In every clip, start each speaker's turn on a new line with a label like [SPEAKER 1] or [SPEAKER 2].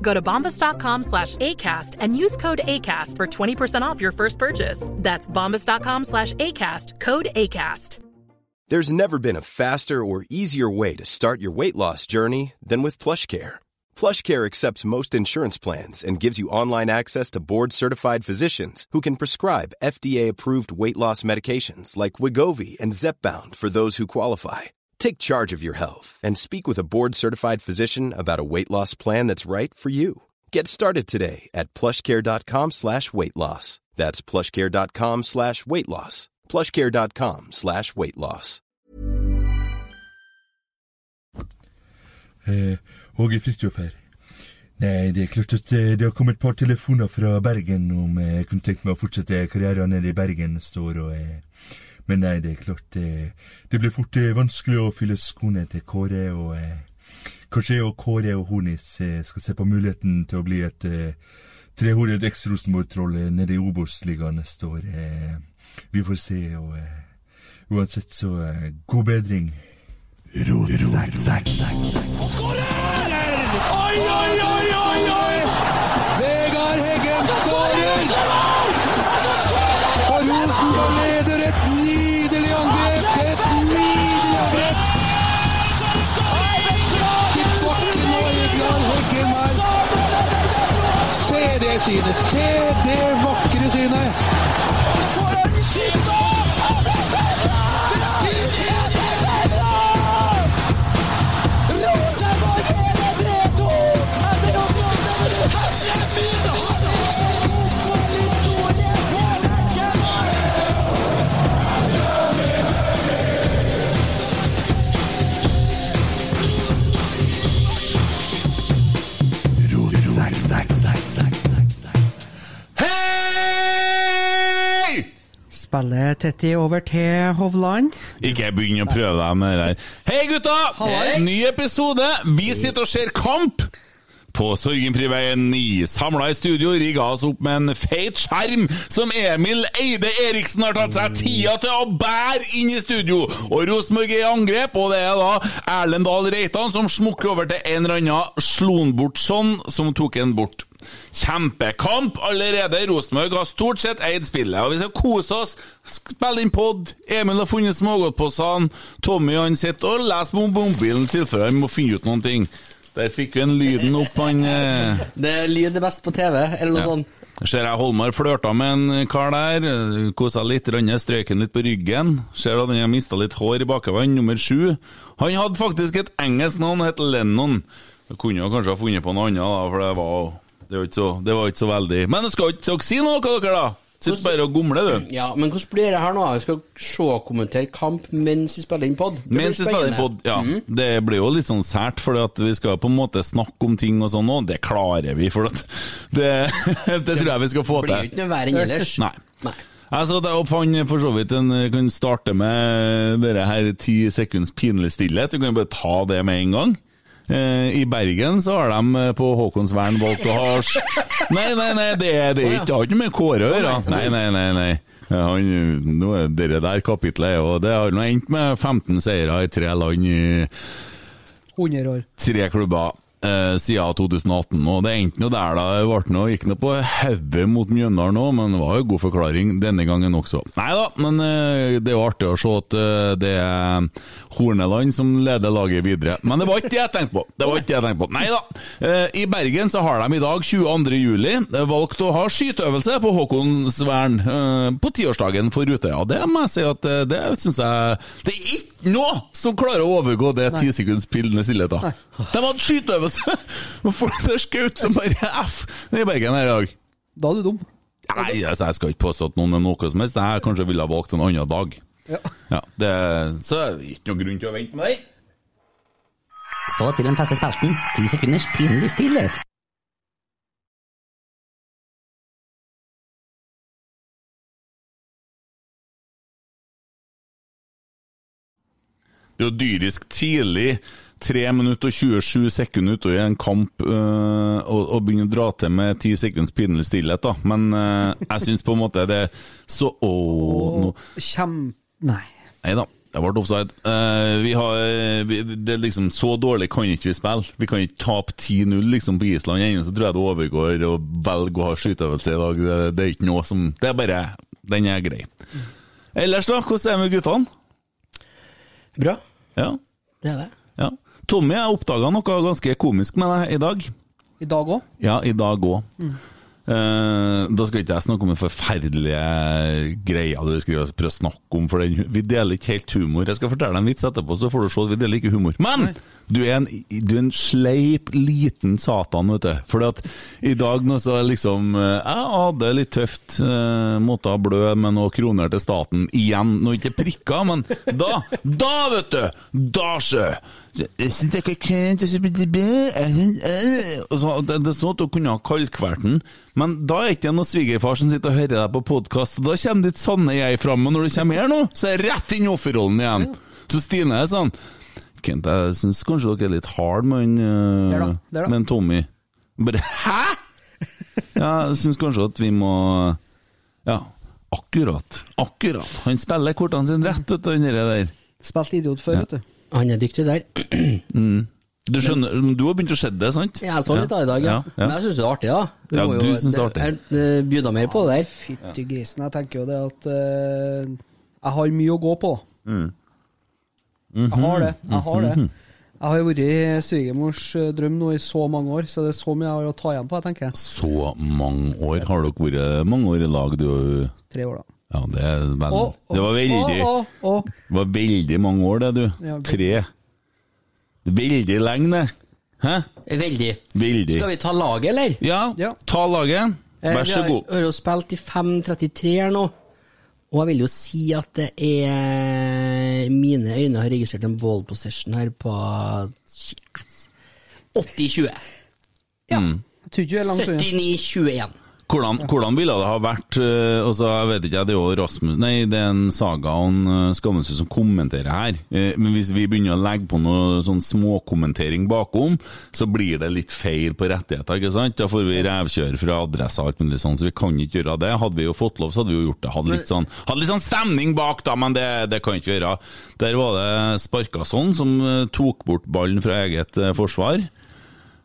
[SPEAKER 1] Go to bombas.com slash ACAST and use code ACAST for 20% off your first purchase. That's bombas.com slash ACAST, code ACAST.
[SPEAKER 2] There's never been a faster or easier way to start your weight loss journey than with PlushCare. PlushCare accepts most insurance plans and gives you online access to board-certified physicians who can prescribe FDA-approved weight loss medications like Wigovi and Zepbound for those who qualify. Take charge of your health and speak with a board-certified physician about a weight loss plan that's right for you. Get started today at plushcare.com slash weight loss. That's plushcare.com slash weight loss. plushcare.com slash weight loss.
[SPEAKER 3] Eh, Åge Kristoffer. Nei, det er klart at eh, det har kommet et par telefoner fra Bergen om eh, jeg kunne tenkt meg å fortsette karrieren nede i Bergen står og eh, Men nei, det er klart eh, Det blir fort eh, vanskelig å fylle skoene til Kåre og eh, Kanskje jeg og Kåre og Hornis eh, skal se på muligheten til å bli et eh, trehodet eks-Rosenborg-troll eh, nede i Obos-ligaen neste år. Eh, vi får se, og eh, uansett så eh, god bedring.
[SPEAKER 4] Oi, oi, oi, oi, oi! Vegard Heggen skårer! Og Rosenborg leder et nydelig angrep! Et nydelig angrep! Tilbake nå, Vegard Heggen her. Se det synet! Se det vakre synet!
[SPEAKER 5] Spiller Tetti over til Hovland.
[SPEAKER 6] Ikke begynn å prøve deg med det der. Hei, gutta! Ny episode! Vi sitter og ser kamp! På Sorgenfriveien 9, samla i studio, rigga oss opp med en feit skjerm som Emil Eide Eriksen har tatt seg tida til å bære inn i studio! Og Rosenborg er i angrep, og det er da Erlend Dahl Reitan som smukker over til en eller annen Slonbortson som tok en bort. Kjempekamp allerede. Rosenborg har stort sett eid spillet. Og vi skal kose oss, spille inn pod. Emil har funnet smågodtposene. Tommy han sitter og leser på mobilen i tilfelle han må finne ut noen ting. Der fikk vi en lyden opp, han eh.
[SPEAKER 7] Det er lyd er best på TV, eller noe
[SPEAKER 6] Ja.
[SPEAKER 7] sånt.
[SPEAKER 6] Ser jeg Holmar flørta med en kar der. eh, Kosa litt, rønne, strøken litt på ryggen. Ser at han har mista litt hår i bakevann, nummer sju. Han hadde faktisk et engelsk navn, het Lennon. Jeg kunne jo kanskje ha funnet på noe annet, da, for det var det var ikke så, det var ikke så veldig Men skal ikke dere si noe, dere, da? Sitter bare og gomler, du.
[SPEAKER 7] Ja, men hvordan blir det her nå? Vi skal se og kommentere kamp mens vi spiller inn pod.
[SPEAKER 6] Mens vi spiller pod, ja.
[SPEAKER 7] Mm.
[SPEAKER 6] Det blir jo litt sånn sært, for vi skal på en måte snakke om ting og sånn, og det klarer vi, for at det, det tror jeg vi skal få
[SPEAKER 7] Det
[SPEAKER 6] til.
[SPEAKER 7] blir jo ikke noe verre enn ellers.
[SPEAKER 6] Nei. Altså, det oppfann for så vidt en eh, kan starte med eh, dere her ti sekunds pinlig stillhet. Du kan jo bare ta det med en gang. Eh, I Bergen så har de eh, på Håkonsvern valgt å ha s- Nei, nei, nei, det, det er ikke, det har ikke noe med Kåre å gjøre. Nei, nei, nei. nei. Ja, han, nå er det der kapitlet, og det har nå endt med 15 seire i tre land i
[SPEAKER 5] 100 år.
[SPEAKER 6] tre klubber. eh, siden 2018. Og det endte nå der, da. Det ble nå, gikk nå på hodet mot Mjøndalen òg, men det var jo god forklaring denne gangen også. Nei da, men eh, det er jo artig å se at eh, det er Horneland som leder laget videre. Men det var ikke det jeg tenkte på! Det var ikke det jeg tenkte på. Nei da. Eh, I Bergen så har de i dag, 22. juli, eh, valgt å ha skyteøvelse på Håkonsvern eh, på tiårsdagen for Utøya. Det må jeg si at eh, det syns jeg Det er ikke noe som klarer å overgå det tisekundspillende stillheten. De hadde skyteøvelse! Hvorfor det skjøt som bare F i Bergen her i dag?
[SPEAKER 8] Da er du dum.
[SPEAKER 6] Nei, altså, jeg skal ikke påstå at noen er noe som helst. Jeg kanskje ville ha valgt en annen dag.
[SPEAKER 8] Ja.
[SPEAKER 6] Ja, det, så er det ikke noen grunn til å vente med det.
[SPEAKER 9] Så til den faste spalten. Ti sekunders pinlig stillhet.
[SPEAKER 6] Det er jo dyrisk tidlig, 3 minutter og 27 sekunder ute i en kamp, øh, og, og begynne å dra til med 10 sekunds pinlig stillhet, da. Men øh, jeg syns på en måte det er så Åh, nå
[SPEAKER 8] Kjem... Nei.
[SPEAKER 6] Nei da, det ble offside. Eh, vi har, vi, det er liksom, så dårlig kan ikke vi spille. Vi kan ikke tape 10-0 liksom, på Island ennå, så tror jeg det overgår å velge å ha skyteøvelse i dag. Det, det er ikke noe som Det er bare Den er grei. Ellers, da? Hvordan er det med guttene?
[SPEAKER 7] Bra.
[SPEAKER 6] Ja.
[SPEAKER 7] Det er det.
[SPEAKER 6] ja. Tommy, jeg oppdaga noe ganske komisk med deg i dag.
[SPEAKER 8] I dag òg?
[SPEAKER 6] Ja, i dag òg. da skal ikke jeg snakke om den forferdelige greia du skriver og prøver å snakke om, for den, vi deler ikke helt humor. Jeg skal fortelle deg en vits etterpå, så får du se at vi deler ikke humor. Men du er, en, du er en sleip, liten satan, vet du. For at i dag nå så er liksom eh, Jeg hadde det litt tøft. eh, måtte ha blø med noen kroner til staten igjen. Nå ikke prikker, men da, da, vet du! Da, sjø! Jeg eh, synes det er kønt, jeg synes det er bra, jeg synes- øh. Og så- Det det er sånn at du kunne ha kaldkvert den, men da er ikke det noen svigerfar som sitter og hører deg på podkast. Da kommer ditt sanne jeg fram, og når du kommer her nå, så er jeg rett inn i offerrollen igjen. Så Stine er sånn Kent, jeg syns kanskje dere er litt hard med han øh,
[SPEAKER 8] Der da, der da.
[SPEAKER 6] med han Tommy. Bare Hæ?! Ja, jeg syns kanskje at vi må Ja, akkurat. Akkurat. Han spiller kortene sine rett, vet du, han der.
[SPEAKER 8] Spilt idiot før, vet du.
[SPEAKER 7] Han er dyktig der.
[SPEAKER 6] Du skjønner, du har begynt å se det, sant?
[SPEAKER 7] Jeg så litt av i dag, ja.
[SPEAKER 6] Ja, ja.
[SPEAKER 7] Men jeg syns det er artig, da.
[SPEAKER 6] Ja,
[SPEAKER 7] må
[SPEAKER 6] du synes det er artig.
[SPEAKER 7] Jeg, eh, bjuda mer på det der.
[SPEAKER 8] Fytti grisen. Jeg tenker jo det at eh, jeg har mye å gå på.
[SPEAKER 6] Mm.
[SPEAKER 8] Jeg har
[SPEAKER 6] Mhm.
[SPEAKER 8] det. Jeg har det. Jeg har jo vært svigermors eh, drøm nå i så mange år, så det er så mye jeg har å ta igjen på, jeg tenker jeg.
[SPEAKER 6] Så mange år har dere vært mange år i lag, du.
[SPEAKER 8] Tre år, da.
[SPEAKER 6] Ja, det, er vel,
[SPEAKER 8] Å, å,
[SPEAKER 6] Mm. det var veldig,
[SPEAKER 8] Å, å, å.
[SPEAKER 6] det var veldig mange år, det, du.
[SPEAKER 8] Ja,
[SPEAKER 6] Tre. Veldig lenge, det. Hæ?
[SPEAKER 7] Veldig.
[SPEAKER 6] Veldig.
[SPEAKER 7] Skal vi ta laget, eller?
[SPEAKER 6] Ja,
[SPEAKER 8] Ja.
[SPEAKER 6] ta laget.
[SPEAKER 7] Eh,
[SPEAKER 6] Vær så god.
[SPEAKER 7] Vi har- har jo spilt i 5.33 her nå, og jeg vil jo si at det er Mine øyne har registrert en ball possession her på shit, 80-20.
[SPEAKER 8] Jeg tror ikke du er langt unna.
[SPEAKER 7] 79-21.
[SPEAKER 6] Hvordan, hvordan ville det ha vært eh, altså, Jeg vet ikke, det er jo Rasmus Nei, det er en saga og en eh, Skammensrud som kommenterer her. Eh, Men hvis vi begynner å legge på noe sånn småkommentering bakom, så blir det litt feil på rettigheter, ikke sant? Da får vi revkjør fra adresse og alt mulig sånn, så vi kan ikke gjøre det. Hadde vi jo fått lov, så hadde vi jo gjort det. Hadde litt sånn, hadde litt sånn stemning bak, da, men det, det kan ikke vi gjøre. Der var det Sparkason som eh, tok bort ballen fra eget eh, forsvar.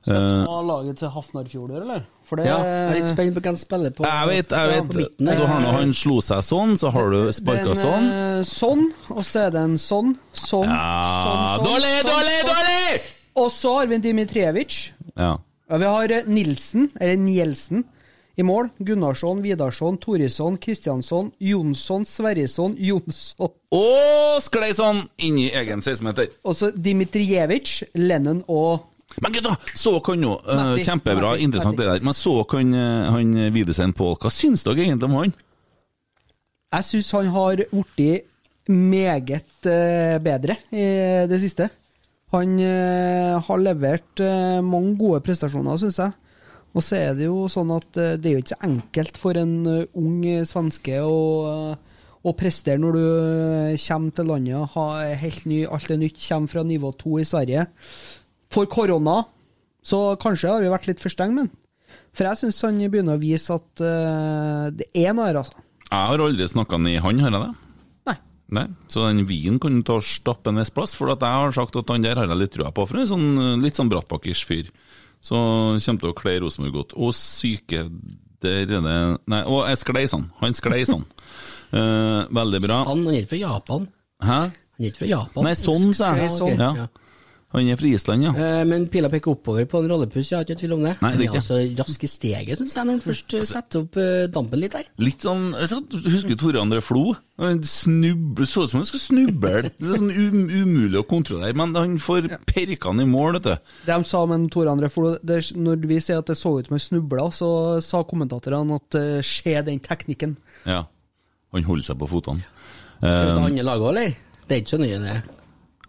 [SPEAKER 8] Ta laget til Hafnarfjord, eller? For det
[SPEAKER 7] Ja, jeg er litt spent på hvem som spiller på
[SPEAKER 6] Jeg vet, jeg
[SPEAKER 7] Ja,
[SPEAKER 6] vet.
[SPEAKER 7] på midten
[SPEAKER 6] Du
[SPEAKER 7] der.
[SPEAKER 6] har nå han slo seg sånn, så har du sparka
[SPEAKER 8] Det er en,
[SPEAKER 6] sånn.
[SPEAKER 8] eh, sånn, og så er det en sånn, sånn,
[SPEAKER 6] Ja,
[SPEAKER 8] sånn, sånn,
[SPEAKER 6] Dårlig,
[SPEAKER 8] sånn,
[SPEAKER 6] dårlig,
[SPEAKER 8] sånn.
[SPEAKER 6] dårlig!
[SPEAKER 8] Og så har vi en Dimitrijevic.
[SPEAKER 6] Ja.
[SPEAKER 8] Ja, vi har eh, Nilsen, eller Nielsen, i mål. Gunnarsson, Vidarsson, Torisson, Kristiansson, Jonsson, Sverrisson, Jonsson.
[SPEAKER 6] Og sklei sånn inn i egen 16-meter.
[SPEAKER 8] Og så Dimitrijevic, Lennon og
[SPEAKER 6] Men gutta, så kan jo eh,
[SPEAKER 8] Matti,
[SPEAKER 6] Kjempebra,
[SPEAKER 8] Matti,
[SPEAKER 6] interessant det der. Men så kan eh, han eh, Widersen Pål Hva syns dere egentlig om han?
[SPEAKER 8] Jeg syns han har blitt meget eh, bedre i det siste. Han eh, har levert eh, mange gode prestasjoner, syns jeg. Og så er det jo sånn at eh, det er jo ikke så enkelt for en eh, ung eh, svenske å, eh, å prestere når du eh, kommer til landet, ha helt ny, alt er nytt, kommer fra nivå to i Sverige. For korona, så kanskje har vi vært litt for strenge med han. For jeg syns han begynner å vise at eh, det er noe her, altså.
[SPEAKER 6] Jeg har aldri snakka ned han, har jeg det?
[SPEAKER 8] Nei.
[SPEAKER 6] Nei, Så den vinen kan du ta og stappe en viss plass, for at jeg har sagt at han der har jeg litt trua på, for han er sånn, litt sånn brattbakkers fyr. Så kommer til å kle Rosenborg godt. Og syke der er det Nei, og jeg skleis han. Han skleis han. Eh, veldig bra.
[SPEAKER 7] Han, han er ikke fra Japan.
[SPEAKER 6] Hæ?
[SPEAKER 7] Han er ikke fra Japan.
[SPEAKER 6] Nei, sånn, sa jeg.
[SPEAKER 7] Ja, ok.
[SPEAKER 6] Ja. Han er fra Island, ja.
[SPEAKER 7] Eh, Men pila peker oppover på en rallepuss, jeg har ikke tvil om det.
[SPEAKER 6] Nei, det er
[SPEAKER 7] Han
[SPEAKER 6] ikke. Altså-
[SPEAKER 7] altså rask i steget, syns jeg, når han først eh, setter opp eh, dampen litt der.
[SPEAKER 6] Litt sånn altså, Husker du Tore André Flo? Han snuble, så ut som han skulle snuble. Det er sånn um, umulig å kontrollere, men han får perka han i mål, vet du.
[SPEAKER 8] De sa men Tore André Flo, det, er- når vi sier at det så ut som han snubla, så sa kommentatorene at eh, se den teknikken.
[SPEAKER 6] Ja. Han holder seg på fotene.
[SPEAKER 7] Er det
[SPEAKER 6] Eh,
[SPEAKER 7] andre lag òg, eller? Det er ikke så nøye, det.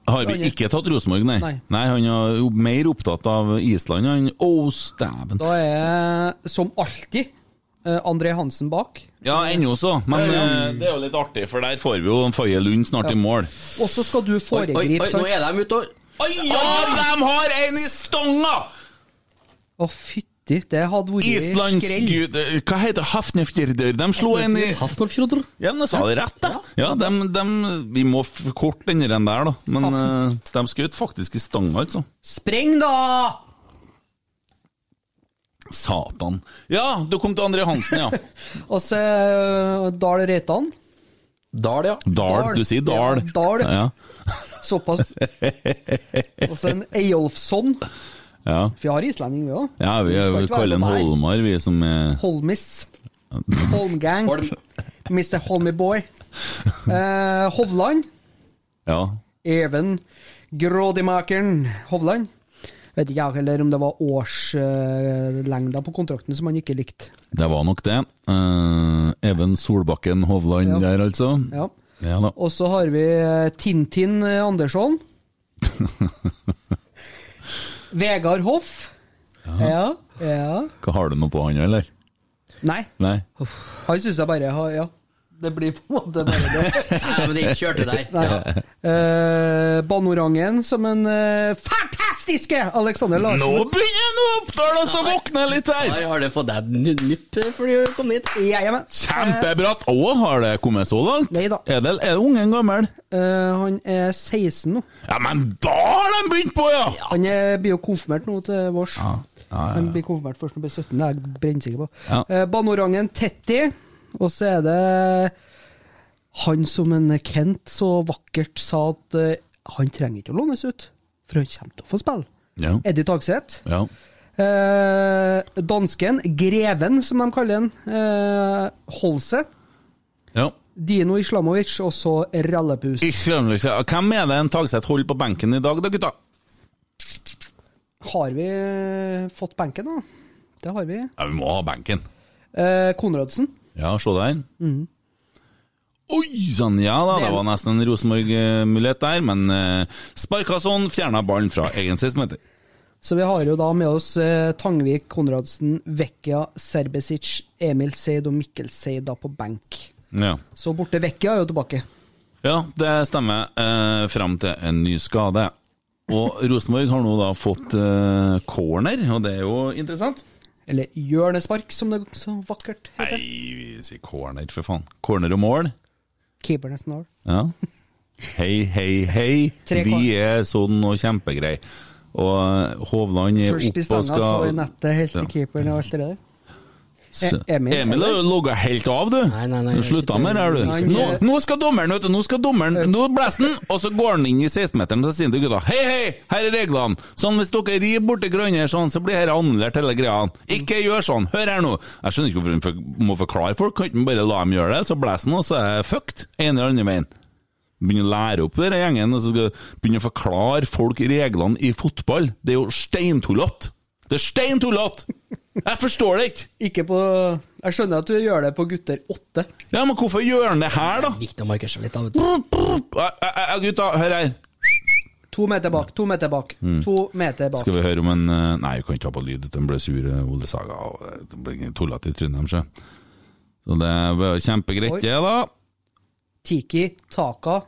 [SPEAKER 6] har vi ikke tatt Rosenborg, nei.
[SPEAKER 8] Nei.
[SPEAKER 6] han er jo mer opptatt av Island, han. Oh, stæven.
[SPEAKER 8] Da er som alltid eh, André Hansen bak.
[SPEAKER 6] Ja, ennå så, men
[SPEAKER 8] Ja, ja.
[SPEAKER 6] eh, det er jo litt artig, for der får vi jo Faye Lund snart i mål.
[SPEAKER 8] Og så skal du
[SPEAKER 7] Oi, oi,
[SPEAKER 8] foregripe
[SPEAKER 7] oi, nå er de ute og
[SPEAKER 6] Oi, ja, de har en i stanga!
[SPEAKER 8] Å, fytti, det hadde vært
[SPEAKER 6] Islands
[SPEAKER 8] skrell.
[SPEAKER 6] gud eh, Hva heter det? Hafnefjordur? De slo en i
[SPEAKER 7] Hafnarfjordur.
[SPEAKER 6] Ja, men jeg sa det rett, da. Ja, dem, dem, vi må f- korte den der, da. Men eh, de skjøt faktisk i stanga, altså.
[SPEAKER 8] Spreng, da!
[SPEAKER 6] Satan. Ja, du kom til André Hansen, ja.
[SPEAKER 8] Og så eh, Dahl Reitan.
[SPEAKER 7] Dal, ja.
[SPEAKER 6] Dal. Du sier Dal.
[SPEAKER 8] Ja, Dahl.
[SPEAKER 6] Ja,
[SPEAKER 8] Såpass. Og så en Eyolfsson.
[SPEAKER 6] ja.
[SPEAKER 8] For vi har islending, vi òg.
[SPEAKER 6] ja
[SPEAKER 8] skal
[SPEAKER 6] vi, vi
[SPEAKER 8] ikke være
[SPEAKER 6] kaller han
[SPEAKER 8] på det her.
[SPEAKER 6] Holmar, vi som er
[SPEAKER 8] Holmis. Holmgang. Mr. Holmyboy. Eh, Hovland.
[SPEAKER 6] Ja.
[SPEAKER 8] Even Grådimakeren Hovland. Vet ikke jeg heller om det var årslengda på kontrakten som han ikke likte.
[SPEAKER 6] Det var nok det. Eh, Even Solbakken Hovland
[SPEAKER 8] Ja.
[SPEAKER 6] der, altså.
[SPEAKER 8] Ja.
[SPEAKER 6] Ja da.
[SPEAKER 8] Og så har vi eh, Tintin eh, Andersson. Vegard Hoff. Ja. ja.
[SPEAKER 6] Hva Har du noe på han, eller?
[SPEAKER 8] Nei,
[SPEAKER 6] Nei?
[SPEAKER 8] han syns jeg bare har Ja. Det blir på en måte bare det.
[SPEAKER 7] Nei, men det kjørte der.
[SPEAKER 8] Nei.
[SPEAKER 7] Ja.
[SPEAKER 8] Eh, Bannorangen som en eh, fantastiske Alexander Larsen.
[SPEAKER 6] Nå begynner han å oppdale oss og våkne litt her!
[SPEAKER 7] Der har det fått deg en eh, nupp før du kom hit.
[SPEAKER 8] Ja, ja, men, eh,
[SPEAKER 6] Kjempebratt! Å, har det kommet så langt?
[SPEAKER 8] Nei da.
[SPEAKER 6] Er det, er det ungen gammel?
[SPEAKER 8] eh, han er 16 nå.
[SPEAKER 6] Ja, men da har de begynt på, ja!
[SPEAKER 8] Han eh, blir jo konfirmert nå til vårs.
[SPEAKER 6] ja, ja.
[SPEAKER 8] Han blir konfirmert først når han blir 17, det er jeg brennsikker på.
[SPEAKER 6] Ja.
[SPEAKER 8] Eh, Bannorangen Tetti, og så er det han som en Kent så vakkert sa at eh, han trenger ikke å lånes ut, for han kommer til å få spille.
[SPEAKER 6] Ja.
[SPEAKER 8] Eddie Tagseth.
[SPEAKER 6] ja.
[SPEAKER 8] Eh, dansken, Greven som de kaller han, eh, Holse.
[SPEAKER 6] ja.
[SPEAKER 8] Dino Islamovic, og så Rallepus.
[SPEAKER 6] I Strømløse. Hvem er det en Tagseth holder på benken i dag, da, gutta?
[SPEAKER 8] Har vi eh, fått benken, da? Det har vi.
[SPEAKER 6] Ja, vi må ha benken.
[SPEAKER 8] Eh, Konradsen.
[SPEAKER 6] Ja, se der.
[SPEAKER 8] Mm.
[SPEAKER 6] Oi sann, ja da, det var nesten en Rosenborg-mulighet der, men eh, sparka sånn, fjerna ballen fra egen sesmeter.
[SPEAKER 8] Så vi har jo da med oss eh, Tangvik, Konradsen, Vekkia, Serbesic, Emil Seid og Mikkel Seid da på benk.
[SPEAKER 6] Ja.
[SPEAKER 8] Så borte Vekkia er jo tilbake.
[SPEAKER 6] ja, det stemmer. Eh, Fram til en ny skade. Og Rosenborg har nå da fått eh, corner, og det er jo interessant.
[SPEAKER 8] Eller hjørnespark, som det så vakkert heter.
[SPEAKER 6] Nei, vi sier corner, for faen. Corner og mål.
[SPEAKER 8] Keeperen er snar.
[SPEAKER 6] Ja. Hei, hei, hei.
[SPEAKER 8] Tre
[SPEAKER 6] Vi
[SPEAKER 8] kvarter.
[SPEAKER 6] er sånn og kjempegreie. Og eh, Hovland er
[SPEAKER 8] Først i
[SPEAKER 6] oppe og
[SPEAKER 8] stanga, så i
[SPEAKER 6] skal
[SPEAKER 8] nettet, helt til
[SPEAKER 6] Ja.
[SPEAKER 8] keeperen og alt det der.
[SPEAKER 6] S-
[SPEAKER 8] E- Emil,
[SPEAKER 6] Emil har
[SPEAKER 8] eller?
[SPEAKER 6] logga helt av, du.
[SPEAKER 7] Nei, nei, nei,
[SPEAKER 6] du
[SPEAKER 7] jeg
[SPEAKER 6] slutta
[SPEAKER 7] sitter-
[SPEAKER 6] med det, her,
[SPEAKER 8] Nei,
[SPEAKER 6] du. Nå,
[SPEAKER 8] jeg-
[SPEAKER 6] nå skal dommeren, vet du. Nå skal dommeren Nå blåser han, og så går han inn i 16-meteren og sier han til gutta Hei, hei, her er reglene. Sånn hvis dere rir borti hverandre sånn, så blir dette annullert, hele greia. Ikke gjør sånn. Hør her nå. Jeg skjønner ikke hvorfor han for- må forklare folk. Kan ikke han bare la dem gjøre det? Så blåser han, og så er jeg fucked. En eller annen veien. Begynne å lære opp denne gjengen, og så skal begynne å forklare folk reglene i fotball. Det er jo steintullete! Det er steintullete! Jeg forstår det ikke!
[SPEAKER 8] Ikke på Jeg skjønner at du gjør det på gutter åtte.
[SPEAKER 6] Ja, men hvorfor gjør han det her, da?
[SPEAKER 7] Viktig å markere seg litt, da. vet du.
[SPEAKER 6] Ja, ja, ja, Gutta, hør her.
[SPEAKER 8] To meter bak, to meter bak, to meter bak.
[SPEAKER 6] Mm. Skal vi høre om en eh, Nei, vi kan ikke ta på lyd. Den ble sur, eh, Ole Saga. og, eh, Den ble tullete i Trondheim, sjø. Så det var kjempegreit,
[SPEAKER 8] Oi.
[SPEAKER 6] det, da.
[SPEAKER 8] Tiki, Taka,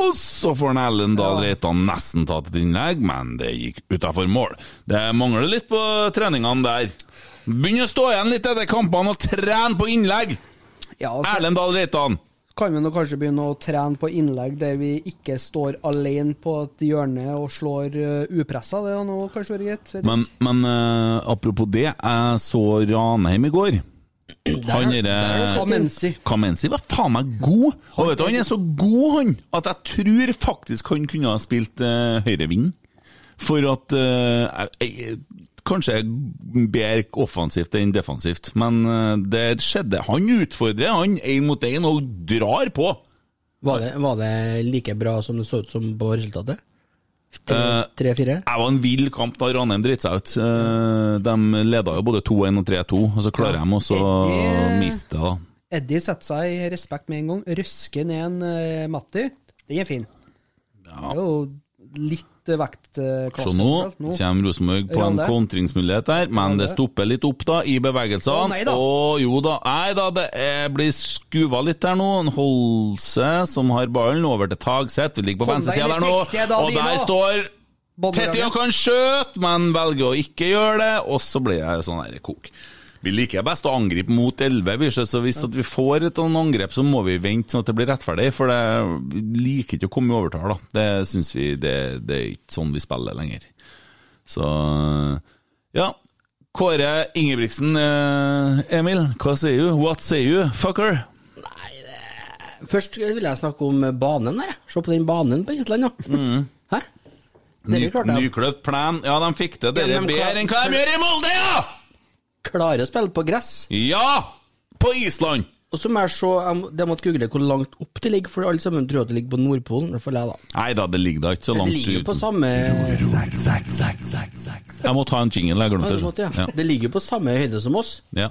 [SPEAKER 6] Og så får han Ellen Dahl Reitan nesten tatt et innlegg, men det gikk utafor mål. Det mangler litt på treningene der. Begynn å stå igjen litt etter kampene og tren på innlegg!
[SPEAKER 8] Ja, altså,
[SPEAKER 6] Erlend Dahl Reitan!
[SPEAKER 8] kan vi nå kanskje begynne å trene på innlegg der vi ikke står alene på et hjørne og slår uh, upressa. Det har nå kanskje vært greit. vet
[SPEAKER 6] Men, men eh, apropos det, jeg så Ranheim i går. Han derre
[SPEAKER 8] Kamenzi.
[SPEAKER 6] Kamenzi var faen meg god! Og vet du, han er så god, han, at jeg tror faktisk han kunne ha spilt uh, høyreving. For at eh, jeg, jeg, Kanskje bedre offensivt enn defensivt, men eh, det skjedde. Han utfordrer han én mot én og drar på!
[SPEAKER 7] Var det, var det like bra som det så ut som på resultatet?
[SPEAKER 6] Eh,
[SPEAKER 7] Tre-fire?
[SPEAKER 6] Det var en vill kamp da Ranheim dritt seg ut. Eh, De leda jo både 2-1 og 3-2, og så klarer de også å
[SPEAKER 8] Det-
[SPEAKER 6] miste det. da.
[SPEAKER 8] Eddie setter seg i respekt med en gang. Røsker ned en eh, Matti. Den er fin. Det er jo litt eh, vektklasse.
[SPEAKER 6] Så nå
[SPEAKER 8] overalt nå.
[SPEAKER 6] kommer Rosenborg på en
[SPEAKER 8] Rande.
[SPEAKER 6] kontringsmulighet der, men det stopper litt opp da i
[SPEAKER 8] Å,
[SPEAKER 6] bevegelsene.
[SPEAKER 8] nei da.
[SPEAKER 6] Og jo da, nei da, det er, blir skuva litt der nå. En Holse som har ballen over til Tagseth, vi ligger på
[SPEAKER 8] Kom
[SPEAKER 6] venstre
[SPEAKER 8] deg
[SPEAKER 6] side
[SPEAKER 8] inn
[SPEAKER 6] der
[SPEAKER 8] i
[SPEAKER 6] nå,
[SPEAKER 8] sikte, da,
[SPEAKER 6] og
[SPEAKER 8] Dino.
[SPEAKER 6] der står
[SPEAKER 8] Bonnerang.
[SPEAKER 6] Tetty og kan skjøte, men velger å ikke gjøre det, og så blir det sånn her kok. Vi liker best å angripe mot 11, vi, så så hvis at vi får et sånn angrep, så må vi vente sånn at det blir rettferdig, for det vi liker ikke å komme i overtall, da. Det syns vi det, det er ikke sånn vi spiller lenger. Så ja. Kåre Ingebrigtsen, eh, Emil, hva sier du? What sier du, fucker?
[SPEAKER 7] Først vil jeg snakke om banen her. jeg. Se på den banen på Island, ja.
[SPEAKER 6] Mm.
[SPEAKER 7] Hæ?
[SPEAKER 6] Ny,
[SPEAKER 7] Dere klarte det.
[SPEAKER 6] nykløpt plen. Ja, de fikk det. Dere
[SPEAKER 7] Ja,
[SPEAKER 6] er
[SPEAKER 7] men klar-
[SPEAKER 6] bedre enn hva de gjør i Molde, ja!
[SPEAKER 7] Klarer å spille på gress.
[SPEAKER 6] Ja! På Island!
[SPEAKER 7] Og så må jeg se, jeg må- det måtte google hvor langt opp det ligger, for alle sammen tror at det ligger på Nordpolen. Det får jeg da.
[SPEAKER 6] Nei da, det ligger da ikke så
[SPEAKER 7] Det
[SPEAKER 6] langt
[SPEAKER 7] ligger jo på
[SPEAKER 6] ut.
[SPEAKER 7] samme
[SPEAKER 6] Jeg må ta en jingle, jeg
[SPEAKER 7] Ja,
[SPEAKER 6] glemte
[SPEAKER 7] du måtte,
[SPEAKER 6] det.
[SPEAKER 7] ja. Det ligger jo på samme høyde som oss.
[SPEAKER 6] Ja.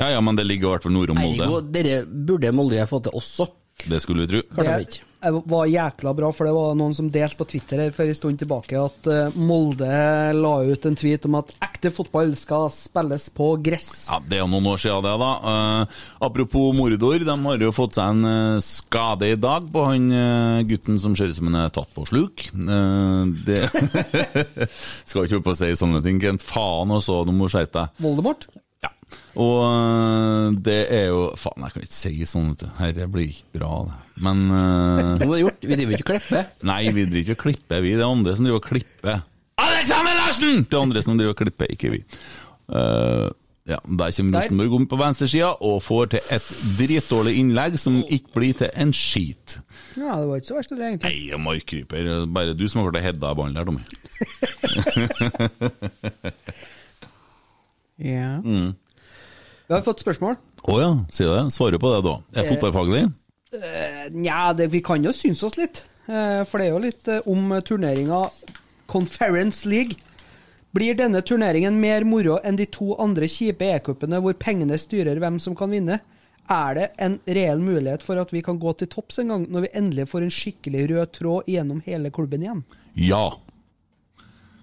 [SPEAKER 6] ja ja, men det ligger i hvert fall nord om
[SPEAKER 7] Ergo,
[SPEAKER 6] Molde.
[SPEAKER 7] dere burde Molde få til også.
[SPEAKER 6] Det skulle vi tro.
[SPEAKER 7] Klarte de
[SPEAKER 8] Det
[SPEAKER 7] ikke.
[SPEAKER 8] var jækla bra, for det var noen som delte på Twitter her for en stund tilbake at eh, Molde la ut en tweet om at ekte fotball skal spilles på gress.
[SPEAKER 6] Ja, Det er jo noen år siden det, da. Eh, apropos Mordor, de har jo fått seg en eh, skade i dag på han eh, gutten som ser ut som han er tatt på sluk. Eh, det Skal ikke opp og si sånne ting, Kent. Faen også, du må skjerpe deg.
[SPEAKER 8] Voldemort?
[SPEAKER 6] Og øh, det er jo Faen, jeg kan ikke si sånn, vet du. Herre, det blir ikke bra, det. Men øh,
[SPEAKER 7] Nå er det gjort. Vi driver ikke og klipper.
[SPEAKER 6] Nei, vi driver ikke og klipper, vi. Det er andre som driver og klipper. Alexander Larsen! Det er andre som driver og klipper, ikke vi. Eh, ja, Der kommer Rosenborg om på venstresida og får til et dritdårlig innlegg som ikke blir til en skit.
[SPEAKER 8] Ja, det var ikke så verst, det, egentlig.
[SPEAKER 6] Nei, markkryper. Bare du som har klart å hedde av ballen der, Tommy.
[SPEAKER 8] Ja.
[SPEAKER 6] Mm.
[SPEAKER 8] Vi har fått spørsmål.
[SPEAKER 6] Å ja, sier du det? Svarer du på det, da? Er det fotballfaglig?
[SPEAKER 8] Eh, Nja, det- vi kan jo synes oss litt. Eh, For det er jo litt eh, om turneringa Conference League. Blir denne turneringen mer moro enn de to andre kjipe e-cupene hvor pengene styrer hvem som kan vinne? Er det en reell mulighet for at vi kan gå til topps en gang, når vi endelig får en skikkelig rød tråd gjennom hele klubben igjen?
[SPEAKER 6] Ja.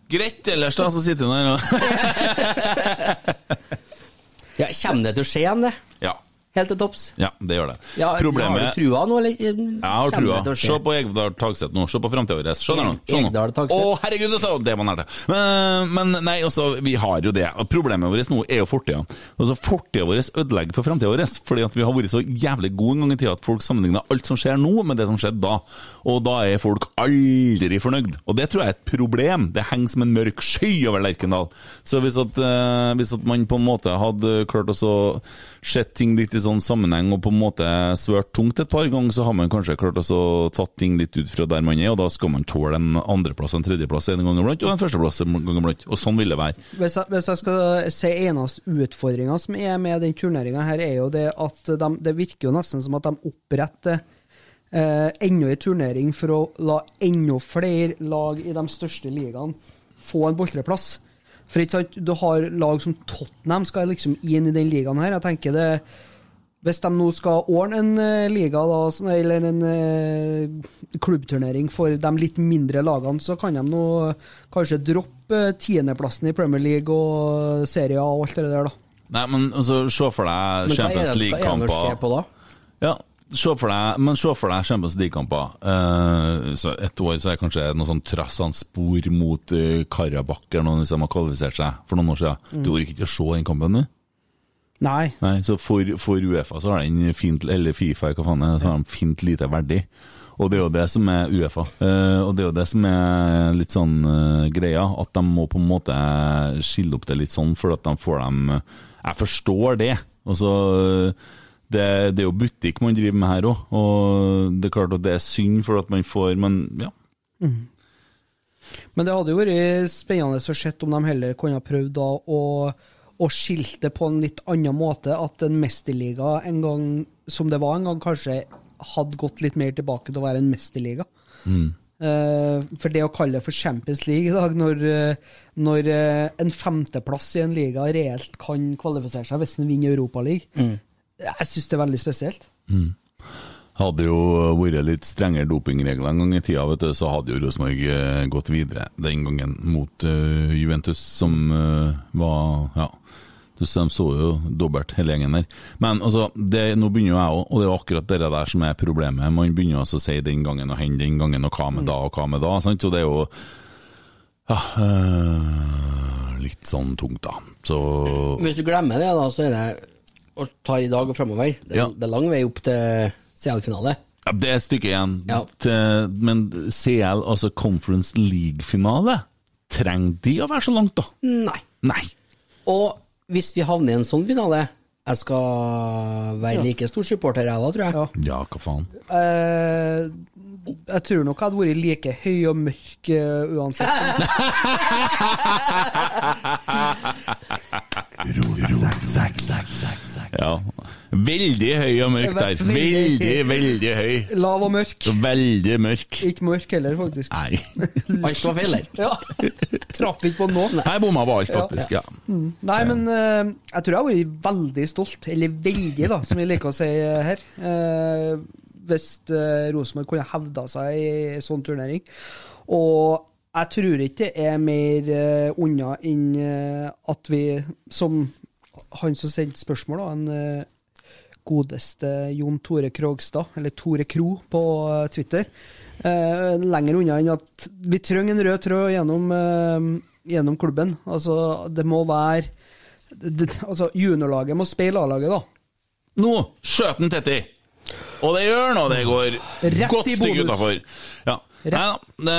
[SPEAKER 6] Greit, ellers da, så sitter han der og
[SPEAKER 7] Ja, Kommer det til å skje igjen, det?
[SPEAKER 6] Ja.
[SPEAKER 7] Helt til topps?
[SPEAKER 6] Ja, det gjør det.
[SPEAKER 7] Ja, Har
[SPEAKER 6] Problemet
[SPEAKER 7] du trua nå, eller?
[SPEAKER 6] Jeg har trua. Se på Egdal Tagseth nå. Se på framtida vår. Se der nå. Se nå.
[SPEAKER 7] Egdal Tagseth.
[SPEAKER 6] Å, herregud, det sa Det var nært, det. Men, men nei, altså, vi har jo det. Og Problemet vårt nå er jo fortida. Altså, fortida vår ødelegger for framtida vår, fordi at vi har vært så jævlig gode en gang i tida at folk sammenligner alt som skjer nå, med det som skjedde da. Og da er folk aldri fornøyd. Og det tror jeg er et problem. Det henger som en mørk sky over Lerkendal. Så hvis at, eh, hvis at man på en måte hadde klart å så sett ting litt i sånn sammenheng og på en måte svørt tungt et par ganger, så har man kanskje klart å så tatt ting litt ut fra der man er, og da skal man tåle en andreplass og en tredjeplass en gang iblant, og en førsteplass en gang iblant. Og sånn vil det være.
[SPEAKER 8] Hvis jeg, hvis jeg skal si eneste utfordringa som er med den turneringa her, er jo det at de, det virker jo nesten som at de oppretter eh, enda en turnering for å la enda flere lag i de største ligaene få en boltreplass. For ikke sant, du har lag som Tottenham skal liksom inn i den ligaen her. Jeg tenker det Hvis de nå skal ordne en eh, liga, da, sånn- eller en eh, klubbturnering for de litt mindre lagene, så kan de nå eh, kanskje droppe eh, tiendeplassen i Premier League og Serie A og alt det der, da.
[SPEAKER 6] Nei, men altså, se for deg
[SPEAKER 7] Men hva
[SPEAKER 6] Champions
[SPEAKER 7] er det- hva er det å
[SPEAKER 6] League-kamper.
[SPEAKER 7] se på da?
[SPEAKER 6] Ja, se for deg, men se for deg Champions League-kamper. Eh, så et år så er det kanskje noe sånn Trassan-spor mot eh, uh, Karabakh eller noen hvis de har kvalifisert seg for noen år siden.
[SPEAKER 7] Mm.
[SPEAKER 6] Du orker ikke å se den kampen, du?
[SPEAKER 8] Nei.
[SPEAKER 6] Nei, så for, for Uefa så har den fint, eller Fifa, hva faen er det, så har den fint lite verdi. Og det er jo det som er Uefa. Eh, og det er jo det som er litt sånn eh, greia, at de må på en måte skille opp det litt sånn, for at de får dem eh, Jeg forstår det. Altså, det, det er jo butikk man driver med her òg, og det er klart at det er synd for at man får Men ja.
[SPEAKER 8] Mm. Men det hadde jo vært spennende å se om de heller kunne ha prøvd da å, å skilte på en litt annen måte. At en mesterliga en gang, som det var en gang, kanskje hadde gått litt mer tilbake til å være en mesterliga.
[SPEAKER 6] Mm.
[SPEAKER 8] Eh, for det å kalle det for Champions League i dag, når, eh, når eh, en femteplass i en liga reelt kan kvalifisere seg hvis en vinner Europaligaen,
[SPEAKER 6] Mm.
[SPEAKER 8] jeg syns det er veldig spesielt.
[SPEAKER 6] Mm. Hadde jo vært litt strengere dopingregler en gang i tida, vet du, så hadde jo Rosenborg eh, gått videre den gangen mot eh, Juventus, som eh, var Ja, du så de så jo dobbelt hele gjengen der. Men altså, det, nå begynner jo jeg òg, og det er jo akkurat det der som er problemet. Man begynner altså å si den gangen og hen den gangen, og hva med da, og hva med da. sant? Så det er jo ja, eh, litt sånn tungt, da. Så
[SPEAKER 7] Hvis du glemmer det, da, så er det å ta i dag og fremover. Det,
[SPEAKER 6] Ja.
[SPEAKER 7] det er lang vei opp til CL-finale.
[SPEAKER 6] Ja, det er stykket igjen. Til, men CL, altså Conference League-finale, trenger de å være så langt, da?
[SPEAKER 7] Nei.
[SPEAKER 6] Nei.
[SPEAKER 7] Og hvis vi havner i en sånn finale Jeg skal være
[SPEAKER 8] Ja.
[SPEAKER 7] like stor supporter jeg da, tror jeg.
[SPEAKER 6] Ja, hva faen.
[SPEAKER 8] Eh, jeg tror nok jeg hadde vært like høy og mørk eh, uansett.
[SPEAKER 6] Ja. Veldig høy og mørk der. Veldig, veldig høy.
[SPEAKER 8] Lav og mørk.
[SPEAKER 6] Veldig mørk.
[SPEAKER 8] Ikke mørk heller, faktisk.
[SPEAKER 6] Nei.
[SPEAKER 7] Alt var feil der.
[SPEAKER 8] Ja. Traff ikke på nå.
[SPEAKER 6] Jeg bomma på alt, faktisk. Ja.
[SPEAKER 8] Mm. Nei, men eh, jeg tror jeg har vært veldig stolt, eller veldig, da, som vi liker å si eh, her. eh, Hvis eh, Rosenborg kunne hevda seg i en sånn turnering. Og jeg tror ikke det er mer eh, unna enn eh, at vi, som han som sendte spørsmål, da, en eh, godeste Jon Tore Krogstad, eller Tore Kro på eh, Twitter, eh, lenger unna enn at vi trenger en rød tråd gjennom, eh, gjennom klubben. Altså, det må være det, altså, Juniorlaget må speile A-laget, da.
[SPEAKER 6] Nå skjøt han Tetti! Og det gjør nå det går
[SPEAKER 8] Rett i
[SPEAKER 6] godt stykke
[SPEAKER 8] bonus.
[SPEAKER 6] utafor. Ja. Nei da. det-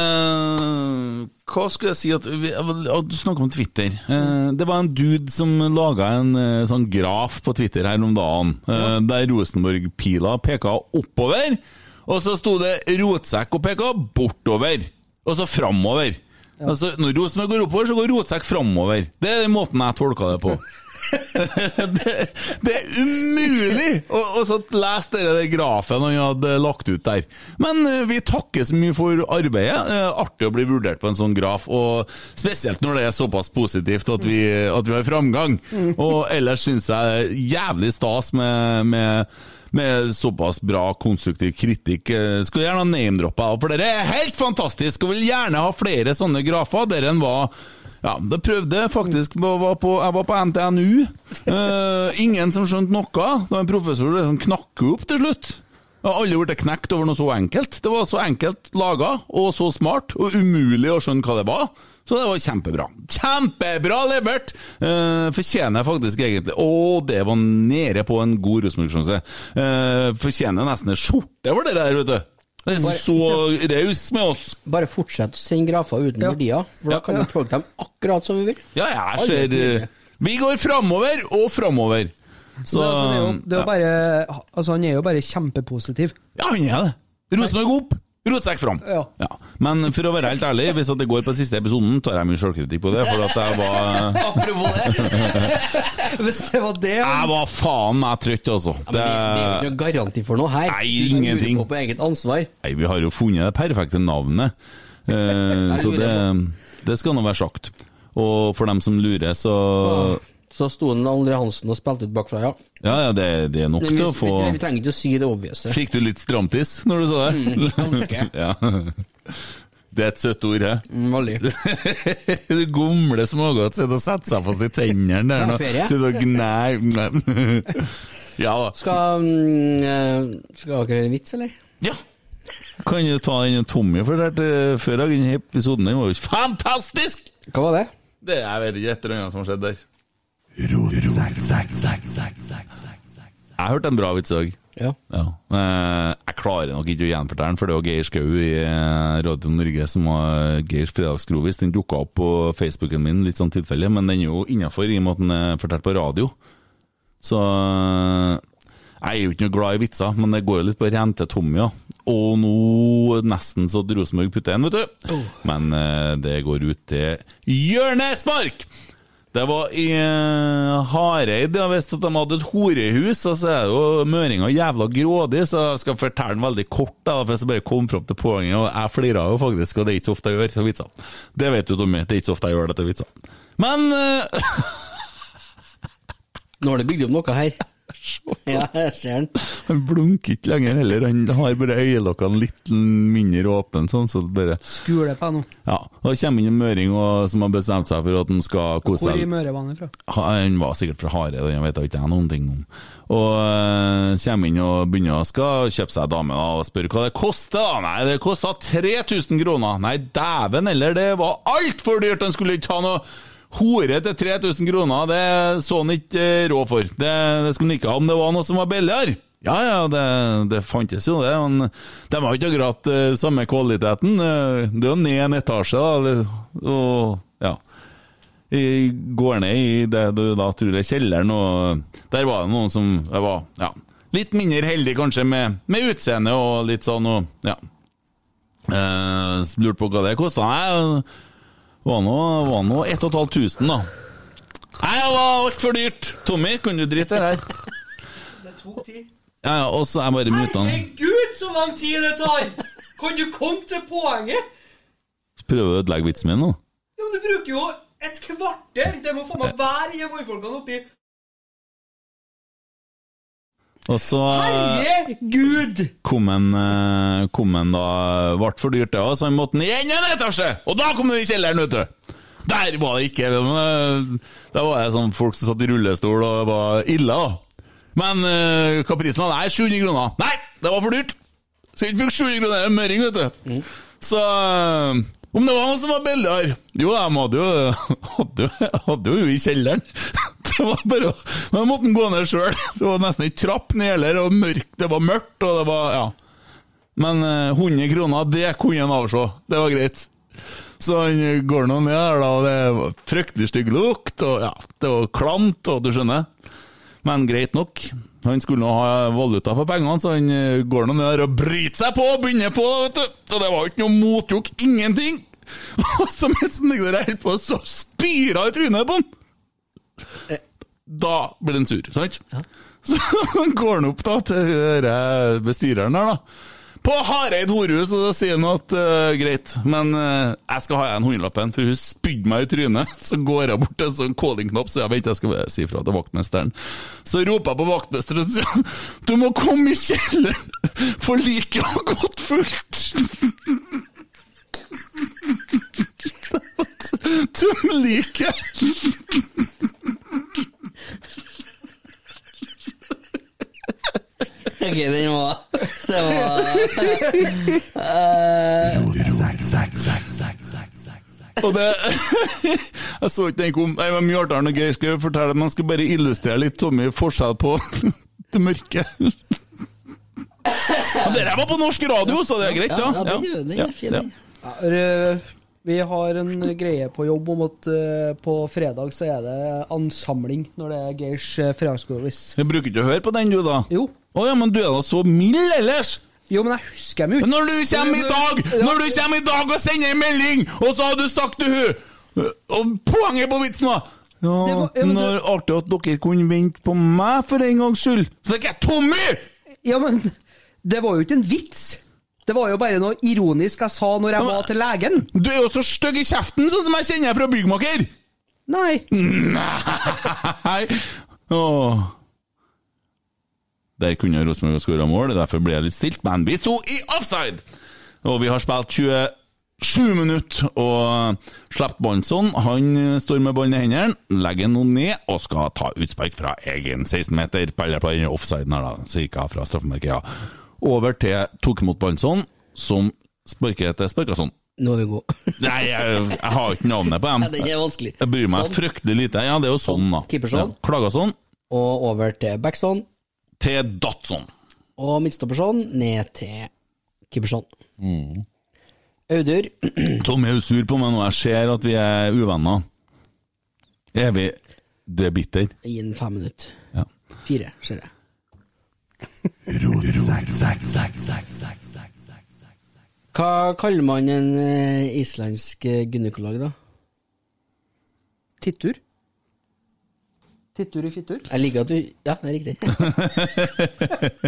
[SPEAKER 6] Hva skulle jeg si at vi, ja, Du snakka om Twitter. Eh, Det var en dude som laga en eh, sånn graf på Twitter her om dagen, eh, der Rosenborg-pila peka oppover, og så sto det rotsekk og peka bortover, og så framover. Altså, når Rosenborg går oppover, så går rotsekk framover. Det er den måten jeg tolka det på. Det er umulig å å så lese dere den grafen han hadde lagt ut der. Men eh, vi takker så mye for arbeidet. Eh, Artig å bli vurdert på en sånn graf, og spesielt når det er såpass positivt at vi, at vi har framgang.
[SPEAKER 10] Mm.
[SPEAKER 6] Og ellers syns jeg det er jævlig stas med, med med såpass bra konstruktiv kritikk. Eh, Skulle gjerne ha name-droppa, for dere er helt fantastisk og vil gjerne ha flere sånne grafer. Dere enn var ja, det prøvde jeg faktisk på, var på, Jeg var på NTNU. Eh, ingen som skjønte noe. Det var en professor som knakker opp til slutt. Jeg har aldri blitt knekt over noe så enkelt. Det var så enkelt laga, og så smart, og umulig å skjønne hva det var. Så det var kjempebra. Kjempebra levert! Eh, fortjener jeg faktisk egentlig Å, det var nede på en god rusmorksjanse. Eh, fortjener nesten en skjorte over det der, vet du. Det er så raus med oss.
[SPEAKER 7] Bare fortsett å sende grafer uten verdier, for da kan vi tolke dem akkurat som vi vil.
[SPEAKER 6] Ja, jeg
[SPEAKER 7] Alle
[SPEAKER 6] ser
[SPEAKER 7] skriver.
[SPEAKER 6] eh, Vi går framover og framover. Så
[SPEAKER 8] Men altså, det er jo, det er
[SPEAKER 6] ja.
[SPEAKER 8] jo bare, altså, han er jo bare kjempepositiv.
[SPEAKER 6] Ja, han er det. Rosenborg opp, rotsekk fram.
[SPEAKER 8] Ja.
[SPEAKER 6] Men for å være helt ærlig, hvis at det går på siste episoden, tar jeg mye sjølkritikk på det, for at jeg var
[SPEAKER 7] Apropos det.
[SPEAKER 8] Hvis det var det
[SPEAKER 6] Jeg var faen meg trøtt, altså.
[SPEAKER 7] Det er jo ikke noe garanti for noe her.
[SPEAKER 6] Nei,
[SPEAKER 7] Du som lurer
[SPEAKER 6] ingenting.
[SPEAKER 7] På, på eget ansvar.
[SPEAKER 6] Nei, vi har jo funnet det perfekte navnet, eh, så det, det skal nå være sagt. Og for dem som lurer, så
[SPEAKER 7] Så sto den André Hansen og spilte ut bakfra, ja.
[SPEAKER 6] Ja, ja, det, det er nok
[SPEAKER 7] Men vi,
[SPEAKER 6] til å
[SPEAKER 7] vi,
[SPEAKER 6] få
[SPEAKER 7] tre- vi trenger ikke å si det obvious. eh,
[SPEAKER 6] Fikk du litt stramtiss når du sa det?
[SPEAKER 7] Mm, ganske.
[SPEAKER 6] ja. Det er et søtt ord, hæ?
[SPEAKER 7] Veldig.
[SPEAKER 6] du gomle smågodt sitter og setter seg fast i tennene der nå.
[SPEAKER 7] Det er ferie.
[SPEAKER 6] Sitter og gnær Ja da.
[SPEAKER 7] Skal, mm, eh, skal dere høre en vits, eller?
[SPEAKER 6] Kan du ta inn en Tommy for det her til før jeg inn i episoden? Den var jo fantastisk!
[SPEAKER 7] Hva var det?
[SPEAKER 6] Det er, Jeg vet ikke et eller annet som har skjedd der. Jeg hørte en bra vits i dag.
[SPEAKER 7] Ja.
[SPEAKER 6] Eh, Jeg klarer nok ikke å gjenfortelle den, for det var Geir Skau i eh, Radio Norge som var Geirs fredagsgrovis. Den dukka opp på Facebooken min, litt sånn tilfeldig, men den er jo innafor i og med at den er fortalt på radio. Så eh, jeg er jo ikke noe glad i vitser, men det går jo litt på rente Tommy, ja. Og nå nesten så at Rosenborg putter en, vet du. Men eh, det går ut til hjørnespark! Det var i eh, Hareid, ja, hvis at de hadde et horehus, og så er det jo møringa jævla grådig, så jeg skal fortelle den veldig kort, da, for jeg så bare kom fram til poenget, og jeg flira jo faktisk, og det er ikke så ofte jeg gjør så vitser. Det vet du, Tommy, det er ikke så ofte jeg gjør dette vitser. Men eh,
[SPEAKER 7] Nå har du bygd opp noe her. Ja, jeg ser den.
[SPEAKER 6] Han blunker ikke lenger heller, han har bare øyelokkene litt mindre åpne, sånn, så det bare
[SPEAKER 8] Skule på nå.
[SPEAKER 6] Ja, og det kommer inn en møring og, som har bestemt seg for at han skal kose
[SPEAKER 8] Hvor
[SPEAKER 6] seg.
[SPEAKER 8] i Møre var han fra?
[SPEAKER 6] Han var sikkert fra Hareid, og han vet ikke jeg noen ting om. Og øh, kommer inn og begynner å skal kjøpe seg dame da, og spør hva det koster. da. Nei, det kosta 3000 kroner. Nei, dæven heller, det var altfor dyrt! Han skulle ikke ha noe hore til 3000 kroner, det så han ikke eh, råd for. Det, det skulle han ikke ha om det var noe som var billigere. Ja, ja, det, det fantes jo det, men de har jo ikke akkurat eh, samme kvaliteten. Eh, Det er jo ned en etasje, da. eller- Og, ja i, går ned i det du da tror er kjelleren, og der var det noen som var ja, litt mindre heldig kanskje med, med utseende og litt sånn, og ja. Eh, så lurte på hva det kosta. Nei, det var nå, var nå 1500, da. Nei, det var altfor dyrt! Tommy, kan du drite i det her?
[SPEAKER 10] Det tok tid.
[SPEAKER 6] Ja, ja, og så er jeg bare muta den.
[SPEAKER 10] Herregud, så lang tid det tar! Kan du komme til poenget?
[SPEAKER 6] Prøver å ødelegge vitsen min nå.
[SPEAKER 10] Ja, men Du bruker jo et kvarter! Det må faen meg være i mannfolkene oppi
[SPEAKER 6] Og så
[SPEAKER 7] Ah.
[SPEAKER 10] Herregud!
[SPEAKER 6] kom en, eh, kom en da Ble for dyrt, det òg, så han måtte ned igjen en etasje! Og da kom det i kjelleren, vet du! Der var det ikke men, eh, Da var det sånn folk som satt i rullestol, og det var ille, da. Men eh, hva prisen var? Nei, 700 kroner. Nei, det var for dyrt! Så jeg fikk 700 kroner i møring, vet du. Så eh, om det var noen som var billigere Jo, de hadde jo, hadde, jo- hadde jo i kjelleren. Det var bare å- Men jeg måtte gå ned sjøl. Det var nesten ikke trapp ned heller, og mørkt, det var mørkt, og det var Ja. Men eh, 100 kroner, det kunne han avse. Det var greit. Så han går nå ned der, da, og det var fryktelig stygg lukt, og ja, det var klamt, og du skjønner. Men greit nok. Han skulle nå ha valuta for pengene, så han eh, går nå ned der og bryter seg på og begynner på, vet du. Og det var jo ikke noe motjukk, ingenting. Og så mens han ligger der helt på, så spyrer hun i trynet på han. Da blir den sur, sant? Så han går han opp da til hun der eh, bestyreren der, da. På Hareid horehus, og da sier han at eh, greit, men eh, jeg skal ha igjen hundrelappen, for hun spydde meg i trynet. Så går jeg bort til en sånn calling-knapp, så jeg venter, jeg skal bare si ifra til vaktmesteren. Så roper jeg på vaktmesteren og sier han, du må komme i kjelleren, for liket har gått fullt. Tøm liket!
[SPEAKER 7] Ok, den var Det
[SPEAKER 6] Og det Jeg så ikke den kom. Jeg var mye artigere når Geir skulle fortelle men han skulle bare illustrere litt Tommy forskjell på det mørke. Men dere var på norsk radio, så det er greit,
[SPEAKER 8] Ja,
[SPEAKER 6] da.
[SPEAKER 8] ja, den er- den er fin,
[SPEAKER 6] ja.
[SPEAKER 8] Ja, r- vi har en greie på jobb om at eh, på fredag så er det ansamling når det er Geirs eh, fredagsgrovis.
[SPEAKER 6] Du bruker ikke å høre på den, du, da?
[SPEAKER 8] Jo.
[SPEAKER 6] Å ja, men du er da så mild ellers!
[SPEAKER 8] Jo, men jeg husker dem jo ikke.
[SPEAKER 6] Når du kommer i dag Når du kommer i dag og sender en melding, og så har du sagt til hun Og poenget på vitsen var ja, når artig at dere kunne vente på meg for en gangs skyld. Så det er ikke jeg, Tommy!
[SPEAKER 8] Ja, men det var jo ikke en vits! Det var jo bare noe ironisk jeg sa når jeg var til legen.
[SPEAKER 6] Du er jo så stygg i kjeften, sånn som jeg kjenner deg fra byggmaker!
[SPEAKER 8] Nei.
[SPEAKER 6] Nei! Åh. Der kunne Rosenborg ha skåra mål, derfor ble jeg litt stilt, men vi sto i offside! Og vi har spilt 27 minutter, og slipper ballen sånn. Han står med ballen i hendene, legger den ned og skal ta utspark fra egen 16-meter. Peller på den offsiden her, da, cirka fra straffemerket, ja. Over til tok imot ballen sånn, som sparker til Sparkason.
[SPEAKER 7] Nå er vi gode.
[SPEAKER 6] Nei, jeg, jeg har ikke navnet på dem.
[SPEAKER 7] Ja, den er vanskelig.
[SPEAKER 6] Jeg bryr meg
[SPEAKER 7] Sånn.
[SPEAKER 6] fryktelig lite. Ja, det er jo sånn, da.
[SPEAKER 7] Keeperson.
[SPEAKER 6] Ja. Klagerson
[SPEAKER 7] Og over til Backson.
[SPEAKER 6] til Datson.
[SPEAKER 7] Og midtstopperson ned til keeperson.
[SPEAKER 6] Mm.
[SPEAKER 7] Audur
[SPEAKER 6] Tommy er jo sur på meg nå. Jeg ser at vi er uvenner. Er vi Det er bitter.
[SPEAKER 7] gi den fem minutter.
[SPEAKER 6] Ja.
[SPEAKER 7] Fire, ser jeg. Hva kaller man en eh, islandsk eh, gynekolog, da?
[SPEAKER 8] Tittur? Tittur i fittur?
[SPEAKER 7] Jeg liker at du Ja, det er riktig.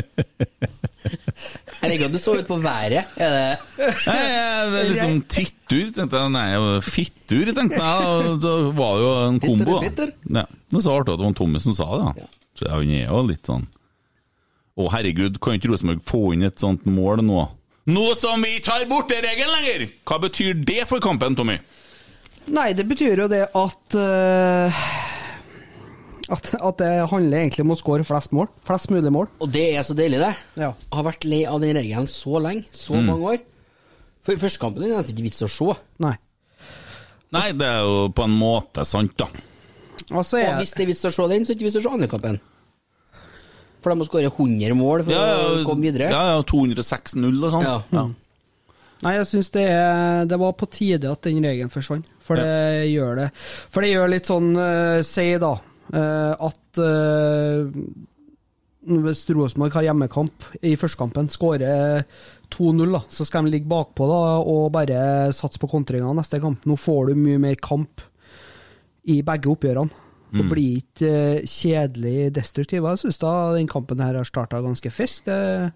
[SPEAKER 7] jeg liker at du så ut på været. Er det
[SPEAKER 6] Nei, jeg- det er liksom tittur, tenkte jeg. Nei, fittur, tenkte jeg. Og Så var det jo en kombo, da.
[SPEAKER 7] Fitter,
[SPEAKER 6] Ja. Det er så artig at det var Tommy som sa det, da. Så han er jo litt sånn Å, herregud, kan ikke Rosenborg få inn et sånt mål nå? Nå som vi ikke har borteregelen lenger! Hva betyr det for kampen, Tommy?
[SPEAKER 8] Nei, det betyr jo det at eh, at, at det handler egentlig om å score flest mål. Flest mulig mål.
[SPEAKER 7] Og det er så deilig, det.
[SPEAKER 8] Ja.
[SPEAKER 7] Jeg har vært lei av den regelen så lenge, så
[SPEAKER 6] Mm.
[SPEAKER 7] mange år. For Førstekampen er det nesten ikke vits å se.
[SPEAKER 8] Nei.
[SPEAKER 6] Nei, det er jo på en måte sant, da.
[SPEAKER 8] Altså,
[SPEAKER 7] Og hvis det er vits å se den, så er det ikke vits å se andre kampen. For de må skåre 100 mål for å komme videre.
[SPEAKER 6] ja, ja 206-0 og sånn. Ja.
[SPEAKER 8] Nei, jeg syns det, er- det var på tide at den regelen forsvant, for det gjør det. For det gjør litt sånn eh, Si, da, eh, at eh, hvis Rosenborg har hjemmekamp i førstekampen, skårer 2-0, da, så skal de ligge bakpå da, og bare satse på kontringa neste kamp. Nå får du mye mer kamp i begge oppgjørene. Det
[SPEAKER 10] Mm.
[SPEAKER 8] blir ikke eh, kjedelig destruktiv. Jeg syns da den kampen her har starta ganske fest. Det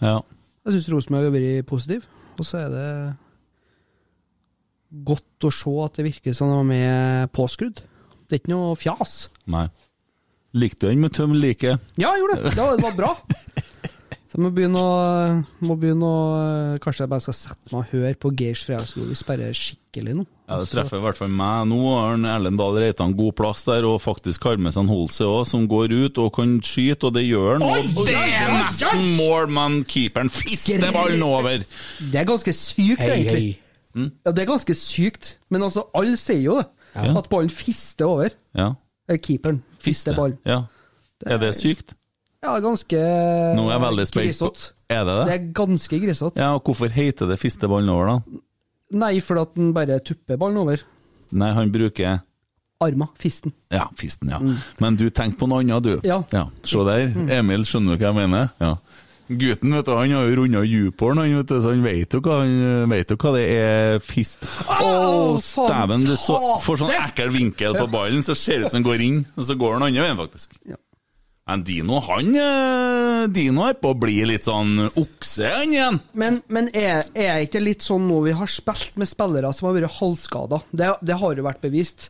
[SPEAKER 6] Ja.
[SPEAKER 8] jeg syns Rosenborg har vært positiv, og så er det godt å se at det virker som de er påskrudd. Det er ikke noe fjas.
[SPEAKER 6] Nei. Likte du den med tøm like?
[SPEAKER 8] Ja, jeg gjorde det! Det var, det var bra. Så jeg må begynne å, må begynne å Kanskje jeg bare skal sette meg og høre på Geirs Fredagslovis bare skikkelig nå.
[SPEAKER 6] Ja, Det treffer i hvert fall meg. Nå har han Erlend Dahl Reitan god plass der, og faktisk har med seg en Holse òg, som går ut og kan skyte, og det gjør han. Og det er nesten mål, men keeperen fister ballen over!
[SPEAKER 8] Det er ganske sykt,
[SPEAKER 6] Hei,
[SPEAKER 8] egentlig.
[SPEAKER 6] hei. Mm.
[SPEAKER 8] Ja, det er ganske sykt, men altså, alle sier jo det.
[SPEAKER 6] Ja.
[SPEAKER 8] At ballen fister over.
[SPEAKER 6] Ja.
[SPEAKER 8] Eller keeperen fister ballen.
[SPEAKER 6] ja. Er det sykt?
[SPEAKER 8] Ja, ganske
[SPEAKER 6] Nå er jeg veldig spent på
[SPEAKER 8] grisete.
[SPEAKER 6] Er det
[SPEAKER 8] Det
[SPEAKER 6] det?
[SPEAKER 8] er ganske grisete.
[SPEAKER 6] Ja, og Hvorfor heter det fiste ballen over, da?
[SPEAKER 8] Nei, fordi at den bare tupper ballen over.
[SPEAKER 6] Nei, han bruker
[SPEAKER 8] Arma, fisten.
[SPEAKER 6] Ja, fisten, ja. Men du tenkte på noe annet, du.
[SPEAKER 8] Ja.
[SPEAKER 6] Se der, Emil, skjønner du hva jeg mener? Ja. Gutten vet du, han har jo runda Youporn, han, vet du, så han vet jo hva, han vet jo hva det er fist... Å, dæven! Du så, får sånn ekkel vinkel på ballen, så ser det ut som den går inn, og så går den andre veien, faktisk. Men Dino, han eh, Dino er på å bli litt sånn okse, han igjen.
[SPEAKER 8] Men, men er, er ikke det litt sånn nå vi har spilt med spillere som har vært halvskada? Det, det har jo vært bevist.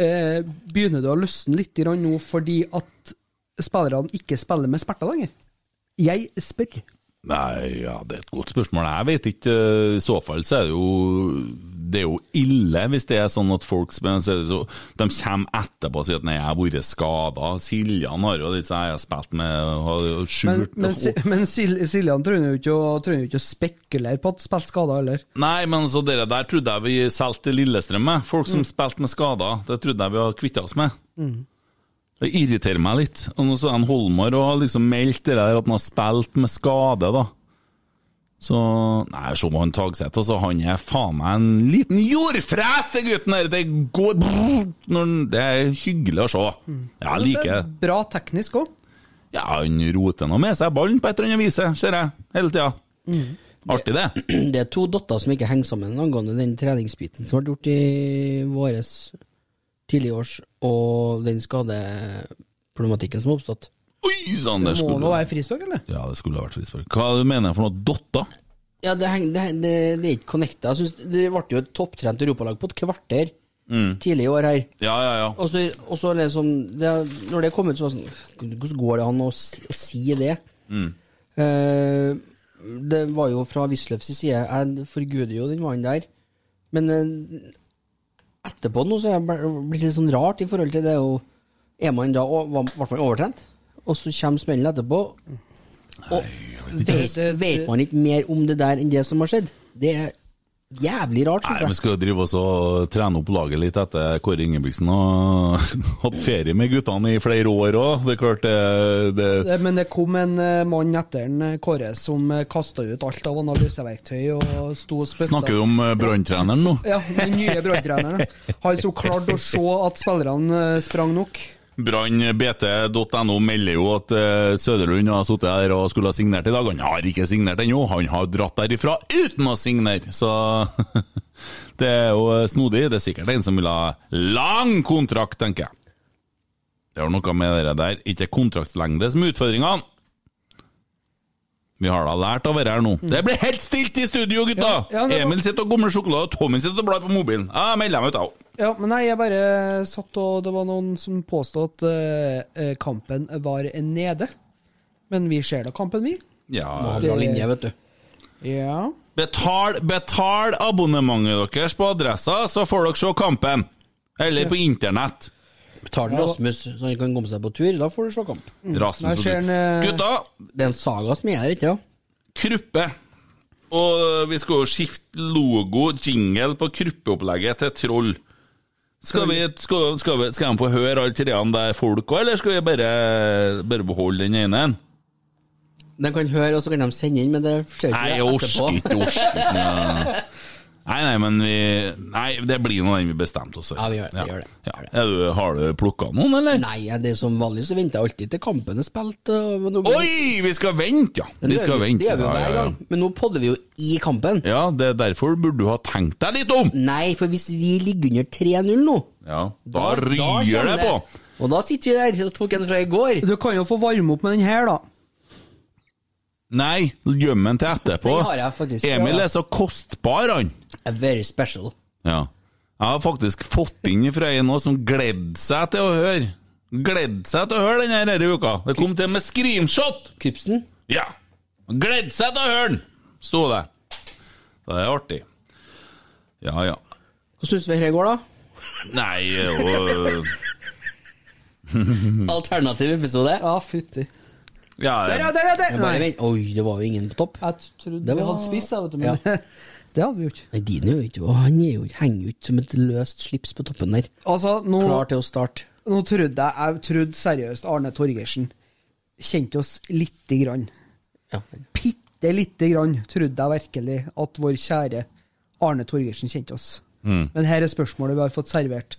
[SPEAKER 8] Eh, begynner det å løsne litt grann nå fordi at spillerne ikke spiller med sperter lenger? Jeg spør.
[SPEAKER 6] Nei, ja, det er et godt spørsmål. Jeg vet ikke. eh, I så fall så er det jo Det er jo ille hvis det er sånn at folk spør, så er det så, De kommer etterpå og sier at 'nei, jeg har vært skada'. Siljan har jo litt sånn 'jeg har spilt med har jo
[SPEAKER 8] Men,
[SPEAKER 6] skjult
[SPEAKER 8] men, Si- men Sil- Siljan trenger jo ikke å, trenger jo ikke å spekulere på at spilt skada heller.
[SPEAKER 6] Nei, men så dere der trodde jeg vi solgte til Lillestrøm med. Folk som spilte med skader, det trodde jeg vi hadde kvitta oss med.
[SPEAKER 8] Mm.
[SPEAKER 6] Det irriterer meg litt. Og nå så er han Holmar og har liksom meldt det der at han har spilt med skade, da. Så Nei, se på han Tagseth, altså. Han er faen meg en liten jordfres, den gutten der! Det går brrr, når han- Det er hyggelig å se.
[SPEAKER 8] Mm.
[SPEAKER 6] Jeg liker det.
[SPEAKER 8] Bra teknisk òg.
[SPEAKER 6] Ja, han roter nå med seg ballen på et eller annet vis, ser jeg, hele tida.
[SPEAKER 8] Mm.
[SPEAKER 6] Artig, det.
[SPEAKER 7] Det er to dotter som ikke henger sammen angående den treningsbiten som ble gjort i våres tidligere års, og den skadeproblematikken som har oppstått.
[SPEAKER 6] Oi sann,
[SPEAKER 8] Det
[SPEAKER 6] der
[SPEAKER 8] må
[SPEAKER 6] skulle
[SPEAKER 8] nå være frispark, eller?
[SPEAKER 6] Ja, det skulle ha vært frispark. Hva mener jeg for noe dotta?
[SPEAKER 7] Ja, det, heng, det, heng- det, det er ikke connecta. Jeg synes det ble jo et topptrent europalag på et kvarter
[SPEAKER 6] Mm.
[SPEAKER 7] tidlig i år her.
[SPEAKER 6] Ja, ja, ja.
[SPEAKER 7] Og så, og så liksom, det, når det kom ut, så var det sånn Hvordan går det an å, si- å si det?
[SPEAKER 6] Mm.
[SPEAKER 7] Eh, det var jo fra Wisløffs side. Jeg forguder jo den mannen der. Men eh, etterpå nå så er jeg bare- blitt litt sånn rart i forhold til det. Og er man da og, var- Ble man overtrent? Og så kommer smellen etterpå. Og vet, vet man ikke mer om det der enn det som har skjedd? Det er jævlig rart,
[SPEAKER 6] Nei, Vi
[SPEAKER 7] syns jeg.
[SPEAKER 6] skal jo drive oss og trene opp laget litt etter Kåre Ingebrigtsen og hatt ferie med guttene i flere år òg. Det er klart det, det
[SPEAKER 8] Eh, Men det kom en eh, mann etter en eh, Kåre som kasta ut alt av analyseverktøy og sto og spytta.
[SPEAKER 6] Snakker vi om eh, branntreneren nå?
[SPEAKER 8] Ja, den nye branntreneren. Han som klarte å se at spillerne eh, sprang nok.
[SPEAKER 6] Brannbt.no melder jo at eh, Søderlund har sittet her og skulle ha signert i dag. Han har ikke signert ennå, han har dratt derifra uten å signere! Så det er jo eh, snodig. Det er sikkert en som vil ha lang kontrakt, tenker jeg. Det har noe med det der, ikke kontraktslengde som er utfordringa. Vi har da lært av dette her nå. Det blir helt stilt i studio, gutta!
[SPEAKER 8] Mm. Ja, ja, det var-
[SPEAKER 6] Emil sitter og gomler sjokolade, og Tommy sitter og blar på mobilen. Jeg melder meg ut, jeg òg.
[SPEAKER 8] Ja, men nei, jeg bare satt og Det var noen som påstod at eh, eh, kampen var nede. Men vi ser da kampen, vi.
[SPEAKER 6] Ja.
[SPEAKER 8] Det-
[SPEAKER 7] vet du.
[SPEAKER 8] Ja.
[SPEAKER 6] Betal, betal abonnementet deres på adressa, så får dere se kampen. Eller på internett.
[SPEAKER 7] Tar den Rasmus, så han kan komme seg på tur. Da får du se kamp.
[SPEAKER 6] Rasmus Nei, på tur. skjer den, Gutta!
[SPEAKER 7] Det er en saga som er her, ikke sant?
[SPEAKER 6] Kruppe. Og vi skal jo skifte logo, jingle, på kruppeopplegget til Troll. Skal, vi, skal, skal, vi, skal de få høre alle treene der folk òg, eller skal vi bare, bare beholde den ene?
[SPEAKER 7] De kan høre, og så kan de sende inn, men det skjer ikke
[SPEAKER 6] Nei, jeg
[SPEAKER 7] etterpå.
[SPEAKER 6] orsker ikke, orsker ikke. noe. Nei, nei, men vi Nei, det blir nå den vi bestemte oss for.
[SPEAKER 7] Ja, vi gjør- vi gjør det.
[SPEAKER 6] Ja. Er du, har du plukka noen, eller?
[SPEAKER 7] Nei, jeg- det er som vanlig så venter jeg alltid til kampen er spilt. og- men nå blir-
[SPEAKER 6] Oi, vi skal vente, ja!
[SPEAKER 7] Men
[SPEAKER 6] Vi
[SPEAKER 7] det gjør
[SPEAKER 6] skal
[SPEAKER 7] vi-
[SPEAKER 6] vente.
[SPEAKER 7] Det gjør vi jo
[SPEAKER 6] ja,
[SPEAKER 7] hver
[SPEAKER 6] ja, ja.
[SPEAKER 7] gang, men nå podder vi jo i kampen.
[SPEAKER 6] Ja, det er derfor burde du ha tenkt deg litt om!
[SPEAKER 7] Nei, for hvis vi ligger under 3-0 nå,
[SPEAKER 6] Ja, Da
[SPEAKER 7] da
[SPEAKER 6] ryr
[SPEAKER 7] kommer
[SPEAKER 6] det på!
[SPEAKER 7] Og da sitter vi der og tok en fra i går.
[SPEAKER 8] Du kan jo få varme opp med den her, da.
[SPEAKER 6] Nei, gjem den til etterpå.
[SPEAKER 7] Den har jeg faktisk.
[SPEAKER 6] Emil
[SPEAKER 7] Ja.
[SPEAKER 6] er så kostbar, han.
[SPEAKER 7] A very special.
[SPEAKER 6] Ja. Jeg har faktisk fått inn fra en nå som gledde seg til å høre. Gledde seg til å høre den her denne uka. Det kom til med screenshot!
[SPEAKER 7] Krypsen?
[SPEAKER 6] Ja. Gledde seg til å høre den, sto det. Det er artig. Ja, ja.
[SPEAKER 7] Hva syns vi her går, da?
[SPEAKER 6] Nei, og Hmm.
[SPEAKER 7] Alternativ episode?
[SPEAKER 8] Ja, fytti.
[SPEAKER 6] Ja,
[SPEAKER 8] Der, ja, der, ja, der!
[SPEAKER 7] Jeg bare
[SPEAKER 8] Nei.
[SPEAKER 7] vent. Oi, det var jo ingen på topp.
[SPEAKER 8] Jeg trodde
[SPEAKER 7] Det
[SPEAKER 8] vi
[SPEAKER 7] var-
[SPEAKER 8] hadde spiss, jeg, vet du.
[SPEAKER 7] Ja.
[SPEAKER 8] Men det hadde vi jo ikke.
[SPEAKER 7] Nei, Dine er jo ikke Og han er jo, henger jo ikke som et løst slips på toppen der.
[SPEAKER 8] Altså, nå,
[SPEAKER 7] Klar til å starte.
[SPEAKER 8] nå trodde jeg Jeg trodde seriøst Arne Torgersen kjente oss lite grann.
[SPEAKER 7] Ja.
[SPEAKER 8] Bitte lite grann trodde jeg virkelig at vår kjære Arne Torgersen kjente oss.
[SPEAKER 6] Mm.
[SPEAKER 8] Men her er spørsmålet vi har fått servert.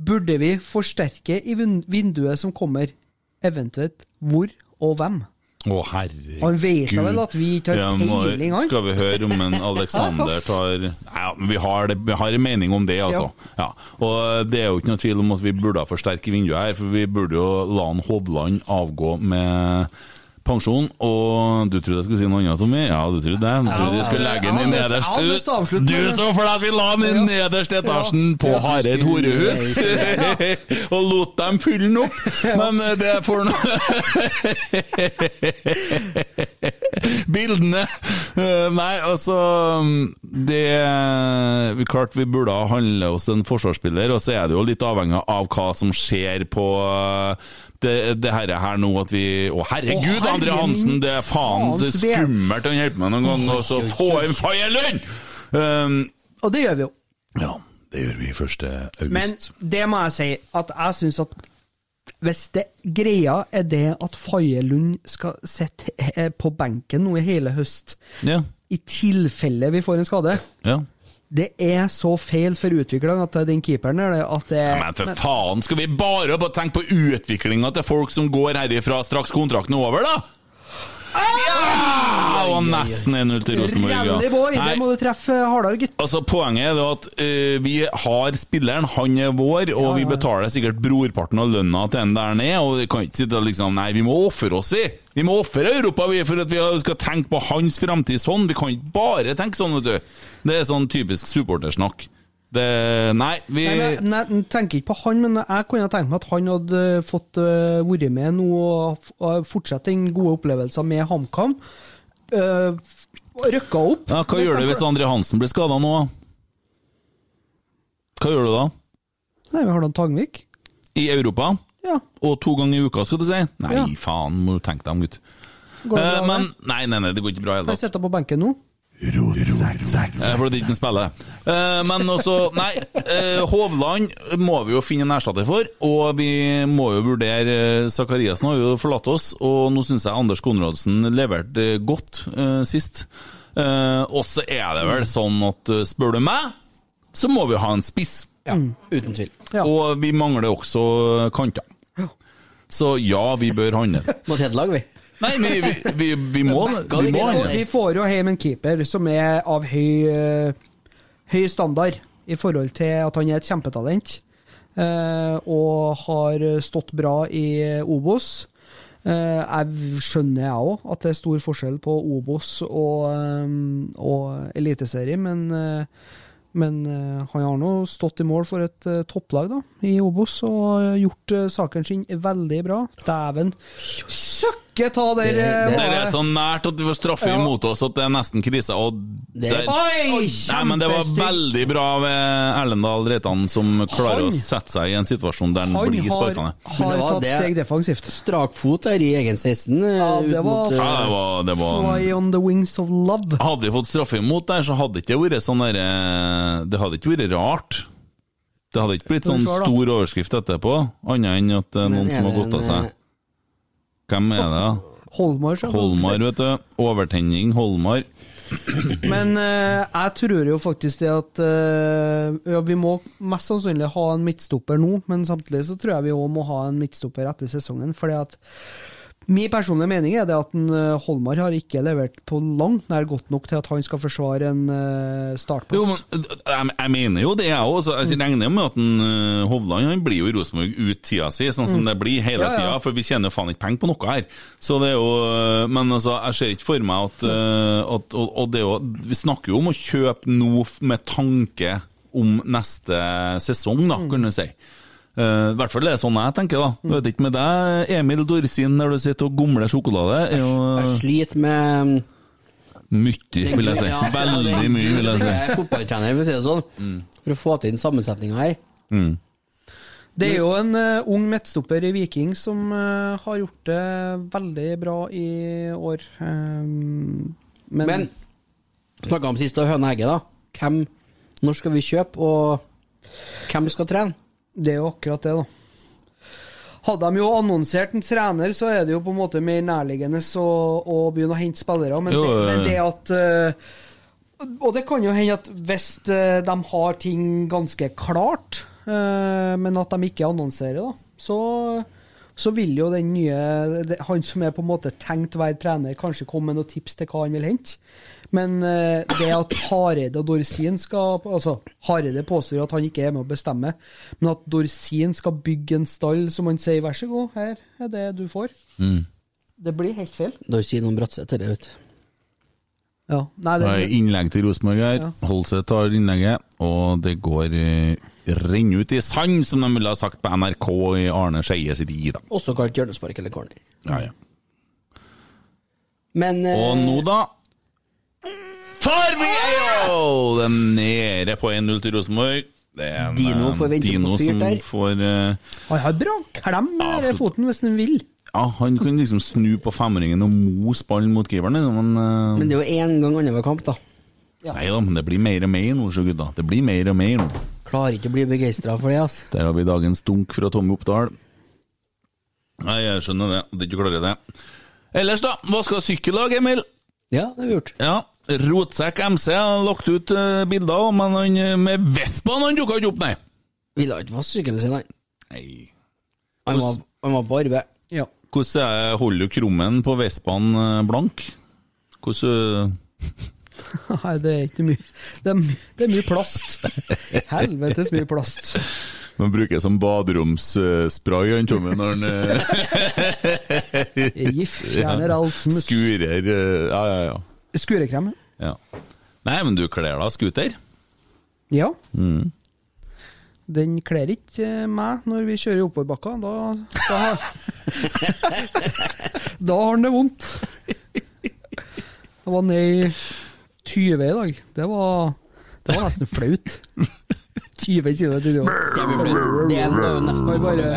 [SPEAKER 8] Burde vi forsterke i vin- vinduet som kommer, eventuelt hvor og hvem?
[SPEAKER 6] Å, herregud.
[SPEAKER 8] Han vet da vel at vi ikke har
[SPEAKER 6] Ja, må-
[SPEAKER 8] peiling, han?
[SPEAKER 6] Skal vi høre om en Alexander tar ja, men vi, har det, vi har en mening om det, altså. Ja. Og det er jo ikke noe tvil om at vi burde ha forsterke vinduet her, for vi burde jo la han Hovland avgå med pensjon, og du trodde jeg skulle si noe annet, Tommy? Ja, du trodde det. Du trodde jeg skulle legge den i nederst
[SPEAKER 8] Ja, du sa
[SPEAKER 6] Du,
[SPEAKER 8] avslutt med
[SPEAKER 6] du
[SPEAKER 8] det.
[SPEAKER 6] så for deg at vi la den i nederst etasjen på Hareid horehus, og lot dem fylle den opp! Men eh, det får nå Bildene Eh, Nei, altså mm, Det vi- Klart vi burde ha handlet hos en forsvarsspiller, og så er det jo litt avhengig av hva som skjer på eh, det, det herre her nå at vi Å, herregud,
[SPEAKER 8] Å, herre
[SPEAKER 6] André Hansen! Det er faen så
[SPEAKER 8] faens vel.
[SPEAKER 6] skummelt han holder på med noen gang, og så få en feil lønn!
[SPEAKER 8] Og det gjør vi jo.
[SPEAKER 6] Ja, det gjør vi 1.
[SPEAKER 8] Men
[SPEAKER 6] august.
[SPEAKER 8] det må jeg si, at jeg syns at hvis det greia er det at Faye Lund skal sitte eh, på benken nå i hele høst,
[SPEAKER 6] Ja,
[SPEAKER 8] i tilfelle vi får en skade
[SPEAKER 6] ja.
[SPEAKER 8] Det er så feil for utviklerne at den keeperen er det at det
[SPEAKER 6] Men for faen, skal vi bare opp og tenke på utviklinga til folk som går herifra straks kontrakten er over, da? Ja! Og nesten 1-0
[SPEAKER 8] Rally
[SPEAKER 6] til
[SPEAKER 8] boy,
[SPEAKER 6] Rosenborg. ja.
[SPEAKER 8] det må du treffe hardere, gutt.
[SPEAKER 6] Altså, Poenget er det at eh, vi har spilleren, han er vår, og vi betaler sikkert brorparten av lønna til den der nede. Og vi kan ikke sitte og liksom Nei, vi må ofre oss, vi! Vi må ofre Europa vi, for at vi skal tenke på hans framtid sånn. Vi kan ikke bare tenke sånn, vet du. Det er sånn typisk supportersnakk. Det Nei, vi
[SPEAKER 8] Nei, men- nei, jeg tenker ikke på han, men jeg kunne tenkt meg at han hadde fått eh, vært med nå og f- og fortsatt den gode opplevelsen med HamKam. Uh, Røkka opp.
[SPEAKER 6] Ja, hva gjør du hvis André Hansen blir skada nå? da? Hva gjør du da?
[SPEAKER 8] Nei, vi har da Tangvik.
[SPEAKER 6] I Europa?
[SPEAKER 8] Ja.
[SPEAKER 6] Og to ganger i uka, skal du si? Nei,
[SPEAKER 8] Ja.
[SPEAKER 6] faen, må du tenke deg om, gutt.
[SPEAKER 8] Går det
[SPEAKER 6] Eh,
[SPEAKER 8] bra,
[SPEAKER 6] men nei, nei, nei, det går ikke bra i
[SPEAKER 8] Jeg
[SPEAKER 6] hele tatt.
[SPEAKER 8] sitter på benken nå.
[SPEAKER 6] Eh, For det er ikke han spiller. Eh, Men også Nei, eh, Hovland må vi jo finne en erstatter for, og vi må jo vurdere eh, Zakariassen har jo forlatt oss, og nå syns jeg Anders Konradsen leverte eh, godt eh, sist. Eh, Og så er det vel sånn at eh, spør du meg, så må vi ha en spiss.
[SPEAKER 7] Ja, uten tvil.
[SPEAKER 6] Og vi mangler også kanter. Så ja, vi bør handle.
[SPEAKER 7] Mot Hedelag, vi.
[SPEAKER 6] Nei, vi, vi, vi, vi må, vi må handle.
[SPEAKER 8] Vi får jo hjem en keeper som er av høy, eh, høy standard, i forhold til at han er et kjempetalent eh, og har stått bra i Obos. Eh, Jeg skjønner jeg òg at det er stor forskjell på Obos og, eh, og Eliteserie, men, eh, men eh, han har nå stått i mål for et eh, topplag da, i Obos og gjort eh, saken sin veldig bra. Dæven søkke ta der! eh,
[SPEAKER 6] Det
[SPEAKER 8] var
[SPEAKER 6] er
[SPEAKER 8] det.
[SPEAKER 6] så nært at vi får straffe
[SPEAKER 8] Ja.
[SPEAKER 6] imot oss at det er nesten krise. Og
[SPEAKER 8] Det er-
[SPEAKER 6] der-
[SPEAKER 8] Oi,
[SPEAKER 6] Nei, men det var
[SPEAKER 8] kjempestygt.
[SPEAKER 6] veldig bra av eh, Erlendal Reitan som klarer
[SPEAKER 8] Han-
[SPEAKER 6] å sette seg i en situasjon der han
[SPEAKER 8] Han
[SPEAKER 6] blir
[SPEAKER 8] har-
[SPEAKER 6] sparkende.
[SPEAKER 8] har tatt steg defensivt.
[SPEAKER 7] Strakfot der i egen eh, 16. Ja,
[SPEAKER 8] det var-
[SPEAKER 6] Ja, det var, det var
[SPEAKER 8] Fly on the wings of love.
[SPEAKER 6] Hadde vi fått straffe imot der, så hadde det ikke vært sånn der, eh, Det hadde ikke vært rart. Det hadde ikke blitt
[SPEAKER 7] Skal vi
[SPEAKER 6] sånn
[SPEAKER 7] se da.
[SPEAKER 6] stor overskrift etterpå, annet enn at det er
[SPEAKER 7] Men
[SPEAKER 6] noen
[SPEAKER 7] er
[SPEAKER 6] som har
[SPEAKER 7] det
[SPEAKER 6] gått av
[SPEAKER 7] en, eh,
[SPEAKER 6] seg. Hvem er det, da?
[SPEAKER 8] Holmar, så.
[SPEAKER 6] Holmar, vet du. Overtenning, Holmar.
[SPEAKER 8] Men eh, jeg tror jo faktisk det at eh, ja, Vi må mest sannsynlig ha en midtstopper nå, men samtidig så tror jeg vi òg må ha en midtstopper etter sesongen. fordi at Min personlige mening er det at en, eh, Holmar har ikke levert på langt nær godt nok til at han skal forsvare en eh, startplass.
[SPEAKER 6] Jo, men eh, jeg, jeg mener jo det, jeg òg. Jeg
[SPEAKER 7] Mm.
[SPEAKER 6] regner jo med at en, eh, Hovland han blir jo i Rosenborg ut tida si, sånn som
[SPEAKER 11] Mm.
[SPEAKER 6] det blir hele
[SPEAKER 11] Ja, ja.
[SPEAKER 6] tida. For vi tjener jo faen ikke penger på noe her. Så det er jo, eh, Men altså, jeg ser ikke for meg at, eh, at og, og det er jo, Vi snakker jo om å kjøpe nå f- med tanke om neste sesong, da,
[SPEAKER 7] Mm.
[SPEAKER 6] kan du si. Eh, I hvert fall er det sånn jeg tenker, da. Jeg vet ikke med deg, Emil Dorsin, når du sitter og gomler sjokolade. er jo-
[SPEAKER 7] Jeg sliter eh, med
[SPEAKER 6] Mye, eh, vil jeg si.
[SPEAKER 7] Ja, det er-
[SPEAKER 6] Veldig mye, vil jeg si. Mm.
[SPEAKER 7] Jeg er fotballtrener, for å si det sånn. For å få til den sammensetninga her.
[SPEAKER 8] Det er jo en eh, ung midtstopper i Viking som eh, har gjort det veldig bra i år. Um, men,
[SPEAKER 7] Men snakka om sist, da, høne og egget, da. Hvem Når skal vi kjøpe, og hvem skal trene?
[SPEAKER 8] Det er jo akkurat det, da. Hadde de jo annonsert en trener, så er det jo på en måte mer nærliggende å, å begynne å hente spillere. Men,
[SPEAKER 6] Jo,
[SPEAKER 8] det,
[SPEAKER 6] jo, jo.
[SPEAKER 8] men det at eh, Og det kan jo hende at hvis eh, de har ting ganske klart, eh, men at de ikke annonserer, da, så, så vil jo den nye det- Han som er på en måte tenkt å være trener, kanskje komme med noen tips til hva han vil hente. Men eh, det at Hareide og Dorsin skal Altså, Hareide påstår at han ikke er med å bestemme, men at Dorsin skal bygge en stall som han sier 'vær så god, her er det du får'.
[SPEAKER 6] Mm.
[SPEAKER 8] Det blir helt feil.
[SPEAKER 7] Da sier noen Bratseth det, vet du.
[SPEAKER 8] Ja. Nei,
[SPEAKER 6] Det er
[SPEAKER 8] det,
[SPEAKER 6] innlegg til Rosenborg her.
[SPEAKER 8] Ja.
[SPEAKER 6] Holseth tar innlegget, og det går eh, renn ut i sand, som de ville ha sagt på NRK i Arne Skeie sitt gi, da.
[SPEAKER 7] Også kalt hjørnespark eller corner.
[SPEAKER 6] Ja, ja.
[SPEAKER 7] Men eh,
[SPEAKER 6] Og nå, da? For vi er jo Det er nede på 1-0 til Rosenborg. Det er en,
[SPEAKER 8] Dino
[SPEAKER 6] eh,
[SPEAKER 8] får vente på
[SPEAKER 6] Dino
[SPEAKER 8] fyrt
[SPEAKER 6] som
[SPEAKER 8] der.
[SPEAKER 6] får eh,
[SPEAKER 8] han har bra klem med foten hvis han vil.
[SPEAKER 6] Ja, han kan liksom snu på femringen og mose ballen mot keeperen, liksom, men eh,
[SPEAKER 7] Men det er jo én gang annenhver kamp, da.
[SPEAKER 6] Nei da, men det blir mer og mer nå, så gutta. Det blir mer og mer nå.
[SPEAKER 7] Klarer ikke å bli begeistra for det, altså.
[SPEAKER 6] Der har vi dagens dunk fra Tommy Oppdal. Nei, jeg skjønner det. At du ikke klarer det. Ellers, da? Hva skal sykkellag, Emil?
[SPEAKER 7] Ja, det har vi gjort.
[SPEAKER 6] Ja, Rotsekk MC har lagt ut eh, bilder, men han eh, med Vespaen han dukka ikke opp, nei!
[SPEAKER 7] Ville ikke vaske sykkelen sin, nei.
[SPEAKER 6] Nei.
[SPEAKER 7] Han var, han var på arbeid.
[SPEAKER 8] Ja.
[SPEAKER 6] Hvordan er- holder du krummen på Vespaen eh, blank? Hvordan eh?
[SPEAKER 8] Nei, det er ikke mye. Det er, my- det er mye plast. Helvetes mye plast.
[SPEAKER 6] Man bruker som baderomsspray, han eh, Tommy, når han
[SPEAKER 8] Gift fjerner all smuss.
[SPEAKER 6] Skurer eh, Ja, ja, ja.
[SPEAKER 8] Skurekrem.
[SPEAKER 6] Ja. Nei, men du kler deg scooter?
[SPEAKER 8] Ja.
[SPEAKER 6] Mm.
[SPEAKER 8] Den kler ikke eh, meg når vi kjører i oppoverbakka. Da, da, har- da har han det vondt. Jeg var ned i 20 i dag. Det var, det var nesten flaut. 20 kilo til jobb.
[SPEAKER 7] Det blir flaut. Det er jo nesten
[SPEAKER 8] Jeg bare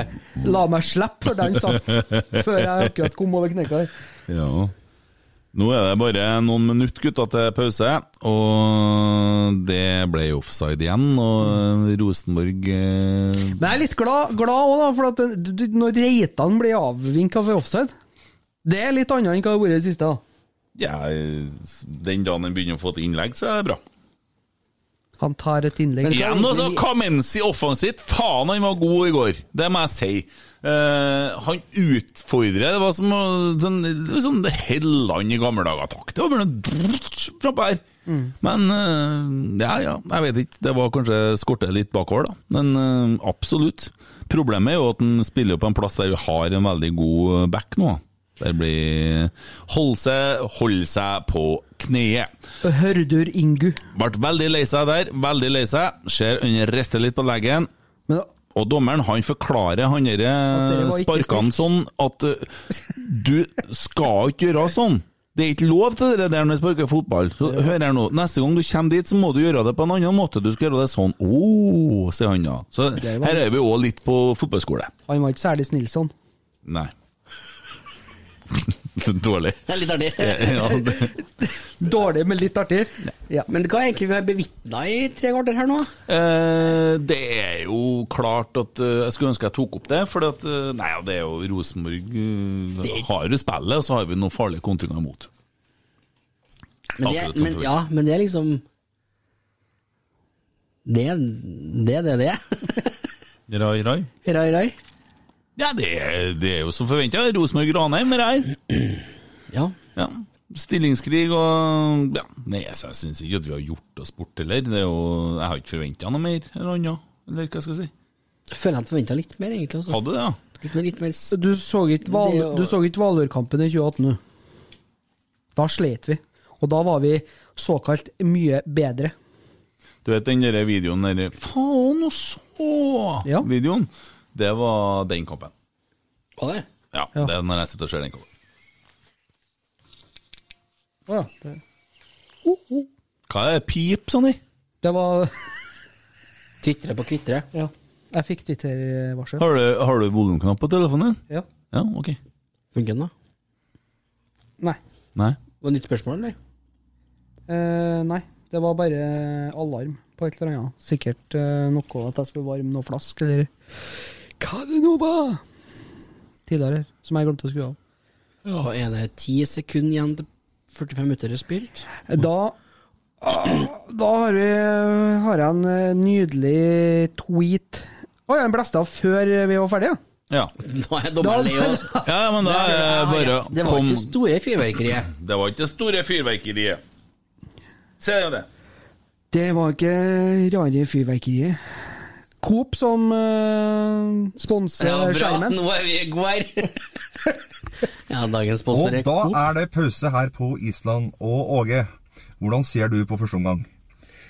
[SPEAKER 8] la meg slippe, hørte han sagt, før jeg akkurat kom over knekka der.
[SPEAKER 6] Ja. Nå er det bare noen minutter gutta, til pause, og det ble offside igjen. Og Rosenborg eh,
[SPEAKER 8] Men jeg er litt glad, glad også da, for at den- du- du- når Reitan blir avvinka for offside Det er litt annet enn hva det har vært i det siste. da
[SPEAKER 6] ja, Den dagen den begynner å få et innlegg, så er det bra.
[SPEAKER 8] Han tar et innlegg.
[SPEAKER 6] Igjen altså, Kamensi offensivt. Faen, han var god i går. Det må jeg si. Eh, han utfordrer. Det var som å sånn, det var sånn Helland i gamle dager. Takk. Det var bare noe drrrt frampå her. Men eh, ja, ja, jeg vet ikke. Det var kanskje skorte litt bakover, da. Men eh, absolutt. Problemet er jo at han spiller på en plass der vi har en veldig god back nå. Der blir Hold seg, hold seg på kneet.
[SPEAKER 8] Hørdur Ingu.
[SPEAKER 6] Ble veldig lei seg der, veldig lei seg. Ser han rister litt på leggen. og dommeren han forklarer han derre
[SPEAKER 8] var ikke
[SPEAKER 6] sparkene sånn at uh, du skal ikke gjøre sånn. Det er ikke lov til det der når du sparker fotball. Så, hør her nå, neste gang du kommer dit, så må du gjøre det på en annen måte. Du skal gjøre det sånn. Å, sier han da. Så
[SPEAKER 8] Det var-
[SPEAKER 6] her er vi òg litt på fotballskole.
[SPEAKER 8] Han var ikke særlig snill sånn.
[SPEAKER 6] Nei. Dårlig.
[SPEAKER 7] Det er litt artig.
[SPEAKER 6] Ja, det-
[SPEAKER 8] Dårlig, men litt artig. Ja.
[SPEAKER 7] Men hva er egentlig vi har bevitna i tre kvarter her nå?
[SPEAKER 6] Eh, det er jo klart at eh, Jeg skulle ønske jeg tok opp det, for at, eh, nei, ja, det er jo Rosenborg eh, har jo spillet, og så har vi noen farlige kontringer imot.
[SPEAKER 7] Men det,
[SPEAKER 6] Akkurat
[SPEAKER 7] er-
[SPEAKER 6] som
[SPEAKER 7] men,
[SPEAKER 6] før.
[SPEAKER 7] ja, men det er liksom Det er det er det. det er.
[SPEAKER 6] Rai, rai.
[SPEAKER 7] Rai, rai.
[SPEAKER 6] Ja, det er, det er jo som forventa. Rosenborg-Ranheim er her.
[SPEAKER 7] Ja.
[SPEAKER 6] Stillingskrig og ja. Nei, så jeg syns ikke at vi har gjort oss bort heller. Det er jo, jeg har ikke forventa noe mer eller annet. Eller hva skal jeg si.
[SPEAKER 7] Jeg føler jeg forventa litt mer, egentlig. Også.
[SPEAKER 6] Hadde det, ja.
[SPEAKER 7] Litt mer, litt mer s-
[SPEAKER 8] Du så ikke, val,
[SPEAKER 7] Det er jo-
[SPEAKER 8] du så ikke Valørkampen i 2018, du. Da slet vi. Og da var vi såkalt mye bedre.
[SPEAKER 6] Du vet den der videoen der Faen og så! Videoen. Det var den kampen.
[SPEAKER 7] Var det?
[SPEAKER 6] Ja, det er når jeg sitter og ser den kampen.
[SPEAKER 8] Å ja. det- oh.
[SPEAKER 6] Hva er pip, Sonny?
[SPEAKER 8] Det var
[SPEAKER 7] Tvitre på kvitre.
[SPEAKER 8] Ja. Jeg fikk Twitter-varsel.
[SPEAKER 6] Har du, har du volumknapp på telefonen din?
[SPEAKER 8] Ja.
[SPEAKER 6] Ja, ok.
[SPEAKER 7] Funker den, da?
[SPEAKER 8] Nei.
[SPEAKER 6] Nei.
[SPEAKER 7] Var det nytt spørsmål, eller?
[SPEAKER 8] Eh, nei. Det var bare alarm på et eller annet. Sikkert eh, noe at jeg skulle varme noe flask, eller Hva det nå var? Tidligere, som jeg glemte å skru av.
[SPEAKER 7] Ja, er det ti sekunder igjen til 45 minutter er spilt?
[SPEAKER 8] Da Da har, vi, har jeg en eh, nydelig tweet Å, jeg blæsta før vi var ferdige.
[SPEAKER 6] Ja.
[SPEAKER 7] Nå er dommeren lei oss.
[SPEAKER 6] Ja, men da altså. er det bare
[SPEAKER 7] Det var ikke store fyrverkeriet.
[SPEAKER 6] Det var ikke det store fyrverkeriet. Se jo det.
[SPEAKER 8] Det var ikke rare fyrverkeriet. Coop som eh, sponser
[SPEAKER 7] Ja, bra.
[SPEAKER 8] skjermen.
[SPEAKER 7] Nå er vi gode her. ja, dagens
[SPEAKER 11] Og
[SPEAKER 7] sponsor er
[SPEAKER 11] da
[SPEAKER 7] Coop.
[SPEAKER 11] er det pause her på Island. Og Åge, hvordan ser du på første omgang?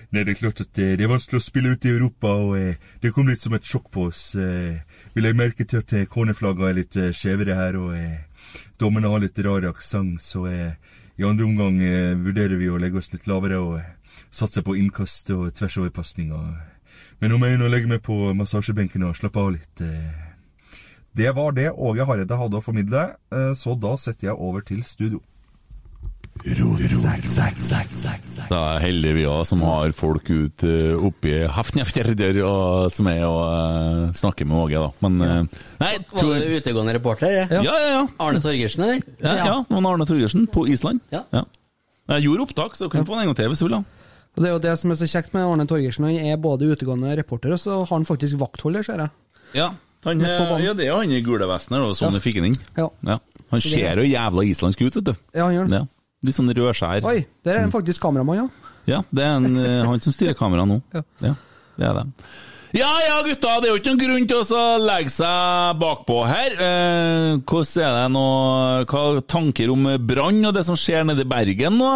[SPEAKER 3] Nei, det er klart at eh, det er vanskelig å spille ut i Europa, og eh, det kom litt som et sjokk på oss. eh. Vi legger merke til at eh, koneflagget er litt eh, skjevere her, og eh, dommerne har litt rar aksent, så eh, i andre omgang eh, vurderer vi å legge oss litt lavere og eh, satse på innkast og tversoverpasninger. Men nå må jeg inn og legge meg på massasjebenken og slappe av litt. eh.
[SPEAKER 11] Det var det Åge Hareide hadde å formidle, eh, så da setter jeg over til studio.
[SPEAKER 6] Da er heldige vi òg, som har folk ut eh, oppi Hafnjafjærder, og som er og eh, snakker med Åge, da. Men eh, Nei,
[SPEAKER 7] Var det utegående reporter?
[SPEAKER 6] Ja, ja, ja.
[SPEAKER 7] Arne Torgersen, eller?
[SPEAKER 6] ja, ja, noen Arne Torgersen på Island.
[SPEAKER 7] Ja.
[SPEAKER 6] Jeg gjorde opptak, så du kan få den en gang til hvis du vil. da.
[SPEAKER 8] Og Det er jo det som er så kjekt med Arne Torgersen. Han er både utegående reporter, og så har han faktisk vaktholder, ser jeg.
[SPEAKER 6] Ja, han, eh,
[SPEAKER 8] Midt på banen.
[SPEAKER 6] ja det er han i gule vesten her, da,
[SPEAKER 8] Ja.
[SPEAKER 6] sånn jeg fikk han inn.
[SPEAKER 8] Ja.
[SPEAKER 6] Han
[SPEAKER 8] Så det-
[SPEAKER 6] ser jo jævla islandsk ut, vet du.
[SPEAKER 8] Ja, han gjør det.
[SPEAKER 6] Ja. Litt sånn rødskjær.
[SPEAKER 8] Oi, der er han faktisk kameramann, ja.
[SPEAKER 6] Ja, det er en, eh, han som styrer kameraet nå. Ja. det er det. Ja ja, gutta, det er jo ikke noen grunn til å så legge seg bakpå her. Eh, hvordan er det nå Hva er tanker om brann og det som skjer nede i Bergen nå?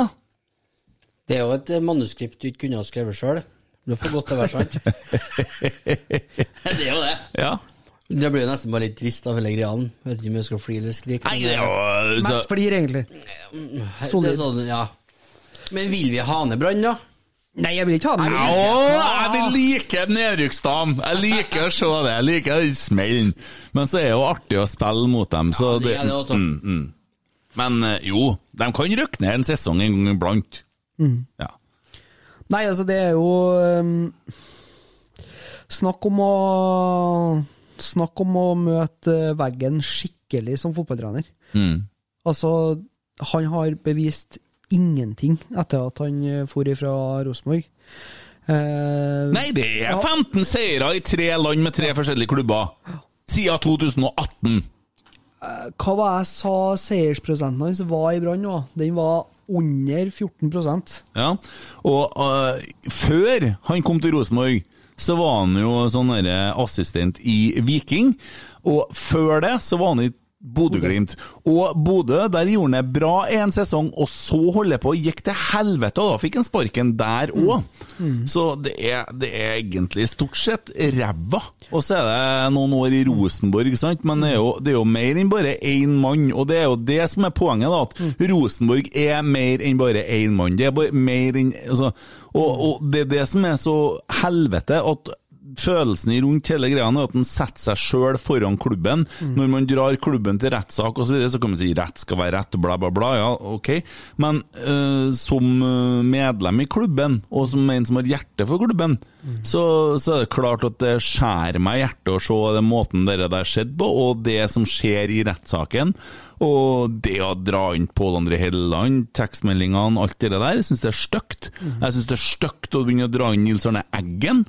[SPEAKER 7] Det er jo et eh, manuskript du ikke kunne ha skrevet sjøl. Det får godt til å være sant. det er jo det.
[SPEAKER 6] Ja.
[SPEAKER 7] Det blir jo nesten bare litt trist av hele greia. Vet ikke om jeg skal flire eller skrike.
[SPEAKER 6] Nei,
[SPEAKER 7] men
[SPEAKER 6] det er jo så,
[SPEAKER 8] Mest flir, egentlig.
[SPEAKER 7] det
[SPEAKER 8] solid.
[SPEAKER 7] er sånn, ja. Men vil vi ha ned brann, da?
[SPEAKER 8] Nei, jeg vil ikke ha den.
[SPEAKER 6] Ja, jeg vil like nedrykksdagen! Jeg liker å se det. Jeg liker den smellen. Men så er det jo artig å spille mot dem, så
[SPEAKER 7] det er det også.
[SPEAKER 6] Mm, mm. Men eh, jo, de kan rykke ned en sesong en gang iblant.
[SPEAKER 8] Mm.
[SPEAKER 6] Ja.
[SPEAKER 8] Nei, altså, det er jo ehm, Snakk om å Snakk om å møte veggen skikkelig som fotballtrener.
[SPEAKER 6] Mm.
[SPEAKER 8] Altså, han har bevist ingenting etter at han eh, for ifra Rosenborg. Eh,
[SPEAKER 6] Nei, det er 15 seire i tre land med tre forskjellige klubber siden 2018.
[SPEAKER 8] Hva var jeg sa seiersprosenten hans var i Brann nå? Den var under 14
[SPEAKER 6] Ja, og øh, før han kom til Rosenborg, så var han jo sånn derre assistent i Viking, og før det så var han i Bodø-Glimt. Og Bodø, der gjorde han det bra en sesong, og så holder på, gikk til helvete, og da fikk han sparken der òg. Så det er, det er egentlig stort sett ræva. Og så er det Eh, noen år i Rosenborg, sant? men det er, jo, det er jo mer enn bare én mann. Og det er jo det som er poenget, da, at Rosenborg er mer enn bare én mann. Det er bare mer enn altså, og, og det er det som er så helvete, at følelsen i rundt hele greia er at en setter seg sjøl foran klubben. Når man drar klubben til rettssak osv., så, videre, så kan man si rett skal være rett, og bla, bla, bla. Ja, ok. Men øh, som øh, medlem i klubben, og som en som har hjerte for klubben, så, så er det klart at det skjærer meg i hjertet å se den måten dere der skjedde på, og det som skjer i rettssaken. Og det å dra inn Pål André Helleland, tekstmeldingene, alt det der, jeg syns det er stygt. Jeg syns det er stygt å begynne å dra inn Nils Arne Eggen.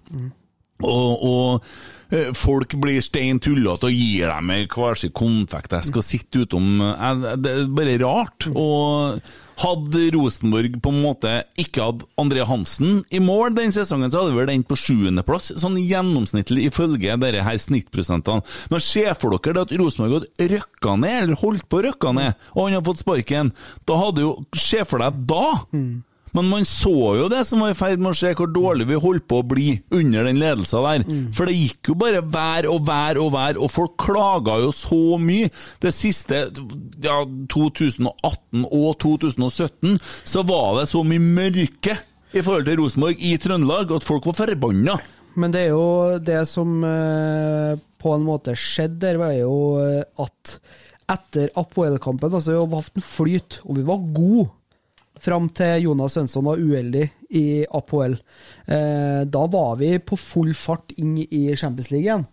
[SPEAKER 6] Og, og eh, folk blir stein tullete og gir dem ei hver sin konfektesk og sitter utom eh, Det er bare rart. Og hadde Rosenborg på en måte ikke hatt André Hansen i mål den sesongen, så hadde vi vel endt på sjuendeplass, sånn gjennomsnittlig ifølge dere her snittprosentene. Men se for dere det at Rosenborg hadde røkka ned, eller holdt på å røkke ned, og han hadde fått sparken. Da hadde jo Se for deg da! Men man så jo det som var i ferd med å skje, hvor dårlig vi holdt på å bli under den ledelsen der.
[SPEAKER 8] Mm.
[SPEAKER 6] For det gikk jo bare vær og vær og vær, og folk klaga jo så mye. Det siste, ja, 2018 og 2017, så var det så mye mørke i forhold til Rosenborg i Trøndelag at folk var forbanna.
[SPEAKER 8] Men det er jo det som eh, på en måte skjedde der, var jo eh, at etter Apoel-kampen altså Vi har hatt en flyt, og vi var gode fram til Jonas Svensson var uheldig i Apoel. Eh, da var vi på full fart inn i Champions League igjen.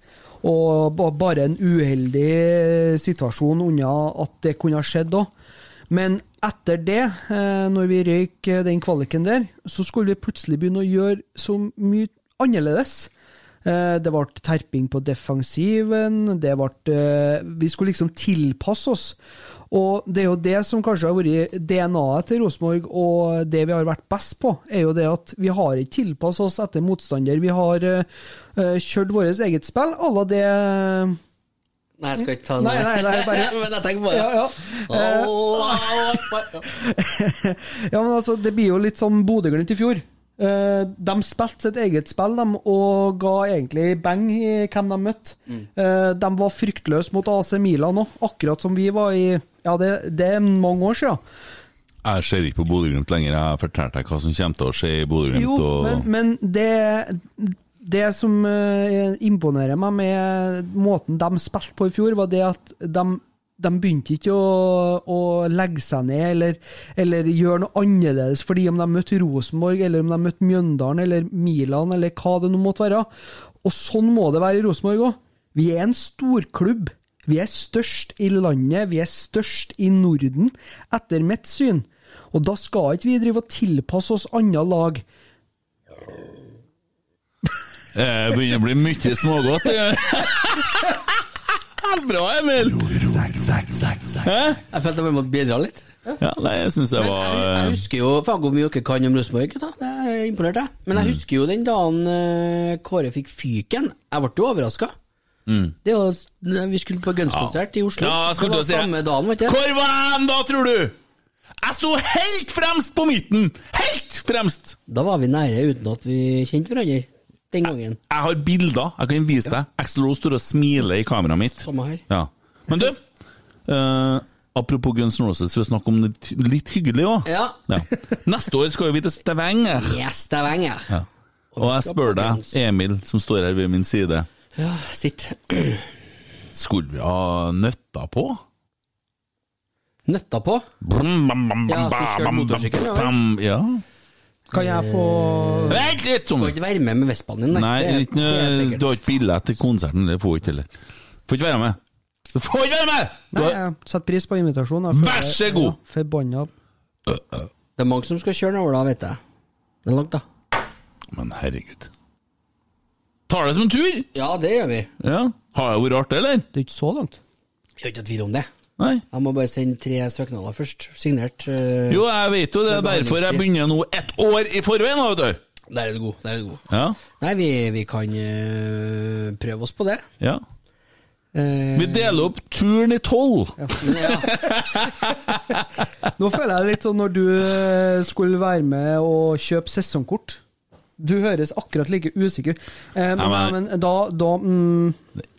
[SPEAKER 8] Og ba- bare en uheldig situasjon unna at det kunne ha skjedd òg. Men etter det, eh, når vi røyk eh, den kvaliken der, så skulle vi plutselig begynne å gjøre så mye annerledes. Eh, Det ble terping på defensiven, det ble eh, Vi skulle liksom tilpasse oss. Og det er jo det som kanskje har vært DNA-et til Rosenborg, og det vi har vært best på, er jo det at vi har ikke tilpassa oss etter motstander. Vi har eh, eh, kjørt vårt eget spill à la det
[SPEAKER 7] Nei, jeg skal ikke ta den
[SPEAKER 8] Nei, nei, nei, bare-
[SPEAKER 7] Men jeg tenker bare
[SPEAKER 8] Ja, ja. Eh, Ja, men altså, det blir jo litt som Bodø-Glimt i fjor. Eh, de spilte sitt eget spill de, og ga egentlig beng i hvem de møtte. Eh, de var fryktløse mot AC Milan òg, akkurat som vi var i Ja, det, det er mange år siden.
[SPEAKER 6] Jeg ser ikke på Bodø-Glimt lenger, jeg har fortalt deg hva som kommer til å skje i
[SPEAKER 8] Jo,
[SPEAKER 6] Bodø-Glimt.
[SPEAKER 8] men, men det, det som eh, imponerer meg med måten de spilte på i fjor, var det at de, de begynte ikke å, å legge seg ned eller, eller gjøre noe annerledes fordi om de møtte Rosenborg, eller om de møtte Mjøndalen eller Milan, eller hva det nå måtte være. Og sånn må det være i Rosenborg òg. Vi er en storklubb. Vi er størst i landet, vi er størst i Norden, etter mitt syn. Og da skal ikke vi drive og tilpasse oss andre lag.
[SPEAKER 6] Det Eh, begynner å bli mye smågodt. det. Bra, Emil! Hæ?
[SPEAKER 7] Jeg følte jeg bare måtte bidra litt.
[SPEAKER 6] Ja, nei, jeg syns det var eh,
[SPEAKER 7] Jeg husker jo faen hvor mye dere kan om Rosenborg, gutta. Det er imponert, jeg. Men jeg husker jo den dagen eh, Kåre fikk fyken. Jeg ble jo overraska.
[SPEAKER 6] Mm.
[SPEAKER 7] Det var, vi skulle på Guns-konsert i Oslo.
[SPEAKER 6] Ja, jeg skulle til å
[SPEAKER 7] det var
[SPEAKER 6] si det.
[SPEAKER 7] samme dagen, vet du.
[SPEAKER 6] Hvor var jeg da, tror du? Jeg sto helt fremst på midten! Helt fremst!
[SPEAKER 7] Da var vi nære uten at vi kjente hverandre den gangen.
[SPEAKER 6] Jeg har bilder jeg kan vise deg. Axel Rose står og smiler i kameraet mitt.
[SPEAKER 7] Samme her.
[SPEAKER 6] Ja. Men du, eh, apropos Guns N' Roses, for å snakke om det litt hyggelig òg.
[SPEAKER 7] Ja.
[SPEAKER 6] Neste år skal jo vi til Stavanger.
[SPEAKER 7] Yes, Stavanger.
[SPEAKER 6] Ja. Og jeg spør deg, Emil, som står her ved min side
[SPEAKER 7] Ja, sitt.
[SPEAKER 6] Skulle vi ha nøtta på?
[SPEAKER 7] Nøtta på?
[SPEAKER 6] Brum, bam, bam, bam,
[SPEAKER 7] Ja, for kjørt
[SPEAKER 6] bam, bam,
[SPEAKER 7] motorsykkel, ja, vel?
[SPEAKER 6] bam, ja.
[SPEAKER 8] Kan jeg få
[SPEAKER 6] Vent litt, Tom!
[SPEAKER 7] Får ikke være med med Vespaen din,
[SPEAKER 6] Nei,
[SPEAKER 7] Det er-
[SPEAKER 6] litt, nø-
[SPEAKER 7] det er sikkert.
[SPEAKER 6] du har ikke billett til konserten. Det får du ikke heller. Får ikke være med! Du får ikke være med! Du
[SPEAKER 8] Nei,
[SPEAKER 6] har-
[SPEAKER 8] jeg setter pris på invitasjonen.
[SPEAKER 6] Vær så god!
[SPEAKER 8] Forbanna
[SPEAKER 7] Det er mange som skal kjøre nedover da, vet jeg. Det er langt, da.
[SPEAKER 6] Men herregud. Tar det som en tur?
[SPEAKER 7] Ja, det gjør vi.
[SPEAKER 6] Ja. Har det vært artig, eller?
[SPEAKER 8] Det er ikke så langt.
[SPEAKER 7] Jeg har ikke tvil om det.
[SPEAKER 6] Nei.
[SPEAKER 7] Jeg må bare sende tre søknader først. Signert. eh,
[SPEAKER 6] Jo, jeg vet jo det. er Derfor jeg begynner nå ett år i forveien, da, vet du.
[SPEAKER 7] Der er du god. Der er du god.
[SPEAKER 6] Ja.
[SPEAKER 7] Nei, vi, vi kan eh, prøve oss på det.
[SPEAKER 6] ja.
[SPEAKER 7] Eh,
[SPEAKER 6] Vi deler opp turen i tolv.
[SPEAKER 8] Nå føler jeg det litt sånn når du eh, skulle være med og kjøpe sesongkort. Du høres akkurat like usikker ut. Eh, men,
[SPEAKER 6] Nei,
[SPEAKER 8] men da, da mm,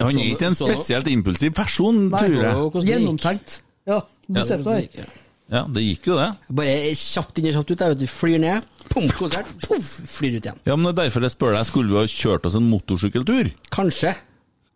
[SPEAKER 6] Han er ikke en
[SPEAKER 8] Så- så-
[SPEAKER 6] spesielt impulsiv person,
[SPEAKER 8] Nei,
[SPEAKER 6] tror jeg.
[SPEAKER 8] gjennomtenkt. Ja, du
[SPEAKER 7] Ja.
[SPEAKER 8] ser på det.
[SPEAKER 6] Ja, det gikk jo, det.
[SPEAKER 7] Bare kjapt inn og kjapt ut. Der, vet du. Flyr ned, pum, konsert, puff, flyr ut igjen.
[SPEAKER 6] Ja, men det er derfor jeg spør deg, skulle vi ha kjørt oss en motorsykkeltur?
[SPEAKER 7] Kanskje.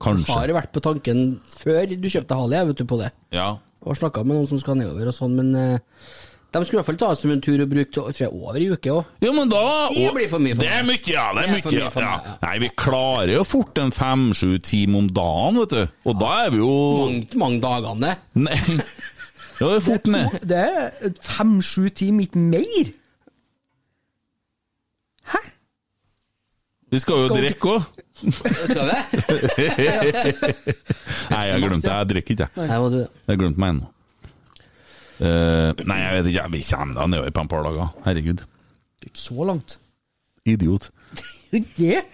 [SPEAKER 6] Kanskje.
[SPEAKER 7] Har vært på tanken før du kjøpte Harley, jeg vet du, på det.
[SPEAKER 6] Ja.
[SPEAKER 7] Og snakka med noen som skal nedover og sånn, men eh, de skulle i hvert fall ta oss som en tur og bruke til- tror jeg, over i uke òg.
[SPEAKER 6] Ja, men da
[SPEAKER 7] Det blir for mye for
[SPEAKER 6] Det er
[SPEAKER 7] meg.
[SPEAKER 6] mye, ja. Det er
[SPEAKER 7] Det er for
[SPEAKER 6] mye,
[SPEAKER 7] mye for
[SPEAKER 6] ja.
[SPEAKER 7] meg, ja.
[SPEAKER 6] Nei, vi klarer jo fort en fem, sju time om dagen, vet du. Og da er vi jo
[SPEAKER 7] Mange, mange dagene.
[SPEAKER 6] Nei. Ja, det er fort ned.
[SPEAKER 8] Det er fem-sju timer, ikke mer.
[SPEAKER 6] Vi skal jo
[SPEAKER 8] Skal vi-
[SPEAKER 6] drikke òg.
[SPEAKER 7] Skal vi?
[SPEAKER 6] Nei, jeg glemte det. Jeg drikker ikke, jeg.
[SPEAKER 7] Nei, må du det.
[SPEAKER 6] Jeg glemte meg ennå. Eh, nei, jeg vet ikke. Vi kommer da nedover på et par dager. Herregud.
[SPEAKER 8] Det er ikke så langt.
[SPEAKER 6] Idiot.
[SPEAKER 8] Det er ikke det.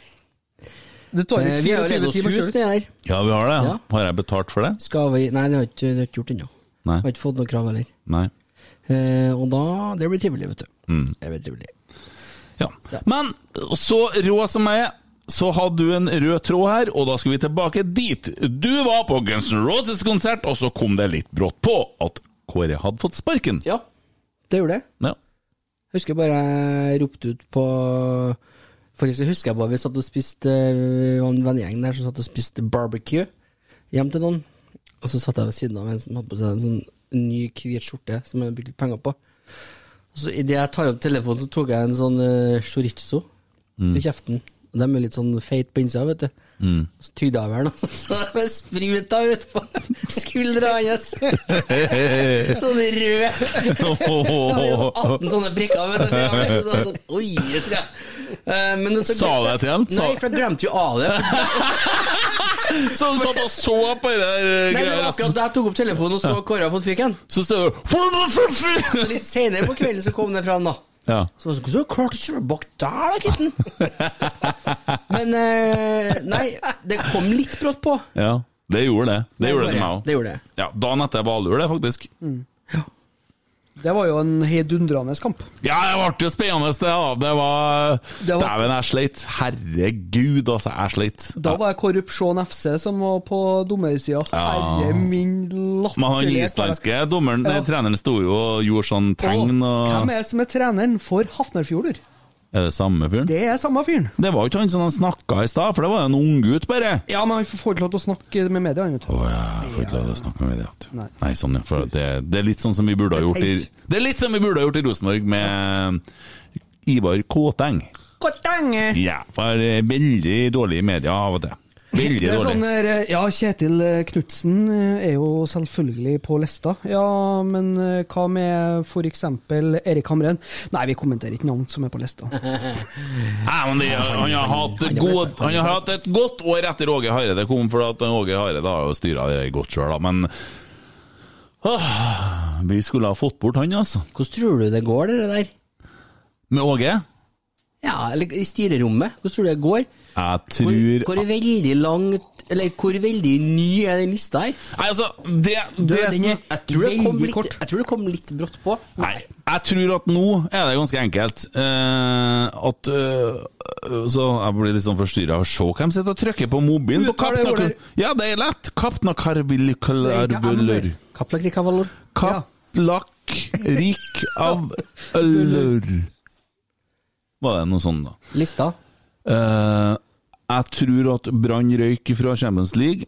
[SPEAKER 8] Det tar jo
[SPEAKER 7] Eh, Vi har jo
[SPEAKER 8] ikke 24
[SPEAKER 7] leid oss
[SPEAKER 8] timer
[SPEAKER 7] hus
[SPEAKER 8] selv.
[SPEAKER 7] nedi der.
[SPEAKER 6] Ja, vi har det.
[SPEAKER 7] Ja.
[SPEAKER 6] Har jeg betalt for det?
[SPEAKER 7] Skal vi Nei, det har ikke, det har ikke gjort ennå.
[SPEAKER 6] Nei.
[SPEAKER 7] Har ikke fått noe krav heller.
[SPEAKER 6] Nei.
[SPEAKER 7] Eh, og da Det blir trivelig, vet du.
[SPEAKER 6] Mm.
[SPEAKER 7] Det blir trivelig.
[SPEAKER 6] Ja. Men så rå som jeg er, så hadde du en rød tråd her, og da skal vi tilbake dit. Du var på Guns N' Roses-konsert, og så kom det litt brått på at Kåre hadde fått sparken.
[SPEAKER 7] Ja, det gjorde det.
[SPEAKER 6] Ja.
[SPEAKER 7] Jeg husker bare jeg ropte ut på Faktisk husker jeg bare vi satt og spiste eh, Vi var en vennegjeng der som satt og spiste barbecue hjem til noen. Og så satt jeg ved siden av en som hadde på seg en sånn ny hvit skjorte som jeg hadde brukt litt penger på. Og så Idet jeg tar opp telefonen, så tok jeg en sånn eh, chorizo
[SPEAKER 6] Mm.
[SPEAKER 7] i kjeften. Og De er litt sånn feit på innsida, vet du.
[SPEAKER 6] Mm.
[SPEAKER 7] Så tygde jeg vel den, så de spruta utpå skuldra hans. Sånn rød.
[SPEAKER 6] Åh.
[SPEAKER 7] 18 sånne prikker, vet du. Det var veldig sånn, sånn, Oi, det skal jeg Eh, men så-
[SPEAKER 6] Sa du det til han? Sa-
[SPEAKER 7] Nei, for jeg glemte jo av det.
[SPEAKER 6] Så du satt og så på det der eh,
[SPEAKER 7] Nei,
[SPEAKER 6] greia
[SPEAKER 7] det var
[SPEAKER 6] resten?
[SPEAKER 7] akkurat da jeg tok opp telefonen og så Kåre har fått fyken.
[SPEAKER 6] Så står du
[SPEAKER 7] Så litt senere på kvelden så kom det fram, da.
[SPEAKER 6] Ja.
[SPEAKER 7] Så var det sånn, hvordan har du klart å kjøre bak der, da, kitten? Men eh, nei, det kom litt brått på.
[SPEAKER 6] ja. Det gjorde det. Det gjorde det til meg òg.
[SPEAKER 7] Det gjorde det.
[SPEAKER 6] Ja, dagen etter var allur, det, faktisk.
[SPEAKER 8] Det var jo en heidundrende kamp.
[SPEAKER 6] Ja, det ble jo spennende, det. Ja. Det var
[SPEAKER 8] Det var-
[SPEAKER 6] Dæven, jeg sleit. Herregud, altså, jeg sleit.
[SPEAKER 8] Da var det Korrupsjon FC som var på dommersida.
[SPEAKER 6] Ja.
[SPEAKER 8] Herre min latterlige
[SPEAKER 6] Men han islandske dommeren, nei,
[SPEAKER 8] Ja.
[SPEAKER 6] treneren sto jo og gjorde sånn tegn
[SPEAKER 8] Hvem
[SPEAKER 6] og
[SPEAKER 8] er det som er treneren for Hafnarfjordur?
[SPEAKER 6] Er det samme fyren?
[SPEAKER 8] Det er samme fyren.
[SPEAKER 6] Det var jo ikke han som han snakka i stad, for det var jo en unggutt, bare.
[SPEAKER 8] Ja, men han får ikke lov til å snakke med media, han, vet du.
[SPEAKER 6] Å ja, jeg får ikke lov til å snakke med det. vet du.
[SPEAKER 8] Nei.
[SPEAKER 6] Nei, sånn ja. For det, det er litt sånn som vi burde ha gjort i
[SPEAKER 8] Tenkt.
[SPEAKER 6] Det er litt som vi burde ha gjort i Rosenborg med eh, Ivar Kåteng.
[SPEAKER 8] Kortenge!
[SPEAKER 6] Ja, for det er veldig dårlig i media av og til. Veldig
[SPEAKER 8] Det er
[SPEAKER 6] dårlig.
[SPEAKER 8] sånn der, ja, Kjetil eh, Knutsen eh, er jo selvfølgelig på lista. Ja, men eh, hva med f.eks. Erik Hamren? Nei, vi kommenterer ikke navn som er på lista.
[SPEAKER 6] Nei, men det, han, har hatt god, han har hatt et godt år etter Åge Hareide kom, for at Åge Hareide har jo styra det godt sjøl, da. Men åh, vi skulle ha fått bort han, altså.
[SPEAKER 7] Hvordan tror du det går, det der?
[SPEAKER 6] Med Åge?
[SPEAKER 7] Ja, eller i styrerommet. Hvordan tror du det går?
[SPEAKER 6] Jeg
[SPEAKER 7] Hvor,
[SPEAKER 6] tror
[SPEAKER 7] hvor veldig langt Eller hvor veldig ny er den lista her?
[SPEAKER 6] Nei, altså, det,
[SPEAKER 7] Du,
[SPEAKER 6] det
[SPEAKER 7] den
[SPEAKER 6] som
[SPEAKER 7] er- jeg, tror det kom
[SPEAKER 8] veldig
[SPEAKER 7] litt,
[SPEAKER 8] kort.
[SPEAKER 7] jeg tror det kom litt brått på.
[SPEAKER 6] Nei, jeg tror at nå er det ganske enkelt eh, at eh, Så jeg blir litt sånn forstyrra. Se hvem sitter og trykker på mobilen på
[SPEAKER 8] Uttale
[SPEAKER 6] Kapna
[SPEAKER 8] ordet.
[SPEAKER 6] Ja, det er lett! Kapna
[SPEAKER 8] Det er ikke
[SPEAKER 6] Karvilkalarvulur.
[SPEAKER 8] Amber.
[SPEAKER 7] Kaplakrikavalor.
[SPEAKER 6] Kaplakk rik av ølur. Var det noe sånn, da?
[SPEAKER 7] Lista.
[SPEAKER 6] Eh, jeg tror at Brann røyk fra Champions League.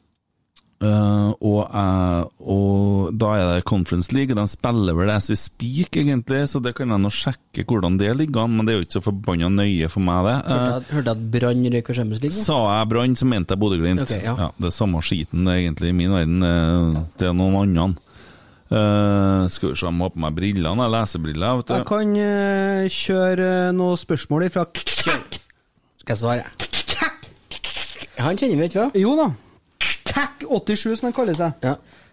[SPEAKER 6] Eh, og, jeg- og da er det Conference League, og de spiller vel det SV Speak, egentlig, så det kan jeg nå sjekke hvordan det ligger an, men det er jo ikke så forbanna nøye for meg, det. Eh,
[SPEAKER 7] Hørte jeg- Hørte jeg at Brann røyker Champions League?
[SPEAKER 6] Sa jeg Brann, så mente jeg Bodø-Glimt.
[SPEAKER 7] Ok, ja.
[SPEAKER 6] ja. det er samme skiten det er egentlig i min verden. eh, Det er noen annen. Eh, skal vi se, jeg må ha på meg brillene. Jeg har lesebriller. Vet du.
[SPEAKER 8] Jeg kan eh, kjøre eh, noen spørsmål ifra
[SPEAKER 7] Skal jeg svare? Han kjenner vi ikke, hva?
[SPEAKER 8] Jo da. KAK87, som han kaller seg.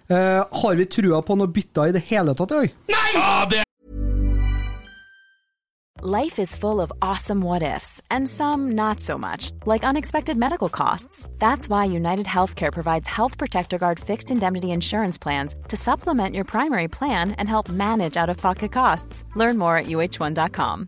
[SPEAKER 8] Eh, har vi trua på noe bytter i det hele tatt i dag?
[SPEAKER 12] Life is full of awesome what ifs, and some not so much, like unexpected medical costs. That's why United Healthcare provides Health Protector Guard fixed indemnity insurance plans to supplement your primary plan and help manage out of pocket costs. Learn more at uh1.com.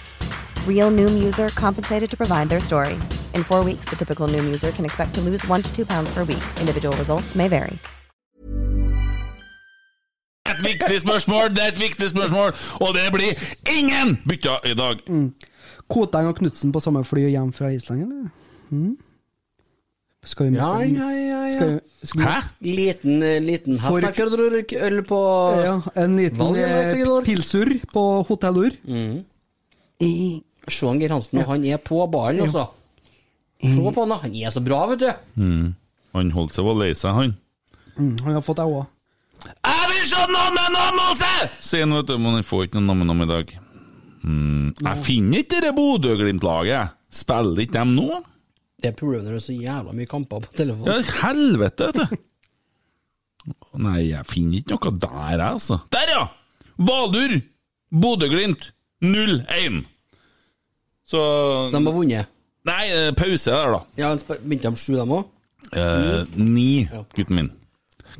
[SPEAKER 13] Real Noom user compensated to provide their story. In four weeks, the typical Noom user can expect to lose one to two pounds per week. Individual results may vary.
[SPEAKER 6] Det er et viktig spørsmål, det er et viktig spørsmål, og det blir ingen bytter i dag!
[SPEAKER 8] Mm. Koteng og Knutsen på samme fly hjem fra Island, eller? Mm. Skal vi
[SPEAKER 7] Ja,
[SPEAKER 8] møte
[SPEAKER 7] ja, ja, ja.
[SPEAKER 8] Skal vi, skal vi,
[SPEAKER 7] Liten, eh, liten
[SPEAKER 8] For-
[SPEAKER 7] Hafnarfjordøl på
[SPEAKER 8] Ja, en liten eh, pilsur på Hotell Ur.
[SPEAKER 7] Mm. Se han Geir Hansen, og han er på ballen, altså.
[SPEAKER 8] Mm.
[SPEAKER 7] Se på han, da. han er så bra, vet du.
[SPEAKER 6] Mm. Han holdt seg på å lei seg, han.
[SPEAKER 8] Mm, han har fått jeg òg.
[SPEAKER 6] Jeg vil se nomme-nommelse! Sier han, vet du, men han får ikke noe nomme-nom i dag. Mm. Jeg finner ikke det Bodø-Glimt-laget. Spiller ikke dem nå?
[SPEAKER 7] Det er problemet når det er så jævla mye kamper på
[SPEAKER 6] Ja,
[SPEAKER 7] telefonen.
[SPEAKER 6] helvete, vet du. Nei, jeg finner ikke noe der, jeg, altså. Der, ja! Valur, Bodø-Glimt 0-1. Så
[SPEAKER 7] De har vunnet.
[SPEAKER 6] Nei, eh, pause der, da.
[SPEAKER 7] Ja, han sp- Begynte de sju, dem òg?
[SPEAKER 6] Eh, ni, gutten min.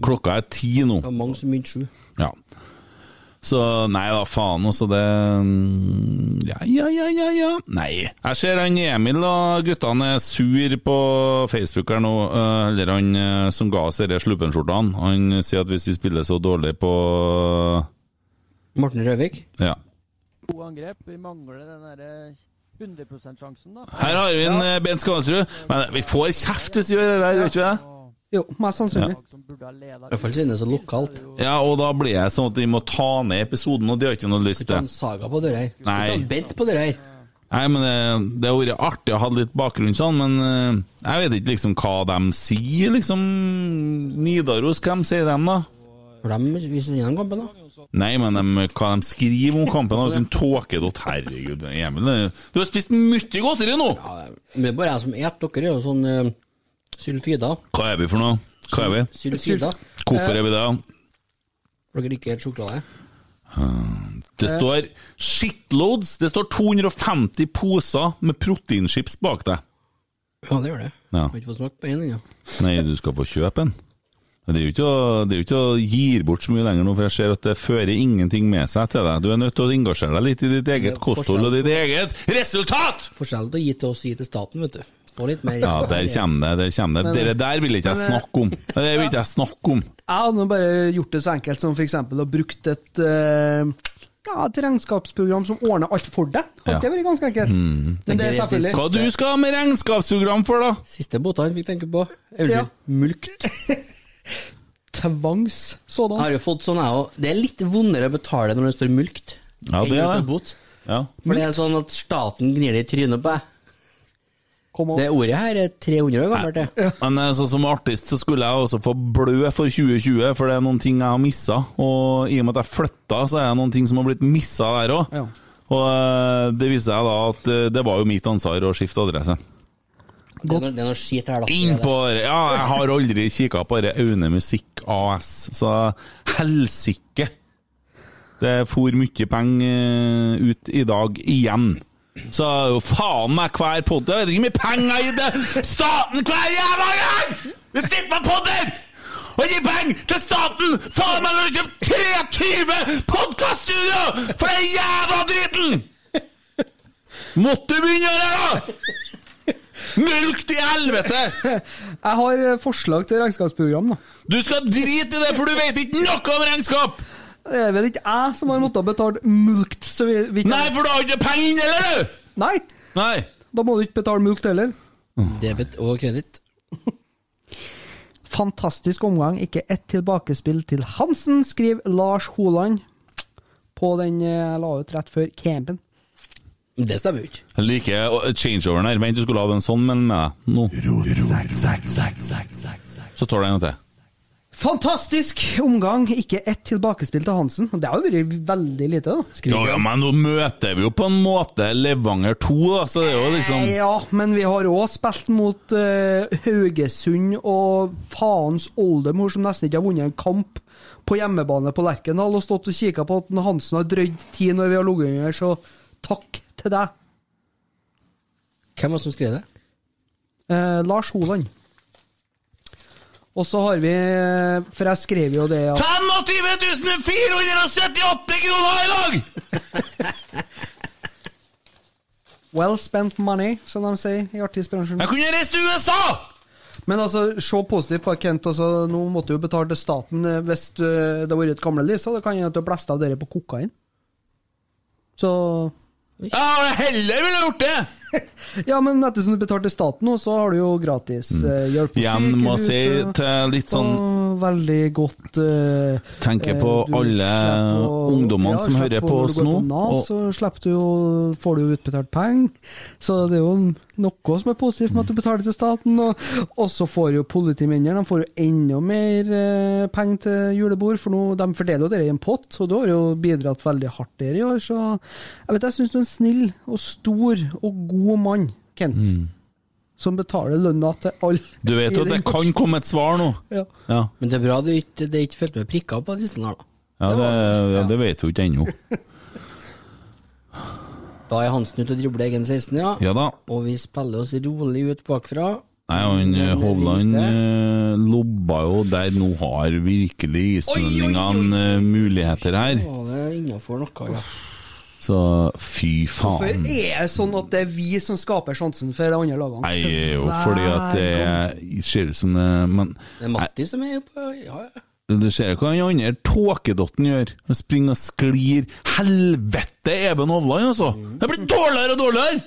[SPEAKER 6] Klokka er ti nå.
[SPEAKER 7] Det var mange som begynte sju.
[SPEAKER 6] Ja. Så nei da, faen også, det mm, Ja, ja, ja, ja, ja. Nei. Jeg ser han Emil og guttene er sur på Facebook her nå, eh, eller han eh, som ga oss disse sluppenskjortene. Han sier at hvis vi spiller så dårlig på
[SPEAKER 7] Morten Røvik?
[SPEAKER 6] Ja.
[SPEAKER 14] to angrep. Vi mangler den derre 100 %-sjansen, da.
[SPEAKER 6] Her har vi en eh, Bent Skansrud. Men eh, vi får kjeft hvis vi gjør det der, gjør vi ikke det?
[SPEAKER 8] Jo, mest sannsynlig.
[SPEAKER 7] I hvert fall siden det er så lokalt.
[SPEAKER 6] Ja, og da blir jeg sånn at vi må ta ned episoden, og det har jeg ikke noe lyst
[SPEAKER 7] Han
[SPEAKER 6] til.
[SPEAKER 7] saga på døra her.
[SPEAKER 6] Nei.
[SPEAKER 7] Han Bent på døra her.
[SPEAKER 6] Nei, men eh, det, det har vært artig å ha litt bakgrunn sånn, men eh, jeg vet ikke liksom hva de sier, liksom. Nidaros, hvem sier dem da?
[SPEAKER 7] For dem viser gjennom kampen, da.
[SPEAKER 6] Nei, men dem- hva de skriver om kampen, har vært en tåkedott. Herregud, Emil, det- du har spist mye godteri nå!
[SPEAKER 7] Men det er bare jeg som et. Dere er jo sånn eh, sylfida.
[SPEAKER 6] Hva er vi for noe? Hva er vi?
[SPEAKER 7] Sylfida.
[SPEAKER 6] Hvorfor er vi det?
[SPEAKER 7] Dere liker sjokolade?
[SPEAKER 6] Det står shitloads, det står 250 poser med proteinchips bak deg.
[SPEAKER 7] Ja, det gjør det.
[SPEAKER 6] Ja.
[SPEAKER 7] Jeg har ikke fått smakt på én ennå.
[SPEAKER 6] Nei, du skal få kjøpe en. Men Det er jo ikke å, det er jo ikke å gi bort så mye lenger nå, for jeg ser at det fører ingenting med seg til deg. Du er nødt til å engasjere deg litt i ditt eget kosthold og ditt eget resultat!
[SPEAKER 7] Forskjell til å gi til oss og gi til staten, vet du. Få litt mer
[SPEAKER 6] Ja, der kommer det. der kommer det. Dere der vil ikke jeg snakke om. Det vil ikke jeg snakke om.
[SPEAKER 8] Jeg hadde nå bare gjort det så enkelt som f.eks. å brukt et eh, ja, et regnskapsprogram som ordner alt for deg. Hadde
[SPEAKER 6] Ja.
[SPEAKER 8] det vært ganske enkelt?
[SPEAKER 6] Mm.
[SPEAKER 8] Men det er selvfølgelig
[SPEAKER 6] Hva du skal ha med regnskapsprogram for, da?
[SPEAKER 7] Siste båta han fikk tenke på. Eh, Unnskyld.
[SPEAKER 8] Ja.
[SPEAKER 7] Mulkt.
[SPEAKER 8] Tvangs sådan.
[SPEAKER 7] Jeg har jo fått sånn, jeg òg. Det er litt vondere å betale når det står mulkt.
[SPEAKER 6] Ja,
[SPEAKER 7] enn
[SPEAKER 6] det
[SPEAKER 7] når
[SPEAKER 6] er
[SPEAKER 7] står
[SPEAKER 6] det.
[SPEAKER 7] bot.
[SPEAKER 6] Ja.
[SPEAKER 7] For det er sånn at staten gnir det i trynet på deg. Det ordet her er 300 år gammelt, det.
[SPEAKER 6] Men eh, så som artist så skulle jeg også få blø for 2020, for det er noen ting jeg har missa. Og i og med at jeg flytta, så er det noen ting som har blitt missa der òg. Og eh, det viste seg da at eh, det var jo mitt ansvar å skifte adresse.
[SPEAKER 7] Det er noe, det er noe skit her, da.
[SPEAKER 6] Inn på det! Ja, jeg har aldri kikka på det Aune Musikk AS, så helsike! Det for mye penger ut i dag igjen. Så jo faen meg hver pod Jeg vet ikke hvor mye penger i det staten hver jævla gang! Det sitter med podder! Og gir penger til staten! Faen meg, når du kjøper 23 podkaststudio for den jævla driten! Måtte du begynne å gjøre det, da! Mulk til helvete!
[SPEAKER 8] Jeg har eh, forslag til regnskapsprogram, da.
[SPEAKER 6] Du skal drite i det, for du vet ikke noe om regnskap!
[SPEAKER 8] Det er vel ikke jeg som har måttet betale mulkt, så vi, vi
[SPEAKER 6] Nei, for du har ikke penger inne, eller?
[SPEAKER 8] du? Nei. Da må du ikke betale mulkt heller.
[SPEAKER 7] Debit og kreditt.
[SPEAKER 8] Fantastisk omgang, ikke ett tilbakespill til Hansen, skriver Lars Holand på den eh, jeg la ut rett før campen.
[SPEAKER 7] Det stemmer jo ikke.
[SPEAKER 6] Jeg liker å- changeoveren her. Vent, du skulle ha den sånn, men med deg nå. Så tar du en gang til.
[SPEAKER 8] Fantastisk omgang, ikke ett tilbakespill til Hansen. Det har jo vært veldig lite, da.
[SPEAKER 6] Ja, ja, men nå møter vi jo på en måte Levanger 2, da, så det er jo liksom
[SPEAKER 8] Eh, Ja, men vi har òg spilt mot eh, Haugesund og faens oldemor, som nesten ikke har vunnet en kamp på hjemmebane på Lerkendal, og stått og kikka på at Hansen har drøyd ti når vi har ligget under, så takk til deg.
[SPEAKER 7] Hvem var det som skrev det?
[SPEAKER 8] Eh, Lars Holand. Og så har vi eh, For jeg skrev jo det at
[SPEAKER 6] 25 478 kroner i dag!
[SPEAKER 8] Well spent money, som de sier i artistbransjen.
[SPEAKER 6] Jeg kunne reist til USA!
[SPEAKER 8] Men altså, se positivt på Kent. Altså, nå måtte du jo betale til staten eh, hvis eh, det har vært et gamleliv, så det kan hende at du har blæsta av dere på kokain. Så
[SPEAKER 6] Ja, jeg heller ville gjort det!
[SPEAKER 8] Ja, men ettersom du betalte til staten nå, så har du jo gratis eh, hjelp på
[SPEAKER 6] Mm. Igjen må
[SPEAKER 8] sykehus,
[SPEAKER 6] si
[SPEAKER 8] og-
[SPEAKER 6] til litt sånn
[SPEAKER 8] og veldig godt eh,
[SPEAKER 6] Tenker på
[SPEAKER 8] eh, du
[SPEAKER 6] alle
[SPEAKER 8] slipper å-
[SPEAKER 6] ungdommene som
[SPEAKER 8] slipper å-
[SPEAKER 6] hører på
[SPEAKER 8] når
[SPEAKER 6] oss
[SPEAKER 8] du går
[SPEAKER 6] nå,
[SPEAKER 8] på Nav,
[SPEAKER 6] og-
[SPEAKER 8] Så slipper du jo, får du jo utbetalt penger. Så det er jo noe som er positivt med at du betaler til staten. Og, og så får jo politimennene de får jo enda mer eh, penger til julebord, for nå, de fordeler jo dere i en pott, og du har jo bidratt veldig hardt dere i år. Så jeg vet, jeg syns du er en snill og stor og god mann, Kent. Som betaler lønna til alle.
[SPEAKER 6] Mm. Du vet jo at det kan komme et svar nå.
[SPEAKER 8] Ja.
[SPEAKER 6] Ja,
[SPEAKER 7] Men det er bra det ikke, det ikke fulgte med prikker på listen her, da.
[SPEAKER 6] ja, det, ja det vet hun ikke ennå.
[SPEAKER 7] Da er Hansen ute og dribler egen 16, ja.
[SPEAKER 6] Ja da.
[SPEAKER 7] Og vi spiller oss rolig ut bakfra.
[SPEAKER 6] Nei, han eh, Hovland eh, lobba jo der nå har virkelig islendingene eh, muligheter her.
[SPEAKER 7] Å, det er innafor noe, ja.
[SPEAKER 6] Så fy faen.
[SPEAKER 8] Hvorfor er det sånn at det er vi som skaper sjansen for de andre lagene?
[SPEAKER 6] Nei, det er jo fordi at det er- ser ut som det Men
[SPEAKER 7] Det er Matti som er på Ja, ja.
[SPEAKER 6] Nei, du ser hva den andre tåkedotten gjør. Han springer og sklir. Helvete, Even Hovland, altså! Det blir dårligere og dårligere!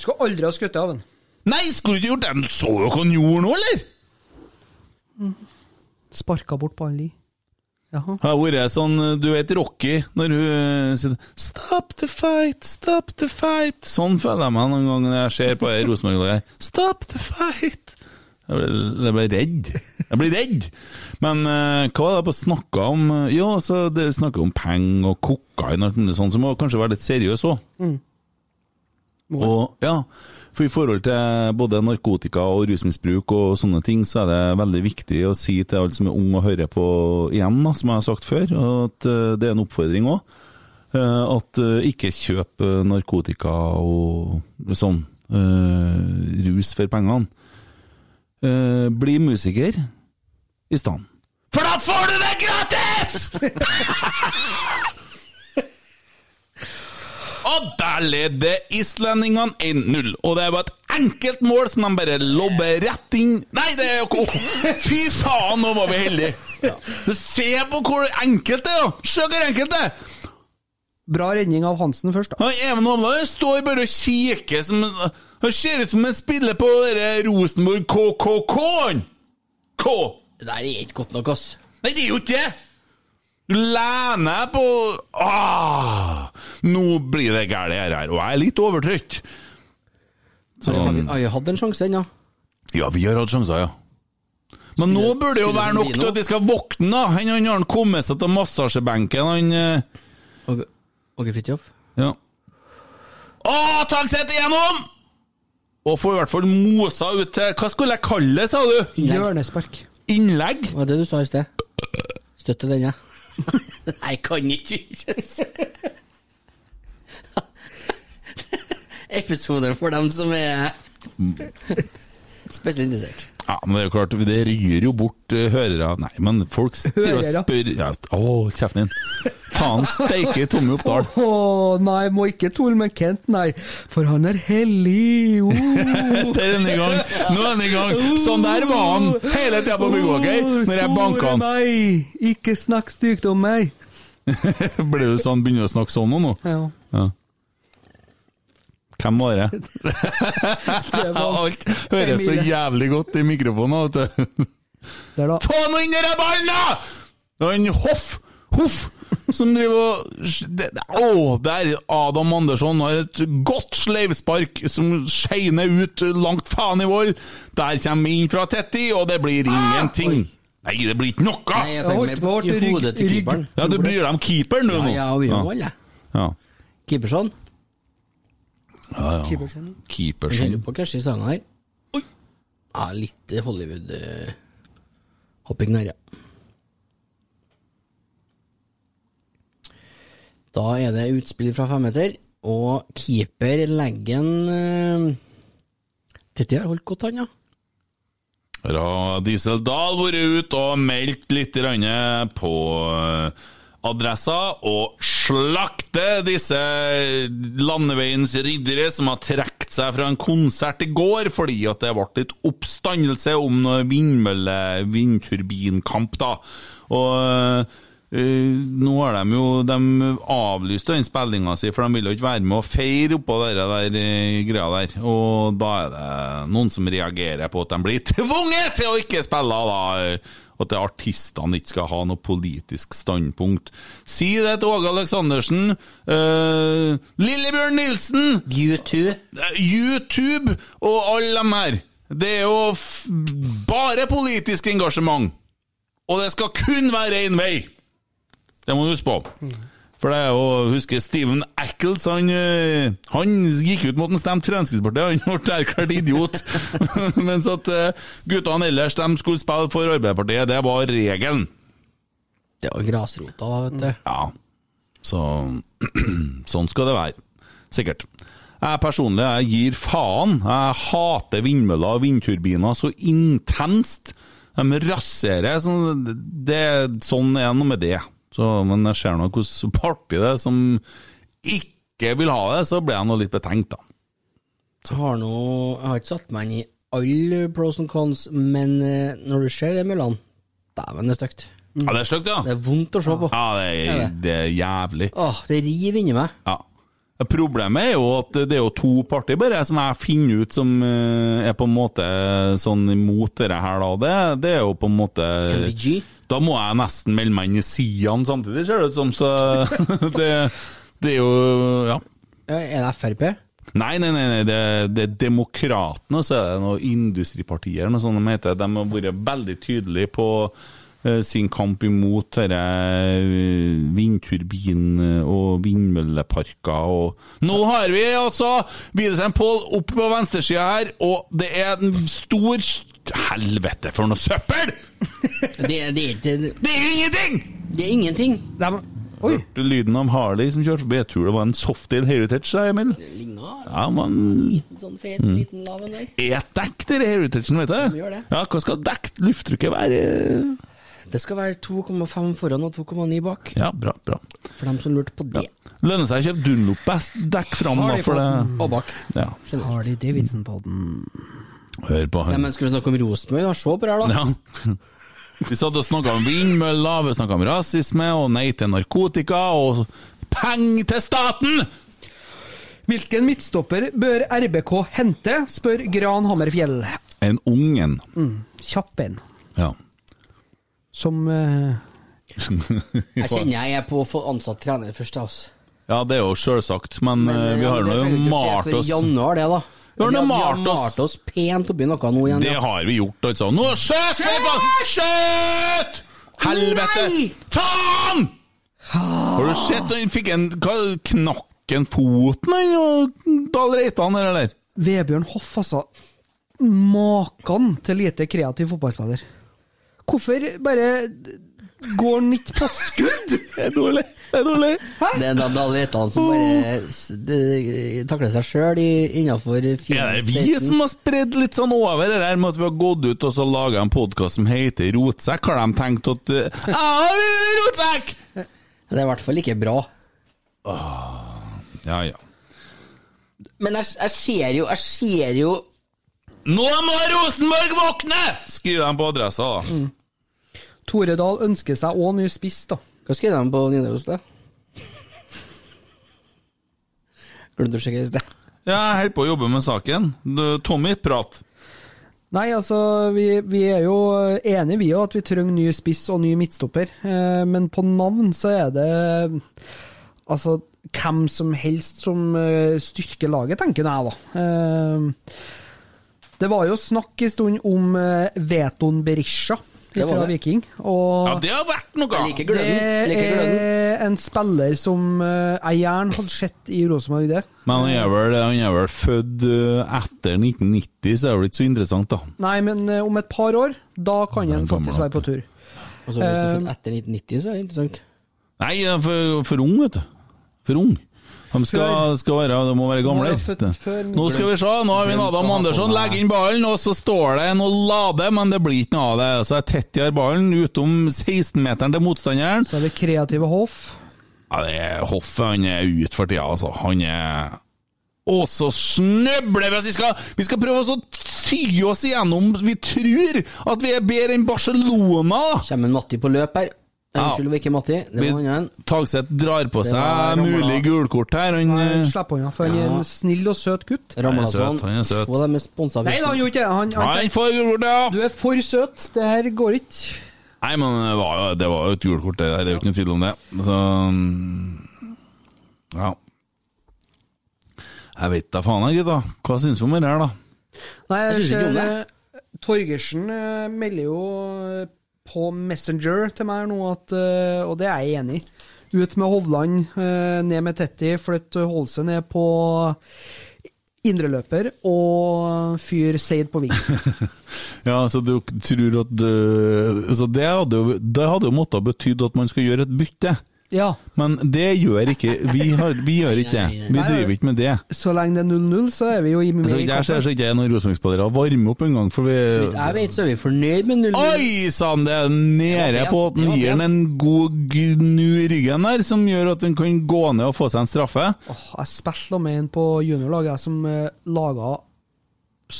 [SPEAKER 8] Skal aldri ha skutt av den.
[SPEAKER 6] Nei, skulle du ikke gjort det? Du så jo hva han gjorde nå, eller?
[SPEAKER 8] Sparka bort ballen i. Jaha.
[SPEAKER 6] Har vært sånn, du vet Rocky, når hun eh, sier 'stop the fight, stop the fight'. Sånn føler jeg meg noen ganger når jeg ser på det Rosenborg-laget. Stop the fight! Jeg ble, jeg ble redd. Jeg blir redd! Men eh, hva var det jeg snakka om? Ja, så det snakka om penger og kokain og alt mulig sånt, så må kanskje være litt seriøs òg.
[SPEAKER 8] Mm.
[SPEAKER 6] Og ja, for i forhold til både narkotika og rusmisbruk og sånne ting, så er det veldig viktig å si til alle som er unge og hører på igjen, da, som jeg har sagt før, at eh, det er en oppfordring òg. At eh, ikke kjøp eh, narkotika og sånn eh, rus for pengene. Eh, Bli musiker i stedet. For da får du det gratis! Og der leder islendingene 1-0. Og det var et enkelt mål som de bare lobber rett inn Nei, det er jo ikke Åh, Fy faen, nå var vi heldige! Du ser på hvor enkelt det er! jo. Se hvor enkelt det er!
[SPEAKER 8] Bra redning av Hansen først, da.
[SPEAKER 6] Han Even Hovland står bare og kikker som Han ser ut som han spiller på dere Rosenborg KKK! -en. K!
[SPEAKER 7] Det der er ikke godt nok, ass.
[SPEAKER 6] Nei, det er jo ikke det! Du lener deg på ah, Nå blir det galt, dette her. Og jeg er litt overtrøtt.
[SPEAKER 7] Har jeg- har jeg hatt en sjanse ennå?
[SPEAKER 6] Ja, vi har hatt sjanser, ja. Men nå burde det jo
[SPEAKER 7] skulle
[SPEAKER 6] være
[SPEAKER 7] det
[SPEAKER 6] nok
[SPEAKER 7] bli
[SPEAKER 6] til
[SPEAKER 7] noe?
[SPEAKER 6] at de skal våkne, da. Han han har kommet seg til massasjebenken, han eh,
[SPEAKER 7] Åge Fridtjof?
[SPEAKER 6] Ja. Å, Tagseth igjennom! Og får i hvert fall mosa ut til Hva skulle jeg kalle det, sa du?
[SPEAKER 7] Hjørnespark.
[SPEAKER 6] Innlegg?
[SPEAKER 7] Det var det du sa i sted. Støtter den, jeg.
[SPEAKER 15] Nei, kan ikke vi Episode for dem som er spesielt interessert.
[SPEAKER 6] Ja, men det er jo klart, det ryr jo bort eh, hørere Nei, men folk driver og
[SPEAKER 8] Hørere?
[SPEAKER 6] spør ja, Å, kjeften din. Faen steike Tommy Oppdal.
[SPEAKER 8] Å nei, må ikke tulle med Kent, nei. For han er hellig. Oh.
[SPEAKER 6] Det er denne gang. Nå er den i gang. Sånn der var han hele tida på Byggvåger, når jeg banka han.
[SPEAKER 8] Meg. Ikke snakk stygt om meg.
[SPEAKER 6] Ble du sånn, begynner du å snakke sånn nå? nå?
[SPEAKER 8] Ja.
[SPEAKER 6] Hvem var det? Alt høres så jævlig godt i mikrofonen, vet du. Få nå inn den ballen, da! Det var en hoff, hoff, som driver og det- det- Å, der! Adam Andersson har et godt sleivspark som skeiner ut langt faen i vold. Der kommer vi inn fra Tetti, og det blir ingenting. Nei, det blir ikke noe!
[SPEAKER 15] Ah! Nei, jeg tenker meg i hodet til keeperen.
[SPEAKER 6] Ja, du bryr deg om keeperen, du
[SPEAKER 15] Ja,
[SPEAKER 6] nå.
[SPEAKER 15] ja, vi gjør vel det.
[SPEAKER 6] Ja.
[SPEAKER 7] Keeperson.
[SPEAKER 6] Ja, ja.
[SPEAKER 7] Keeperson. Vi
[SPEAKER 6] Keepersen.
[SPEAKER 7] holder på å krasje i stanga her. Oi! Ja, litt Hollywood-hopping der, ja. Da er det utspill fra femmeter, og keeper legger en eh, Titti har holdt godt, han, ja.
[SPEAKER 6] Ra Diesel Dahl vært ute og meldt litt grann på eh, adressa, og slakte disse landeveiens riddere som har trukket seg fra en konsert i går fordi at det ble litt oppstandelse om noe vindmølle, vindturbinkamp, da. Og eh, nå har de jo De avlyste den spillinga si, for de ville jo ikke være med å feire oppå dere der eh, greia der. Og da er det noen som reagerer på at de blir tvunget til å ikke spille, da. Eh, At det er artistene ikke skal ha noe politisk standpunkt. Si det til Åge Aleksandersen. eh, Lillebjørn Nilsen!
[SPEAKER 15] YouTube.
[SPEAKER 6] YouTube og alle dem her. Det er jo f bare politisk engasjement. Og det skal kun være én vei! Det må du huske på. For det er jo, husker Steven Ackles, han, eh, han gikk ut mot en stemt Fremskrittspartiet, han ble erklært idiot. Mens at eh, guttene ellers, de skulle spille for Arbeiderpartiet, det var regelen.
[SPEAKER 7] Det var grasrota, da, vet du.
[SPEAKER 6] Ja. Så sånn skal det være. Sikkert. Jeg personlig jeg gir faen. Jeg hater vindmøller og vindturbiner så intenst. De raserer. Sånn, det, sånn er det noe med det. Så, men jeg ser nå hvordan parti det er som ikke vil ha det, så blir jeg nå litt betenkt, da.
[SPEAKER 7] Jeg har, nå, jeg har ikke satt meg inn i alle pros and cons, men eh, når du ser de møllene Dæven, det er stygt.
[SPEAKER 6] Ja, det er stygt, ja.
[SPEAKER 7] Det er vondt å se på.
[SPEAKER 6] Ja, det er, det er jævlig.
[SPEAKER 7] Åh, det river inni meg.
[SPEAKER 6] Ja. Problemet er jo at det er jo to partier bare som jeg finner ut som eh, er på en måte sånn imot dette her, da. Det, det er jo på en måte
[SPEAKER 7] MDG?
[SPEAKER 6] Da må jeg nesten melde meg inn i Sian samtidig, ser det ut som. Så det, det er jo Ja.
[SPEAKER 7] Ja, Er det Frp?
[SPEAKER 6] Nei, nei, nei, nei det, det er Demokratene, og så er det noe Industripartiet eller noe sånt de heter. De har vært veldig tydelige på eh, sin kamp imot dette eh, vindturbin- eh, og vindmølleparker og Nå har vi altså Widersen Pål opp på venstresida her, og det er en stor Helvete, for noe søppel!
[SPEAKER 7] Det, er- det er ikke
[SPEAKER 6] Det er ingenting!
[SPEAKER 7] Det er ingenting!
[SPEAKER 6] Hørte lyden av Harley som kjørte forbi. Jeg tror det var en softail heritage, da, Emil. Ja, man...
[SPEAKER 7] Sånn fet,
[SPEAKER 6] Mm.
[SPEAKER 7] liten lav en der.
[SPEAKER 6] Et dekk, dere heritagen, vet du?
[SPEAKER 7] De gjør det.
[SPEAKER 6] Ja, hva skal dekt lufttrykket være?
[SPEAKER 7] Det skal være 2,5 foran og 2,9 bak,
[SPEAKER 6] Ja, bra, bra.
[SPEAKER 7] for dem som lurte på det.
[SPEAKER 6] Lønner seg å kjøpe Dunlop-dekk fram, da, for det
[SPEAKER 7] Og bak.
[SPEAKER 6] Ja.
[SPEAKER 7] Har de Davidson-podden?
[SPEAKER 6] Hør på
[SPEAKER 7] Nei,
[SPEAKER 6] han.
[SPEAKER 7] men Skal vi snakke om Rosenborg, da? Se på det her, da.
[SPEAKER 6] Ja. Vi satt og snakka om vindmøller, vi snakka om rasisme og nei til narkotika og penger til staten!
[SPEAKER 8] Hvilken midtstopper bør RBK hente, spør Gran Hammerfjell.
[SPEAKER 6] En ungen.
[SPEAKER 8] Mm, kjapp en.
[SPEAKER 6] Ja.
[SPEAKER 8] Som eh,
[SPEAKER 7] Jeg kjenner jeg er på å få ansatt trener først, jeg, altså.
[SPEAKER 6] Ja, det er jo sjølsagt, men, eh, vi har
[SPEAKER 7] det
[SPEAKER 6] nå
[SPEAKER 7] trenger ikke skje
[SPEAKER 6] malt
[SPEAKER 7] før i
[SPEAKER 6] oss
[SPEAKER 7] januar, det, da.
[SPEAKER 6] Vi har nå
[SPEAKER 7] vi
[SPEAKER 6] malt oss.
[SPEAKER 7] malt oss pent oppi noe nå igjen.
[SPEAKER 6] Det
[SPEAKER 7] ja.
[SPEAKER 6] har vi gjort, altså. Nå skjøt vi på! Skjøt! Helvete! Faen! Har du sett, han fikk en hva, knakk knakk han foten, han, og Dahl Reitan, her, eller?
[SPEAKER 8] Vebjørn Hoff, altså. Maken til lite kreativ fotballspiller. Hvorfor bare går han ikke på skudd?!
[SPEAKER 6] Det er dårlig. Det er dårlig.
[SPEAKER 15] Det er da Dahl Reitan som bare s- de- takler seg sjøl innafor
[SPEAKER 6] Ja, det er vi som har spredd litt sånn over det der med at vi har gått ut og så laga en podkast som heter Rotsekk. Har de tenkt at eh, Rotsekk!
[SPEAKER 15] Det er i hvert fall ikke bra.
[SPEAKER 6] Ja, ja.
[SPEAKER 15] Men jeg, jeg ser jo Jeg ser jo
[SPEAKER 6] Nå må Rosenborg våkne! Skriv dem på adressa, da.
[SPEAKER 8] Tore Dahl ønsker seg òg ny spiss, da.
[SPEAKER 15] Hva skrev de på Nidaros, da? Glemte å sjekke i sted.
[SPEAKER 6] Ja, jeg holder på å jobbe med saken. Du, Tommy, prat.
[SPEAKER 8] Nei, altså, vi, vi er jo enige vi òg at vi trenger ny spiss og ny midtstopper, eh, men på navn så er det altså hvem som helst som eh, styrker laget, tenker jeg da. Eh, det var jo snakk en stund om eh, Veton Berisha
[SPEAKER 15] Det var
[SPEAKER 8] fra
[SPEAKER 15] det.
[SPEAKER 8] Viking, og
[SPEAKER 6] Ja, det har vært noe!
[SPEAKER 15] Jeg liker gløden.
[SPEAKER 8] det
[SPEAKER 15] Liker gløden.
[SPEAKER 8] er en spiller som eh, jeg gjerne hadde sett i Rosenborg, det.
[SPEAKER 6] Men han er vel, han er vel født eh, etter 1990, så er det vel ikke så interessant, da.
[SPEAKER 8] Nei, men eh, om et par år, da kan han
[SPEAKER 6] kommer
[SPEAKER 8] faktisk
[SPEAKER 6] han
[SPEAKER 8] være på tur.
[SPEAKER 15] Og så hvis du får etter 1990, så er det interessant.
[SPEAKER 6] Nei, han er for, for ung, vet du. For ung. De skal, skal være, de må være gamle.
[SPEAKER 8] Nå er jeg født før-
[SPEAKER 6] Nå skal vi se, nå har vi en Adam Andersson. Legg inn ballen, og så står det en og lader, men det blir ikke noe av det. Så er Tetjar ballen utom 16-meteren til motstanderen.
[SPEAKER 8] Så er det kreative Hoff.
[SPEAKER 6] Ja, det er Hoff han er ute for tida, altså. Han er Å, så snøbler vi! oss. Vi skal, vi skal prøve oss å sy oss igjennom Vi tror at vi er bedre enn Barcelona!
[SPEAKER 15] Kommer Matti på løp her? Nei,
[SPEAKER 6] Ja.
[SPEAKER 15] Unnskyld, det var ikke Matti. Det var
[SPEAKER 6] Vi-
[SPEAKER 15] en annen.
[SPEAKER 6] Tagseth drar på
[SPEAKER 15] Det var
[SPEAKER 6] seg
[SPEAKER 15] Ramla.
[SPEAKER 6] mulig gulkort her. Han,
[SPEAKER 8] Nei,
[SPEAKER 6] eh,
[SPEAKER 8] Slipp unna, for han er
[SPEAKER 6] Ja.
[SPEAKER 8] en snill og søt gutt.
[SPEAKER 6] Han er søt, han er søt.
[SPEAKER 15] Og de er sponsa
[SPEAKER 8] Nei, da, han gjorde ikke det. Han,
[SPEAKER 6] Nei, han får gulkort, ja!
[SPEAKER 8] Du er for søt. Det her går ikke.
[SPEAKER 6] Nei, men det var jo, det var jo et gulkort, det der. Det er jo ikke noe tvil om det. Så mm, Ja. Jeg vet da faen, jeg, gutta. Hva syns vi om det her, da?
[SPEAKER 8] Nei,
[SPEAKER 15] Jeg synes ikke om det.
[SPEAKER 8] eh, Torgersen eh, melder jo eh, på Messenger til meg nå at eh, Og det er jeg enig i. Ut med Hovland, eh, ned med Tetti, flytt Holse ned på indreløper og fyr Seid på ving.
[SPEAKER 6] Ja, så du tror at øh, Så det hadde jo, det hadde jo måttet betydd at man skal gjøre et bytte.
[SPEAKER 8] Ja.
[SPEAKER 6] Men det gjør ikke Vi, har, vi gjør ikke det. Vi driver ikke med det.
[SPEAKER 8] Så lenge det er 0-0, så er vi jo i med
[SPEAKER 6] Altså,
[SPEAKER 8] i
[SPEAKER 6] jeg ser
[SPEAKER 8] kampen.
[SPEAKER 6] så ikke jeg noen Rosenborg-spillere varme opp engang, for
[SPEAKER 15] Så vidt
[SPEAKER 6] vi
[SPEAKER 15] jeg vet, så er vi fornøyd med 0-0.
[SPEAKER 6] Oi sann, det er
[SPEAKER 15] Det
[SPEAKER 6] nede
[SPEAKER 15] var pen,
[SPEAKER 6] på at
[SPEAKER 15] det
[SPEAKER 6] han
[SPEAKER 15] var
[SPEAKER 6] gir
[SPEAKER 15] pen.
[SPEAKER 6] han en god gnu i ryggen der, som gjør at han kan gå ned og få seg en straffe.
[SPEAKER 8] Åh, jeg spilte med en på juniorlaget jeg, som eh, laga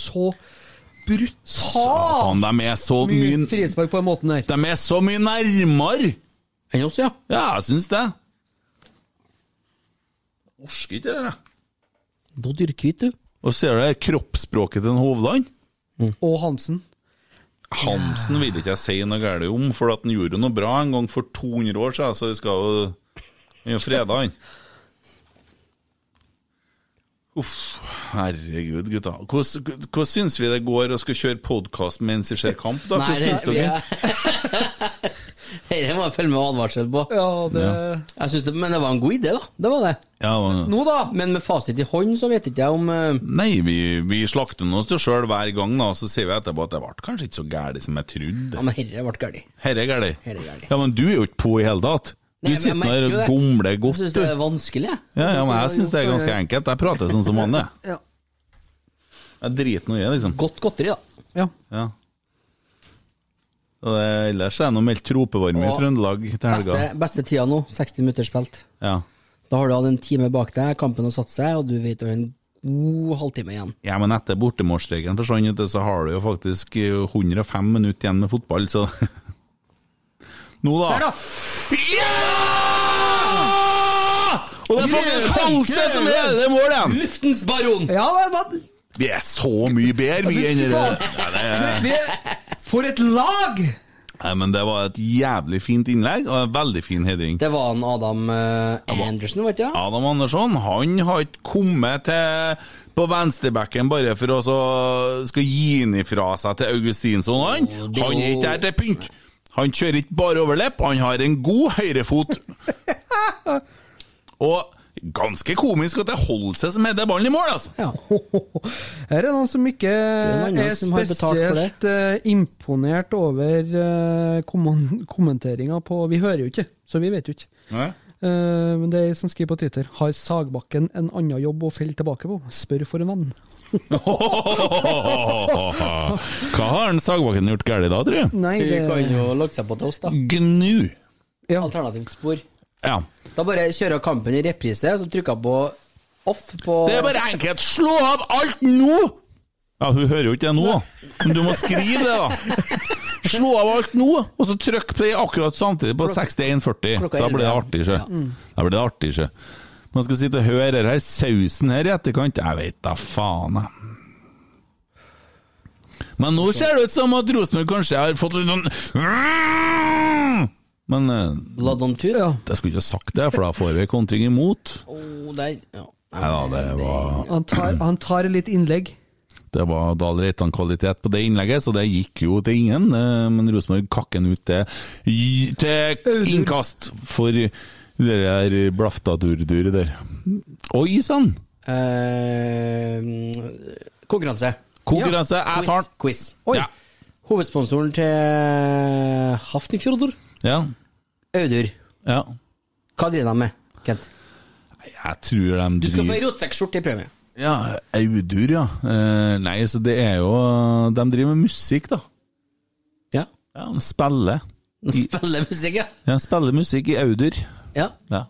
[SPEAKER 8] så
[SPEAKER 6] Faen,
[SPEAKER 8] brutalt
[SPEAKER 6] de er så
[SPEAKER 8] mye
[SPEAKER 6] mye
[SPEAKER 8] frispark på den måten der.
[SPEAKER 6] De er så mye nærmere!
[SPEAKER 15] Enn oss, ja.
[SPEAKER 6] Ja, jeg syns det. Orsker ikke det der, jeg.
[SPEAKER 15] Da dyrker vi ikke, du.
[SPEAKER 6] Og ser du det kroppsspråket til en Hovland?
[SPEAKER 7] Mm.
[SPEAKER 8] Og Hansen.
[SPEAKER 6] Hansen vil ikke jeg si noe galt om, for at han gjorde noe bra en gang for 200 år siden, så vi skal jo Han er jo freda, han. Uff, herregud, gutta. Hvordan hvordan syns vi det går å skal kjøre podkast mens vi ser kamp, da? Hva syns dere?
[SPEAKER 15] Dette må jeg følge med advarsel på.
[SPEAKER 8] Ja, det
[SPEAKER 15] Jeg synes det, men det var en god idé, da. Det var det.
[SPEAKER 6] Ja,
[SPEAKER 8] Nå, da!
[SPEAKER 15] Men med fasit i hånd så vet ikke jeg om eh,
[SPEAKER 6] nei, vi, vi slakter nå oss til sjøl hver gang, da, og så sier vi etterpå at det ble kanskje ikke så gærent som jeg
[SPEAKER 15] Ja,
[SPEAKER 6] trodde.
[SPEAKER 15] men herre ble galt.
[SPEAKER 6] Herre er gærent.
[SPEAKER 15] Herre gærent.
[SPEAKER 6] Ja, men du er jo ikke på i hele tatt. Du
[SPEAKER 15] Nei, men jeg merker
[SPEAKER 6] sitter der
[SPEAKER 15] jo
[SPEAKER 6] og
[SPEAKER 15] det.
[SPEAKER 6] gomler
[SPEAKER 15] Jeg
[SPEAKER 6] godt,
[SPEAKER 15] synes
[SPEAKER 6] du.
[SPEAKER 15] det er vanskelig, jeg.
[SPEAKER 6] Ja, ja, men jeg syns det er ganske enkelt. Jeg prater sånn som vanlig.
[SPEAKER 8] Ja.
[SPEAKER 6] Jeg driter nå i det, liksom.
[SPEAKER 15] Godt godteri, da.
[SPEAKER 8] Ja.
[SPEAKER 6] Ja. Og det, ellers er det noe meldt tropevarme i
[SPEAKER 15] Og
[SPEAKER 6] Trøndelag til helga.
[SPEAKER 15] Beste, beste tida nå, 60 minutter spilt.
[SPEAKER 6] Ja.
[SPEAKER 15] Da har du hatt en time bak deg, kampen har satt seg, og du vet du har en god halvtime igjen.
[SPEAKER 6] ja, men etter bortemålsregelen forsvant, vet du, så har du jo faktisk eh, 105 minutter igjen med fotball, så Nå, da. Ja! Og det er faktisk Halse som er det målet!
[SPEAKER 15] Luftens baron!
[SPEAKER 8] Ja, men, men,
[SPEAKER 6] Vi er så mye bedre, vi, enn det ja, det er-
[SPEAKER 8] vi, For et lag!
[SPEAKER 6] Nei, men det var et jævlig fint innlegg, og en veldig fin heading.
[SPEAKER 15] Det var en Adam eh, Andersen, var ikke det?
[SPEAKER 6] Adam Andersson han har ikke kommet til på venstrebacken bare for å så- skal gi han ifra seg til Augustinsson. Han, han er ikke her til pynt! Han kjører ikke bare overlepp, han har en god høyrefot. Og ganske komisk at det holder seg som heter ballen i mål, altså.
[SPEAKER 8] Her er noen som ikke
[SPEAKER 7] er noen
[SPEAKER 8] er,
[SPEAKER 7] som har betalt for det.
[SPEAKER 8] spesielt eh, imponert over eh, kommen- kommenteringa på Vi hører jo ikke, så vi vet jo ikke.
[SPEAKER 6] Nei.
[SPEAKER 8] Eh, Men det er ei som skriver på Twitter Har Sagbakken en annen jobb å felle tilbake på? Spør for en venn.
[SPEAKER 6] Hva har den Sagbakken gjort galt da, tror du?
[SPEAKER 8] Nei,
[SPEAKER 7] det... kan
[SPEAKER 8] Eh.
[SPEAKER 7] jo logge seg på til oss, da.
[SPEAKER 6] Gnu.
[SPEAKER 7] Alternativt spor.
[SPEAKER 6] Ja.
[SPEAKER 7] Da bare kjører kampen i reprise, og så trykker jeg på off på
[SPEAKER 6] Det er bare enkelt. Slå av alt nå! Ja, hun hører jo ikke det nå, da. men du må skrive det, da. Slå av alt nå, og så trykk play akkurat samtidig på 6140.
[SPEAKER 7] klokka
[SPEAKER 6] Da blir det
[SPEAKER 7] 11,
[SPEAKER 6] artig, sjø.
[SPEAKER 7] ja. Mm.
[SPEAKER 6] Da blir det artig, sjø. Man skal sitte og høre her sausen her i etterkant. Jeg vet da faen, jeg. Men nå ser det ut som at Rosenborg kanskje har fått litt sånn Men eh,
[SPEAKER 7] Blood on tooth.
[SPEAKER 6] jeg skulle ikke ha sagt det, for da får vi kontring imot.
[SPEAKER 7] Å, der. Ja.
[SPEAKER 6] Nei da, det var
[SPEAKER 8] Han tar, han tar litt innlegg.
[SPEAKER 6] Det var Dahl Reitan-kvalitet på det innlegget, så det gikk jo til ingen. eh, Men Rosenborg kakken ut til, i- til innkast for det der blaftaturduret der. Oi sann!
[SPEAKER 7] Eh, konkurranse.
[SPEAKER 6] Konkurranse, jeg tar den.
[SPEAKER 7] Quiz.
[SPEAKER 6] Oi. Ja.
[SPEAKER 7] Hovedsponsoren til Hafnifjordur,
[SPEAKER 6] Ja.
[SPEAKER 7] Audur.
[SPEAKER 6] ja.
[SPEAKER 7] Hva driver de med, Kent?
[SPEAKER 6] Jeg tror de
[SPEAKER 7] Du skal få
[SPEAKER 6] driver-
[SPEAKER 7] ei rotsekkskjorte i premie.
[SPEAKER 6] Ja, Audur, ja. Eh, Nei, så det er jo De driver med musikk, da.
[SPEAKER 7] Ja.
[SPEAKER 6] ja de spiller.
[SPEAKER 7] Nå spiller musikk, ja.
[SPEAKER 6] Ja, spiller musikk i Audur.
[SPEAKER 7] ja.
[SPEAKER 6] Ja.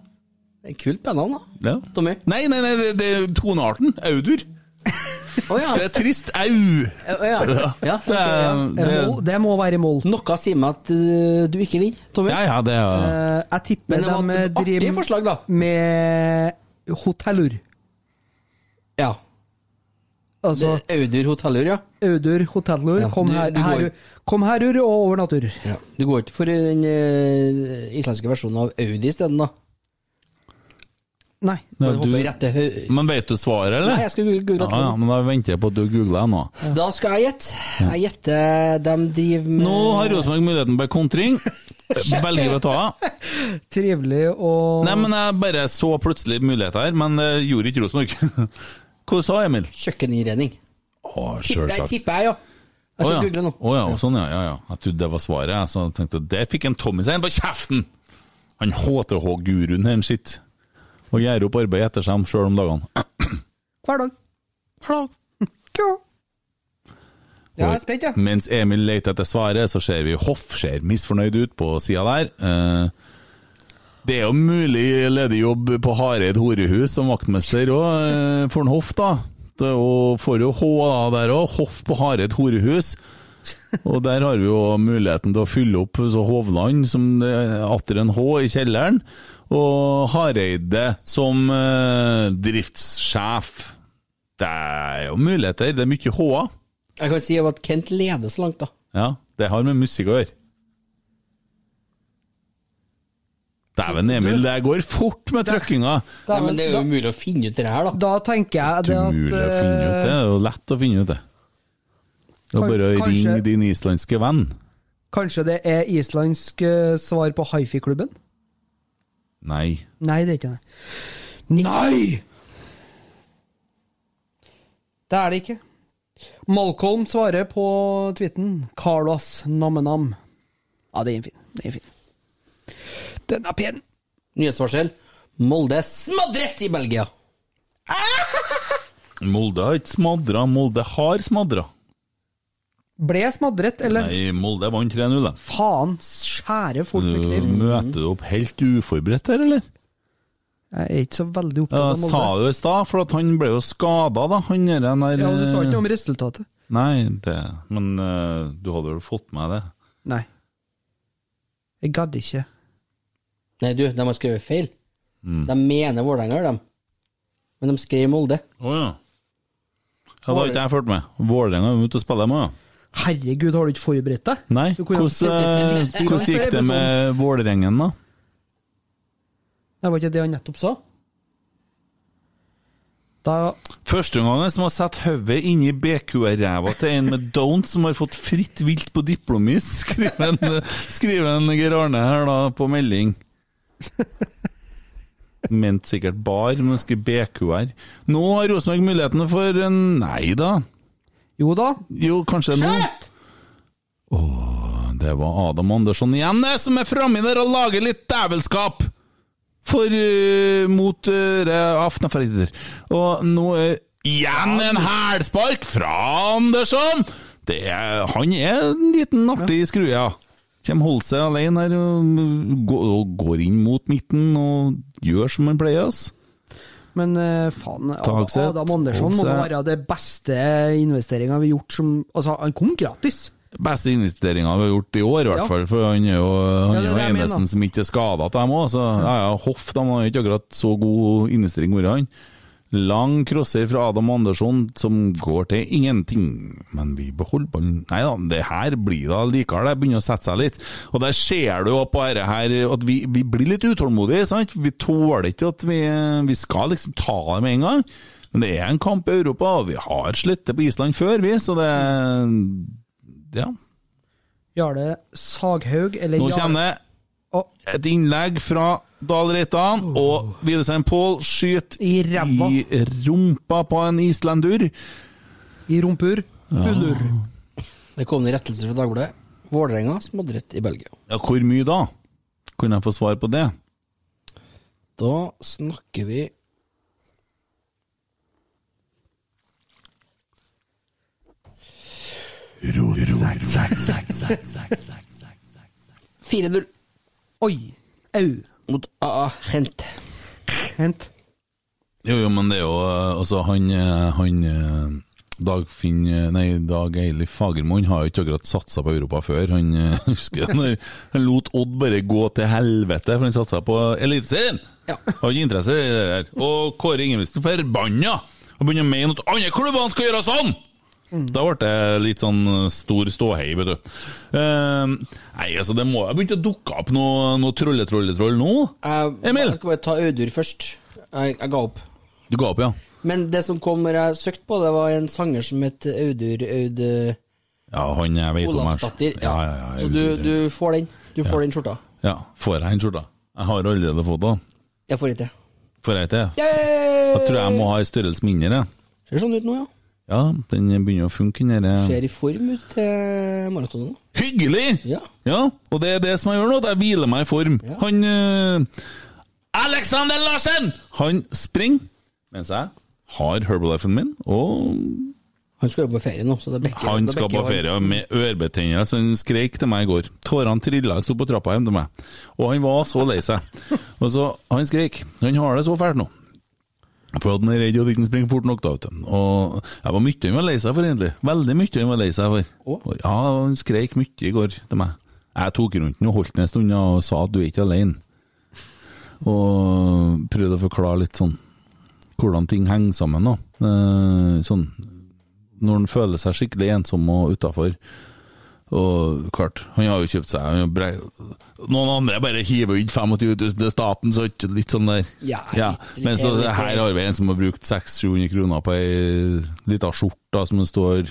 [SPEAKER 7] Det er kult med navn, da.
[SPEAKER 6] ja.
[SPEAKER 7] Tommy.
[SPEAKER 6] Nei, nei, nei, det, det er tonearten. Audur.
[SPEAKER 7] Å ja.
[SPEAKER 6] Det er trist. Au!
[SPEAKER 7] Å, ja. ja.
[SPEAKER 6] Det er, det er,
[SPEAKER 8] Det må være i mål.
[SPEAKER 7] Noe sier meg at eh, du ikke vinner, Tommy.
[SPEAKER 6] ja, ja, det er
[SPEAKER 8] Eh, Jeg tipper
[SPEAKER 7] Men eh, det var
[SPEAKER 8] de
[SPEAKER 7] et artig
[SPEAKER 8] driver
[SPEAKER 7] forslag, da.
[SPEAKER 8] med hotellur.
[SPEAKER 7] Ja.
[SPEAKER 8] Altså
[SPEAKER 7] Det- Audur hotellur, ja.
[SPEAKER 8] Audur hotellur.
[SPEAKER 7] Ja,
[SPEAKER 8] kom,
[SPEAKER 7] du-
[SPEAKER 8] her,
[SPEAKER 7] du går-
[SPEAKER 8] herur, kom herur og over natur.
[SPEAKER 7] ja. Du går ikke for den eh, islandske versjonen av Audi isteden, da?
[SPEAKER 8] Nei.
[SPEAKER 6] Nei,
[SPEAKER 7] Bare hopper
[SPEAKER 6] du-
[SPEAKER 7] rett til hø-
[SPEAKER 6] Men vet du svaret, eller?
[SPEAKER 7] Nei, jeg skal google
[SPEAKER 6] ja, ja, men Da venter jeg på at du googler jeg nå.
[SPEAKER 7] Da skal jeg gjette. Jeg gjetter de driver med
[SPEAKER 6] Nå har Rosenborg muligheten på kontring. Velger vi å ta av?
[SPEAKER 8] Trivelig og
[SPEAKER 6] Nei, men jeg bare så plutselig muligheter her, men det gjorde ikke Rosenborg. Hva sa Emil?
[SPEAKER 7] kjøkkeninnredning.
[SPEAKER 6] Å,
[SPEAKER 7] Det
[SPEAKER 6] sjølsagt.
[SPEAKER 7] tipper jeg, ja. Jeg skal google nå.
[SPEAKER 6] Å ja, og sånn ja, ja, ja. Jeg trodde det var svaret, jeg, så jeg tenkte at der fikk en Tommy seg en på kjeften! Han HTH-guruen her, sitt. Og gjør opp arbeid etter seg sjøl om dagene.
[SPEAKER 8] hver dag. Hver dag. Kjå. Ja, jeg er spent, ja.
[SPEAKER 6] Mens Emil leter etter svaret, så ser vi Hoff ser misfornøyd ut på sida der. Eh, Det er jo mulig ledig jobb på Hareid horehus som vaktmester òg, for en Hoff, da. Det, og får jo H da, der òg. Hoff på Hareid horehus. Og der har vi jo muligheten til å fylle opp så Hovland som det er atter en H i kjelleren, og Hareide som eh, driftssjef. Det er jo muligheter. Det er mye H-er.
[SPEAKER 7] Jeg kan si at Kent leder så langt, da.
[SPEAKER 6] Ja, det har med musikk å gjøre. Dæven, Emil, det går fort med trykkinga!
[SPEAKER 7] Nei, men det er jo umulig å finne ut det her, da.
[SPEAKER 8] Da tenker jeg det
[SPEAKER 6] Umulig å
[SPEAKER 8] at
[SPEAKER 6] finne ut det. Det
[SPEAKER 8] eh,
[SPEAKER 6] er jo lett å finne ut det. Det er
[SPEAKER 8] Kan-
[SPEAKER 6] bare å
[SPEAKER 8] kanskje-
[SPEAKER 6] ringe din islandske venn.
[SPEAKER 8] Kanskje det er islandsk eh, svar på hifi-klubben?
[SPEAKER 6] Nei.
[SPEAKER 8] Nei, det er ikke det. Nei! Det er det ikke. Malcolm svarer på tweeten 'Carlos Namenam'. Ja, det er en fin. Det er en fin. Den er pen.
[SPEAKER 7] Nyhetsvarsel. Molde smadret i Belgia!
[SPEAKER 6] Molde har ikke smadra, Molde har smadra.
[SPEAKER 8] Ble jeg smadret, eller?
[SPEAKER 6] Nei, Molde vant 3-0, da.
[SPEAKER 8] Faen, skjære fort med
[SPEAKER 6] Du
[SPEAKER 8] kniv.
[SPEAKER 6] møter du opp helt uforberedt her, eller?
[SPEAKER 8] Jeg er ikke så veldig opptatt
[SPEAKER 6] Ja,
[SPEAKER 8] av
[SPEAKER 6] sa
[SPEAKER 8] Molde.
[SPEAKER 6] du i stad, for at han ble jo skada, da. Han der der eh,
[SPEAKER 8] Ja, men Du sa ikke noe om resultatet?
[SPEAKER 6] Nei, det Men eh, du hadde vel fått med det?
[SPEAKER 8] Nei. Jeg gadd ikke.
[SPEAKER 7] Nei, du, de har skrevet feil. De mener Vålerenga, gjør de. Men de skrev Molde.
[SPEAKER 6] Å ja. Ja, Da har ikke jeg fulgt med. Vålerenga er jo ute og spiller, dem òg. ja.
[SPEAKER 8] Herregud, har du ikke forberedt deg?
[SPEAKER 6] Nei,
[SPEAKER 8] Du kunne jo
[SPEAKER 6] hvordan
[SPEAKER 8] litt
[SPEAKER 6] eh, hvordan gikk
[SPEAKER 8] for
[SPEAKER 6] det med Vålerengen, da?
[SPEAKER 8] Det var ikke det han nettopp sa? Da
[SPEAKER 6] Førsteomgangen som har satt hodet inni BQR-ræva til en med Downs som har fått fritt vilt på diplomis, skriver en, skriver en Geir Arne her da på melding. mente sikkert bar, men husker BQR. Nå har Rosenborg muligheten for en Nei da.
[SPEAKER 8] Jo da.
[SPEAKER 6] Jo, kanskje nå. Åh, det var Adam Andersson igjen det, som er framme der og lager litt dævelskap! For eh, mot uh, Aftenfarider. Og nå er igjen en hælspark fra Andersson! Det er, han er en liten artig skrue, ja. Kjem holder seg alene her og mm, gå- og går inn mot midten og gjør som han pleier. ass.
[SPEAKER 8] Men eh, faen,
[SPEAKER 6] Tagseth,
[SPEAKER 8] Adam Andersson må
[SPEAKER 6] Holse.
[SPEAKER 8] være det beste investeringa vi har gjort som Altså, han kom gratis!
[SPEAKER 6] Beste investeringa vi har gjort i år, i hvert
[SPEAKER 8] Ja.
[SPEAKER 6] fall. For han er jo han
[SPEAKER 8] Ja, det
[SPEAKER 6] er
[SPEAKER 8] er
[SPEAKER 6] jo
[SPEAKER 8] det jeg mener.
[SPEAKER 6] eneste som ikke er skada til dem òg. Så ja, ja, Hoff de har jo ikke akkurat så god investering vært, han. Lang crosser fra Adam Andersson som går til ingenting, men vi beholder ballen. Nei da, det her blir da likevel, det begynner å sette seg litt. Og der ser du jo på dette her at vi, vi blir litt utålmodige, sant. Vi tåler ikke at vi, vi skal liksom ta det med en gang. Men det er en kamp i Europa, og vi har slitt det på Island før, vi, så det Ja.
[SPEAKER 8] Jarle Saghaug, eller
[SPEAKER 6] Nå
[SPEAKER 8] Jarle-
[SPEAKER 6] kommer det et innlegg fra Dahl Reitan, og Videsheim Pål skyter
[SPEAKER 8] I ræva.
[SPEAKER 6] i rumpa på en islender.
[SPEAKER 8] I rumpur. Hulur.
[SPEAKER 7] Det kom en rettelse fra Dagbladet. Vålerenga smadret i Belgia.
[SPEAKER 6] Ja, hvor mye da? Kunne jeg få svar på det?
[SPEAKER 7] Da snakker vi
[SPEAKER 15] Hent.
[SPEAKER 7] 4-0.
[SPEAKER 8] Oi. Au.
[SPEAKER 7] Mot AA Hent.
[SPEAKER 8] Hent.
[SPEAKER 6] Jo, jo, men det er jo eh, Altså, han, eh, han eh, Dagfinn eh, Nei, Dag Eilif Fagermo han har jo ikke akkurat satsa på Europa før. Han eh, husker han, han lot Odd bare gå til helvete, for han satsa på Eliteserien! Har ikke interesse i det der. Og Kåre Ingebrigtsen forbanna! Og begynner å mene at andre klubber skal gjøre sånn! Da ble det litt sånn stor ståhei, vet du. Eh, nei, altså, det må ha begynt å dukke opp noe, noe trolle-trolle-troll nå.
[SPEAKER 7] Emil! Jeg skal bare ta Audur først. Jeg, jeg ga opp.
[SPEAKER 6] Du ga opp, ja?
[SPEAKER 7] Men det som kom når jeg søkte på, det var en sanger som het Audur Aud
[SPEAKER 6] Ja, han jeg vet om her.
[SPEAKER 7] Olavsdatter. Ja.
[SPEAKER 6] Ja, ja, ja,
[SPEAKER 7] Så du, du får den. Du får den skjorta.
[SPEAKER 6] Ja, får jeg en skjorte? Jeg har allerede fått den.
[SPEAKER 7] Jeg får ikke.
[SPEAKER 6] Får jeg til?
[SPEAKER 8] Eh.
[SPEAKER 6] Jeg tror jeg må ha en størrelse mindre. jeg.
[SPEAKER 7] Ser sånn ut nå, ja.
[SPEAKER 6] Ja, den begynner å funke, den eh. derre
[SPEAKER 7] Ser i form ut til maratonen. nå.
[SPEAKER 6] Hyggelig!
[SPEAKER 7] Ja.
[SPEAKER 6] og det er det som jeg gjør nå, at jeg hviler meg i form. Han eh, Alexander Larsen! Han springer, mens jeg har Herbalifen min, og
[SPEAKER 7] Han skal jo på ferie nå, så det bekker
[SPEAKER 6] Han
[SPEAKER 7] det
[SPEAKER 6] skal
[SPEAKER 7] bekker
[SPEAKER 6] på
[SPEAKER 7] varm.
[SPEAKER 6] ferie med ørebetennelse. Han skreik til meg i går. Tårene trilla. Jeg sto på trappa hjem til meg. Og han var så lei seg. Og så, Han skreik. Han har det så fælt nå. For at han er redd og at han ikke springer fort nok. da, vet du. Og jeg var mye han var lei seg for, egentlig. Veldig mye han var lei seg for. Og Ja, Han skreik mye i går til meg. Jeg tok rundt han og holdt han en stund ja, og sa at du er ikke alene. Og prøvde å forklare litt sånn hvordan ting henger sammen. da. Eh, sånn når han føler seg skikkelig ensom og utafor. Og klart, han har jo kjøpt seg han har brei, Noen andre bare hiver ut 25 000 til staten, så ikke litt sånn der.
[SPEAKER 7] Ja, litt- litt-
[SPEAKER 6] Men så
[SPEAKER 7] litt-
[SPEAKER 6] her har vi en som har brukt 600-700 kroner på ei lita skjorte som det står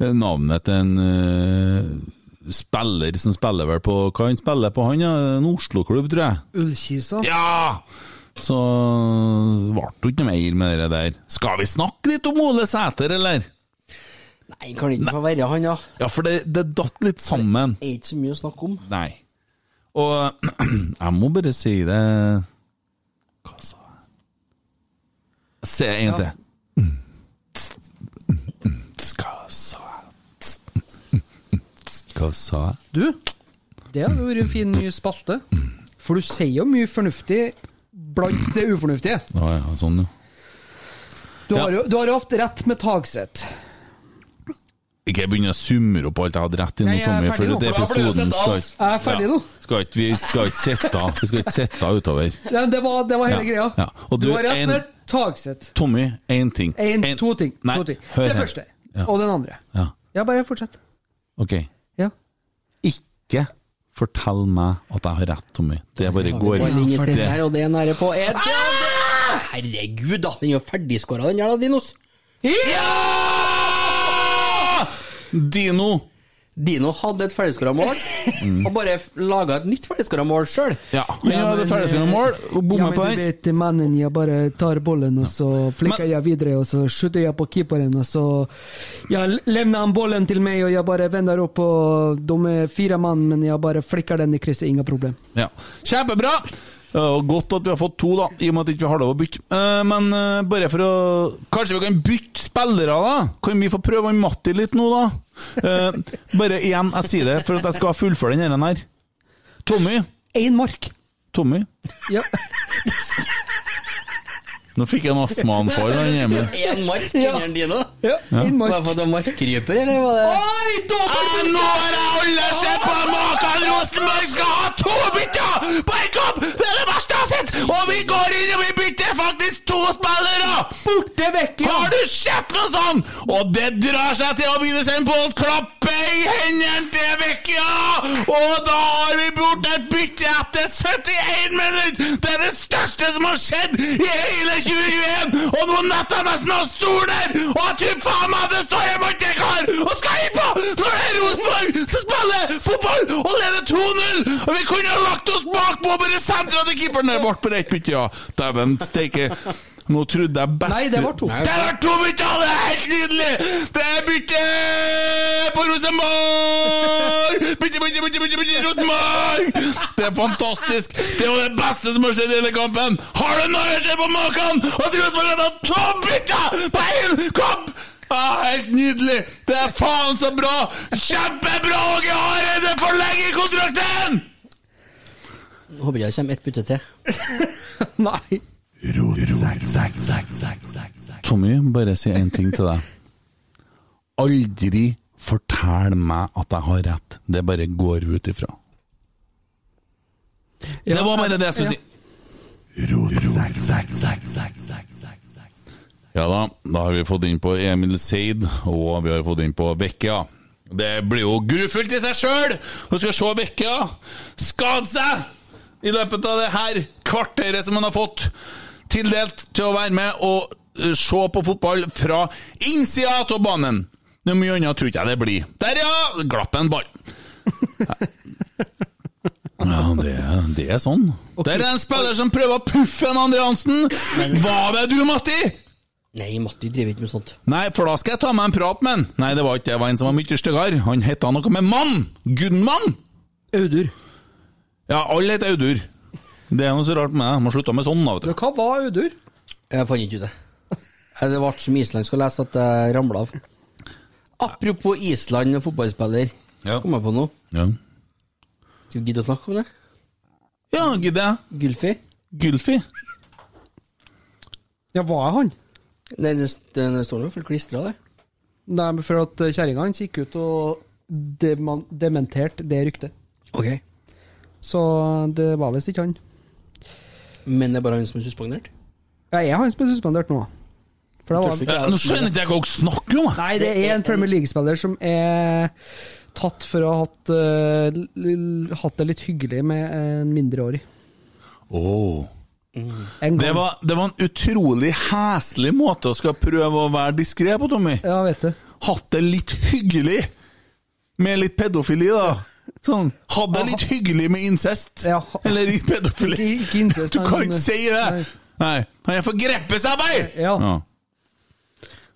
[SPEAKER 6] eh, navnet til en eh, spiller som spiller vel på Hva han spiller på, han? Ja, en Oslo-klubb, tror jeg.
[SPEAKER 8] Ullkisa.
[SPEAKER 6] Ja! Så ble det jo ikke noe mer med det der. Skal vi snakke litt om Ole Sæter, eller?
[SPEAKER 7] Nei, kan ikke få være han, ja.
[SPEAKER 6] Ja, for det, det datt litt sammen.
[SPEAKER 7] Det er ikke så mye å snakke om.
[SPEAKER 6] Nei. Og jeg må bare si det Hva sa jeg? Se en til. Hva sa jeg? Hva sa jeg?
[SPEAKER 8] Du, det hadde vært en fin ny spalte. For du sier jo mye fornuftig blant det ufornuftige.
[SPEAKER 6] Å ja, sånn, ja.
[SPEAKER 8] Du har jo du har jo hatt rett med Tagseth.
[SPEAKER 6] Ikke begynne å summere opp alt jeg hadde rett i nå,
[SPEAKER 8] Nei, jeg er
[SPEAKER 6] Tommy,
[SPEAKER 8] ferdig
[SPEAKER 6] for
[SPEAKER 8] nå.
[SPEAKER 6] det
[SPEAKER 8] Da blir det
[SPEAKER 6] episoden
[SPEAKER 8] sett av.
[SPEAKER 6] skal
[SPEAKER 8] Jeg er ferdig nå.
[SPEAKER 6] Skal ikke, vi skal ikke sitte Vi skal ikke sitte utover.
[SPEAKER 8] Ja, det, var, det var hele
[SPEAKER 6] Ja,
[SPEAKER 8] greia.
[SPEAKER 6] ja. Og
[SPEAKER 8] du,
[SPEAKER 6] du,
[SPEAKER 8] har rett
[SPEAKER 6] en-
[SPEAKER 8] med Tagseth.
[SPEAKER 6] Tommy, én ting.
[SPEAKER 8] En,
[SPEAKER 6] En-
[SPEAKER 8] to ting.
[SPEAKER 6] Nei,
[SPEAKER 8] to ting.
[SPEAKER 6] hør
[SPEAKER 8] det
[SPEAKER 6] her.
[SPEAKER 8] første.
[SPEAKER 6] Ja.
[SPEAKER 8] Og den andre.
[SPEAKER 6] Ja.
[SPEAKER 8] Ja, bare fortsett.
[SPEAKER 6] Ok.
[SPEAKER 8] Ja.
[SPEAKER 6] Ikke fortell meg at jeg har rett, Tommy. Det bare går.
[SPEAKER 7] Det er ingen
[SPEAKER 6] Det-
[SPEAKER 7] siden her, og det er nære på. Er det
[SPEAKER 8] Ah!
[SPEAKER 7] Herregud, da! Den er jo ferdigskåra, den der, da, Dinos.
[SPEAKER 6] Dino!
[SPEAKER 7] Dino hadde et ferdigskåra mål,
[SPEAKER 6] Mm.
[SPEAKER 7] og bare laga et nytt ferdigskåra mål sjøl.
[SPEAKER 6] Ja, men jeg hadde ferdigskåra mål, og bomma på
[SPEAKER 8] Ja, men
[SPEAKER 6] den.
[SPEAKER 8] du vet, mannen, jeg bare tar bollen, og så flikker jeg videre, og så skyter jeg på keeperen, og så Jeg levner han bollen til meg, og jeg bare vender opp, og de er fire mann, men jeg bare flikker den i krysset, ingen problem.
[SPEAKER 6] Ja. Kjempebra! Og godt at vi har fått to, da, i og med at vi ikke har lov å bytte. Eh, Men eh, bare for å Kanskje vi kan bytte spillere, da? Kan vi få prøve han Matti litt nå, da? Eh, bare igjen, jeg sier det for at jeg skal fullføre den her. her. Tommy.
[SPEAKER 8] Én mark.
[SPEAKER 6] Tommy.
[SPEAKER 8] Ja.
[SPEAKER 6] Nå fikk jeg en astmaanfall da han er hjemme.
[SPEAKER 7] Én mark under Dino? Ja,
[SPEAKER 6] Ja. en mark.
[SPEAKER 7] Var det for at han markryper, eller var det
[SPEAKER 16] Oi, dobbelt!
[SPEAKER 6] Ah, Nå har jeg alle sett på Makan Rosenborg skal ha to bytter på en kamp! Det er det verste jeg har sett! Og vi går inn og vi bytter faktisk to spillere!
[SPEAKER 8] Borte vekk, ja.
[SPEAKER 6] Har du sett noe sånt?! Og det drar seg til å begynne seg på å klappe i hendene til Vecchia! Og da har vi gjort et bytte etter 71 minutter! Det er det største som har skjedd i hele 2021! Og nå nettopp nesten av stolen der! Og jeg tror faen meg at det står en mann til kar og skal inn på! Når det er Rosenborg som spiller fotball og leder 2-0! Og vi kunne ha lagt oss bakpå og bare sentra til keeperen! Det ble bare ett bytte, ja. Dæven steike. Nå trodde jeg bet...
[SPEAKER 16] Nei, det var to.
[SPEAKER 6] Der var to bytter! Det er helt nydelig! Det er bytte på Rosenborg! Bytte, bytte, bytte, bytte, bytte Rosenborg! Det er fantastisk! Det er jo det beste som har skjedd i hele kampen! Har du noe skjedd på maken? At Rosenborg har tatt to bytter på én kamp! Ah, helt nydelig! Det er faen så bra! Kjempebra, Åge Hareide forlenger kontrakten!
[SPEAKER 7] Håper ikke det kommer ett bytte til.
[SPEAKER 8] Nei.
[SPEAKER 6] Tommy, bare si én ting til deg. Aldri fortell meg at jeg har rett. Det bare går vi ut ifra. det var bare det jeg skulle si. Ja da, da har vi fått inn på Emil Seid, og vi har fått inn på Vecchia. Det blir jo grufullt i seg sjøl! Du skal se Vecchia skade seg i løpet av det her kvarteret som han har fått tildelt til å være med og eh, se på fotball fra innsida av banen. Noe mye annet tror ikke jeg det blir. Der, ja! Glapp en ball. Ja, det, det er sånn. Der er en spiller som prøver å puffe en Andre Hansen! Hva med du, Matti?
[SPEAKER 7] Nei, Matti driver ikke med sånt.
[SPEAKER 6] Nei, for da skal jeg ta meg en prat med han. Nei, det var ikke det. Det var en som var mye styggere. Han heta noe med mann! Gudmann!
[SPEAKER 8] Audur.
[SPEAKER 6] Ja, alle heter Audur. Det er noe så rart med det. Må slutte med sånn, da, vet du.
[SPEAKER 8] Hva var Audur?
[SPEAKER 7] Jeg fant ikke ut det. Nei, Det ble så mye islandsk å lese at jeg ramla av. Apropos Island og fotballspiller, kom jeg på noe.
[SPEAKER 6] Ja.
[SPEAKER 7] Skal vi gidde å snakke om det?
[SPEAKER 6] Ja, gidder jeg.
[SPEAKER 7] Gylfi?
[SPEAKER 6] Gylfi?
[SPEAKER 8] Ja, var jeg han?
[SPEAKER 7] Nei, det, den står nå fullt klistra, det.
[SPEAKER 8] Nei, men for at eh, kjerringa hans gikk ut og deman- dementerte det ryktet.
[SPEAKER 7] Ok.
[SPEAKER 8] Så det var visst ikke han.
[SPEAKER 7] Men det er bare han som er suspendert?
[SPEAKER 8] Jeg er han som er suspendert nå. For det var-
[SPEAKER 6] Ja, Eh, nå skjønner ikke jeg hva dere snakker om!
[SPEAKER 8] Nei, det er en Premier League-spiller som er tatt for å ha hatt, eh, l- l- hatt det litt hyggelig med en mindreårig.
[SPEAKER 6] Åh.
[SPEAKER 8] En gang.
[SPEAKER 6] Det, var, det var en utrolig heslig måte å skal prøve å være diskré på, Tommy.
[SPEAKER 8] Ja, vet du.
[SPEAKER 6] Hatt det litt hyggelig! Med litt pedofili, da. Sånn. Hatt det litt hyggelig med incest. Eller i pedofili.
[SPEAKER 8] Ikke incest,
[SPEAKER 6] Du
[SPEAKER 8] nei,
[SPEAKER 6] kan
[SPEAKER 8] men-
[SPEAKER 6] ikke si det! Nei. Han er forgrepesarbeid!
[SPEAKER 8] Ja.
[SPEAKER 6] Ja.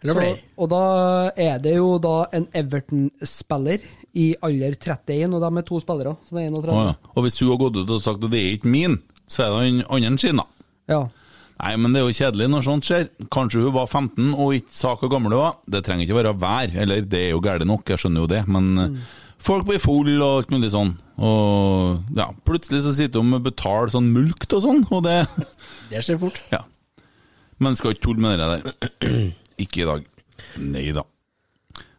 [SPEAKER 7] Eller
[SPEAKER 8] Så,
[SPEAKER 7] flere.
[SPEAKER 8] og da er det jo da en Everton-spiller i alder 31, og de er to spillere, så det er 31.
[SPEAKER 6] Å, ja. Og hvis hun har gått ut og sagt at det er ikke min, så er det han andre sin, da.
[SPEAKER 8] Ja.
[SPEAKER 6] Nei, men det er jo kjedelig når sånt skjer. Kanskje hun var 15 og ikke sa hvor gammel hun var. Det trenger ikke være vær, eller det er jo gærent nok, jeg skjønner jo det, men eh, folk blir full og alt mulig sånn. Og ja, plutselig så sitter hun med betalt sånn mulkt og sånn, og det
[SPEAKER 7] Det skjer fort.
[SPEAKER 6] Ja. Men skal ikke tulle med det der. Ikke i dag. Nei da.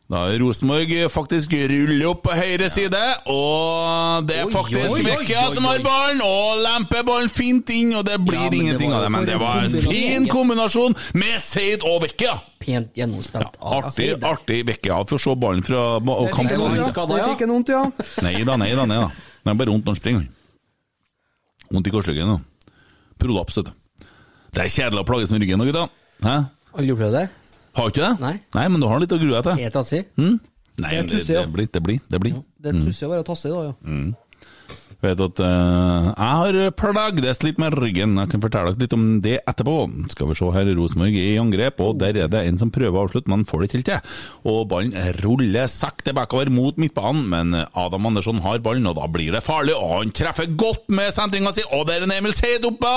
[SPEAKER 6] Da er Rosenborg faktisk ruller opp på høyre side, og det er
[SPEAKER 16] Oi,
[SPEAKER 6] faktisk
[SPEAKER 16] oi, oi,
[SPEAKER 6] Vecchia
[SPEAKER 16] oi,
[SPEAKER 6] som har
[SPEAKER 16] oi.
[SPEAKER 6] ballen, og lemper ballen fint inn, og det blir
[SPEAKER 7] Ja, men det
[SPEAKER 6] ingenting
[SPEAKER 7] var
[SPEAKER 6] av det. Men
[SPEAKER 7] for
[SPEAKER 6] det
[SPEAKER 7] en
[SPEAKER 6] var en
[SPEAKER 7] kombinasjon.
[SPEAKER 6] fin kombinasjon med Seid og Vecchia!
[SPEAKER 7] Pent gjennomspilt.
[SPEAKER 6] Artig, artig Vecchia å få se ballen fra ba-
[SPEAKER 8] Jeg fikk
[SPEAKER 6] kampen.
[SPEAKER 8] en vondt, ja. Jeg fikk en vondt, ja.
[SPEAKER 6] Nei da, nei da, nei da. Det er bare vondt når han springer. Vondt i korsryggen. da. Prolaps, vet du. Det er kjedelig å plages med ryggen nå, gutta. Hæ?
[SPEAKER 7] Aldri opplevd det?
[SPEAKER 6] Har ikke det? Nei. men du har litt å grue deg til.
[SPEAKER 7] Er tassig?
[SPEAKER 6] Mm? Nei,
[SPEAKER 8] Det er
[SPEAKER 6] det,
[SPEAKER 8] tussig,
[SPEAKER 6] det
[SPEAKER 8] ja.
[SPEAKER 6] blir. Det blir. Det blir.
[SPEAKER 8] Det
[SPEAKER 7] Mm.
[SPEAKER 8] er tussig å være tasse i dag, ja.
[SPEAKER 6] Mm. Vet at eh, Jeg har plagdes litt med ryggen. Jeg kan fortelle dere litt om det etterpå. Skal vi se her, Rosenborg er i angrep, og der er det en som prøver å avslutte, men får det ikke helt til. Og ballen ruller sakte bakover mot midtbanen, men Adam Andersson har ballen, og da blir det farlig. Og han treffer godt med sentringa si, og der er en Emil Seid oppe!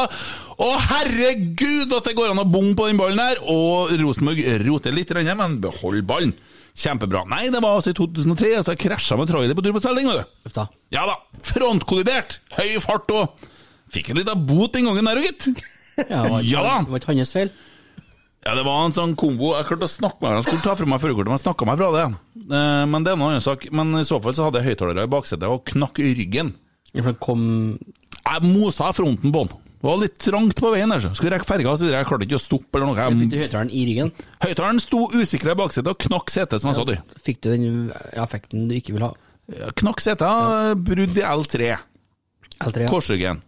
[SPEAKER 6] Å herregud, at det går an å bomme på den ballen her! Og Rosenborg roter litt, grann, men beholder ballen. Kjempebra. Nei, det var altså i 2003, altså jeg krasja med trailer på tur på Stelling, vet du. Ja da. Frontkollidert! Høy fart og Fikk en liten bot den gangen der òg, gitt.
[SPEAKER 7] Ja, det var ikke-
[SPEAKER 6] Ja da.
[SPEAKER 7] det var ikke hans feil.
[SPEAKER 6] Ja, det var en sånn kombo Jeg klarte å snakke med han skulle ta fra meg førerkortet, men jeg snakka meg fra det. Eh, Men det er en annen sak. Men i så fall så hadde jeg høyttalere i baksetet og knakk i ryggen. Jeg mosa fronten på den. Det var litt trangt på veien. der, så. Skulle rekke ferga osv. Jeg klarte ikke å stoppe
[SPEAKER 7] Um.
[SPEAKER 6] eller noe. Jeg fikk
[SPEAKER 7] høyttaleren i ryggen?
[SPEAKER 6] Høyttaleren sto usikra i baksetet og knakk setet, som jeg sa, du.
[SPEAKER 7] Fikk du den affekten du ikke vil ha?
[SPEAKER 6] Knakk setet, brudd i L3.
[SPEAKER 7] L3, ja.
[SPEAKER 6] Korsryggen.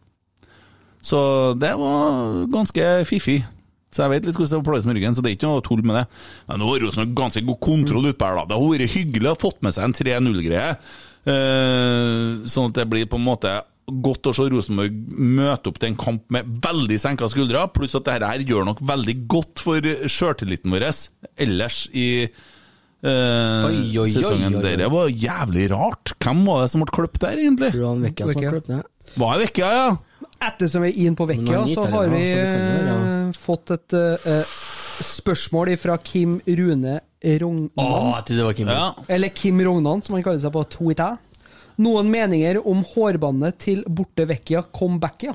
[SPEAKER 6] Så det var ganske fiffig. Så jeg vet litt hvordan det plåges med ryggen, så det er ikke noe tull med det. Men nå har Rosenborg ganske god kontroll utpå her, da. Det har vært hyggelig å ha fått med seg en 3-0-greie. Eh, sånn at det blir på en måte godt å se Rosenborg møte opp til en kamp med veldig senka skuldre, pluss at dette her gjør nok veldig godt for sjøltilliten vår ellers i eh,
[SPEAKER 7] Oi, oi, oi,
[SPEAKER 6] sesongen.
[SPEAKER 7] oi, oi.
[SPEAKER 6] Dere var jævlig rart. Hvem var det som ble klippet der, egentlig?
[SPEAKER 7] Tror du han Vecchia som har klippet ned?
[SPEAKER 6] Var jeg vekka, ja?
[SPEAKER 8] Ettersom vi er inn på
[SPEAKER 7] Men
[SPEAKER 8] Vecchia,
[SPEAKER 7] han er
[SPEAKER 8] så har
[SPEAKER 7] italiener,
[SPEAKER 8] vi
[SPEAKER 7] så det kan jo være,
[SPEAKER 8] eh, fått et eh, spørsmål fra Kim Rune Rognan.
[SPEAKER 7] Å, jeg trodde det var Kim. Ja.
[SPEAKER 8] Eller Kim Rognan, som han kaller seg på Twitter. Noen meninger om hårbåndet til borte Vecchia comebackia?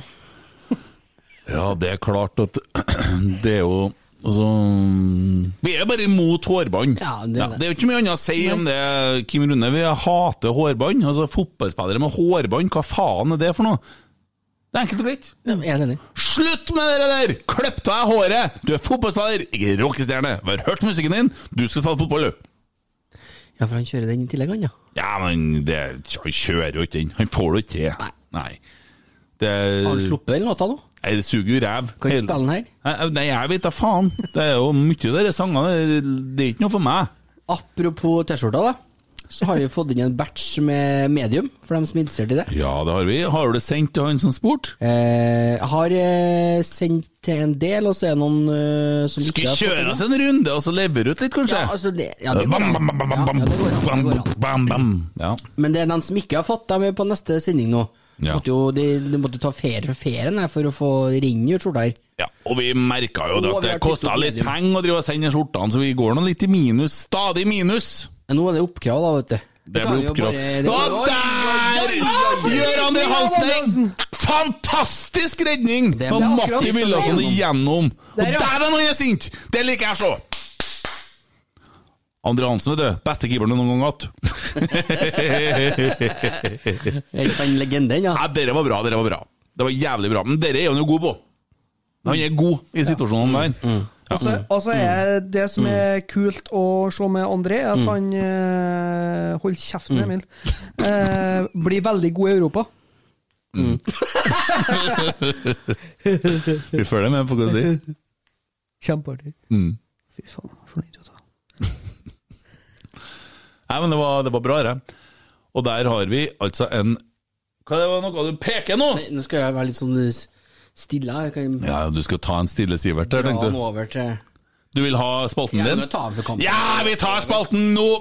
[SPEAKER 6] Ja, det er klart at det er jo Altså Vi er bare imot hårbånd.
[SPEAKER 7] Ja, det er det.
[SPEAKER 6] er jo ikke mye annet å si om det, Kim Rune. Vi hater hårbånd. Altså, fotballspillere med hårbånd, hva faen er det for noe? Det er enkelt og greit. Slutt med det der! Klipp av deg håret! Du er fotballspiller, ikke rockestjerne. Vi har hørt musikken din, du skal spille fotball, du.
[SPEAKER 7] ja, for han kjører den i tillegg, han, ja.
[SPEAKER 6] Ja, men det, han kjører jo ikke den. Han får det ikke til. Nei. Det,
[SPEAKER 7] Har han sluppet den låta nå?
[SPEAKER 6] Nei, det suger jo ræv.
[SPEAKER 7] Kan ikke
[SPEAKER 6] Hele-
[SPEAKER 7] spille den her?
[SPEAKER 6] Nei, eh, Nei, jeg vet da faen. Det er jo mye av disse sangene. det- Det er ikke noe for meg.
[SPEAKER 7] Apropos T-skjorta, da. Så har vi fått inn en batch med medium, for dem som er interessert i det.
[SPEAKER 6] Ja, det har vi. Har du det sendt til han som spurte?
[SPEAKER 7] Eh, jeg har eh, sendt til en del, og så er det noen eh, som
[SPEAKER 6] Skal
[SPEAKER 7] ikke
[SPEAKER 6] vi
[SPEAKER 7] har fått
[SPEAKER 6] kjøre
[SPEAKER 7] det.
[SPEAKER 6] oss en runde, og så lever ut litt, kanskje?
[SPEAKER 7] Ja, altså det, ja, det går
[SPEAKER 6] bam,
[SPEAKER 7] an.
[SPEAKER 6] bam, bam, bam,
[SPEAKER 7] Ja,
[SPEAKER 6] bam,
[SPEAKER 7] ja, det går an,
[SPEAKER 6] bam,
[SPEAKER 7] det går an.
[SPEAKER 6] bam, bam. Ja.
[SPEAKER 7] Men det er dem som ikke har fått, dem er på neste sending nå.
[SPEAKER 6] Ja.
[SPEAKER 7] Måtte jo, de, de måtte ta ferie fra ferien her for å få ringe ut skjorta her.
[SPEAKER 6] ja, og vi merka jo det
[SPEAKER 7] Og
[SPEAKER 6] at
[SPEAKER 7] vi har
[SPEAKER 6] det kosta
[SPEAKER 7] TikTok
[SPEAKER 6] litt
[SPEAKER 7] medium.
[SPEAKER 6] penger å drive og sende skjortene, så vi går nå litt i minus. Stadig minus.
[SPEAKER 7] Nå er det oppkrav, da, vet du.
[SPEAKER 6] Det
[SPEAKER 7] kan
[SPEAKER 6] blir
[SPEAKER 7] jo
[SPEAKER 6] oppkrav.
[SPEAKER 7] bare- det-
[SPEAKER 6] Og der! Gjør André Hansen en fantastisk redning!
[SPEAKER 7] Det er
[SPEAKER 6] Og
[SPEAKER 7] akkurat
[SPEAKER 6] Matti
[SPEAKER 7] det som
[SPEAKER 6] Wilhelmsen
[SPEAKER 7] er
[SPEAKER 6] igjennom. Og
[SPEAKER 7] Der, ja.
[SPEAKER 6] dæven, han er sint! Det liker jeg å se! André Hansen, vet du. Beste keeperen du noen gang har hatt.
[SPEAKER 7] Den legenden, ja.
[SPEAKER 6] Nei, dere var bra, dere var bra. Det var jævlig bra. Men dere er han jo god på. Han er god i situasjonen der. Ja.
[SPEAKER 8] Altså, altså er det som er kult å se med André, er at
[SPEAKER 6] Mm.
[SPEAKER 8] han eh, Hold kjeften, Emil. Eh, blir veldig god i Europa.
[SPEAKER 6] Vi følger med på hva du sier.
[SPEAKER 8] Kjempeartig.
[SPEAKER 6] Mm.
[SPEAKER 8] Fy faen, for noen idioter.
[SPEAKER 6] Nei, men det var, det var bra, det. Og der har vi altså en Hva det var noe du peker nå?!
[SPEAKER 7] Nei, nå skal jeg være litt sånn s- stille. her. Jeg kan
[SPEAKER 6] Ja, du skal ta en stille Sivert der,
[SPEAKER 7] dra
[SPEAKER 6] tenkte
[SPEAKER 7] den
[SPEAKER 6] du.
[SPEAKER 7] over til
[SPEAKER 6] Du vil ha spalten
[SPEAKER 7] Ja,
[SPEAKER 6] din?
[SPEAKER 7] nå tar vi for kampen.
[SPEAKER 6] Ja, vi tar spalten nå!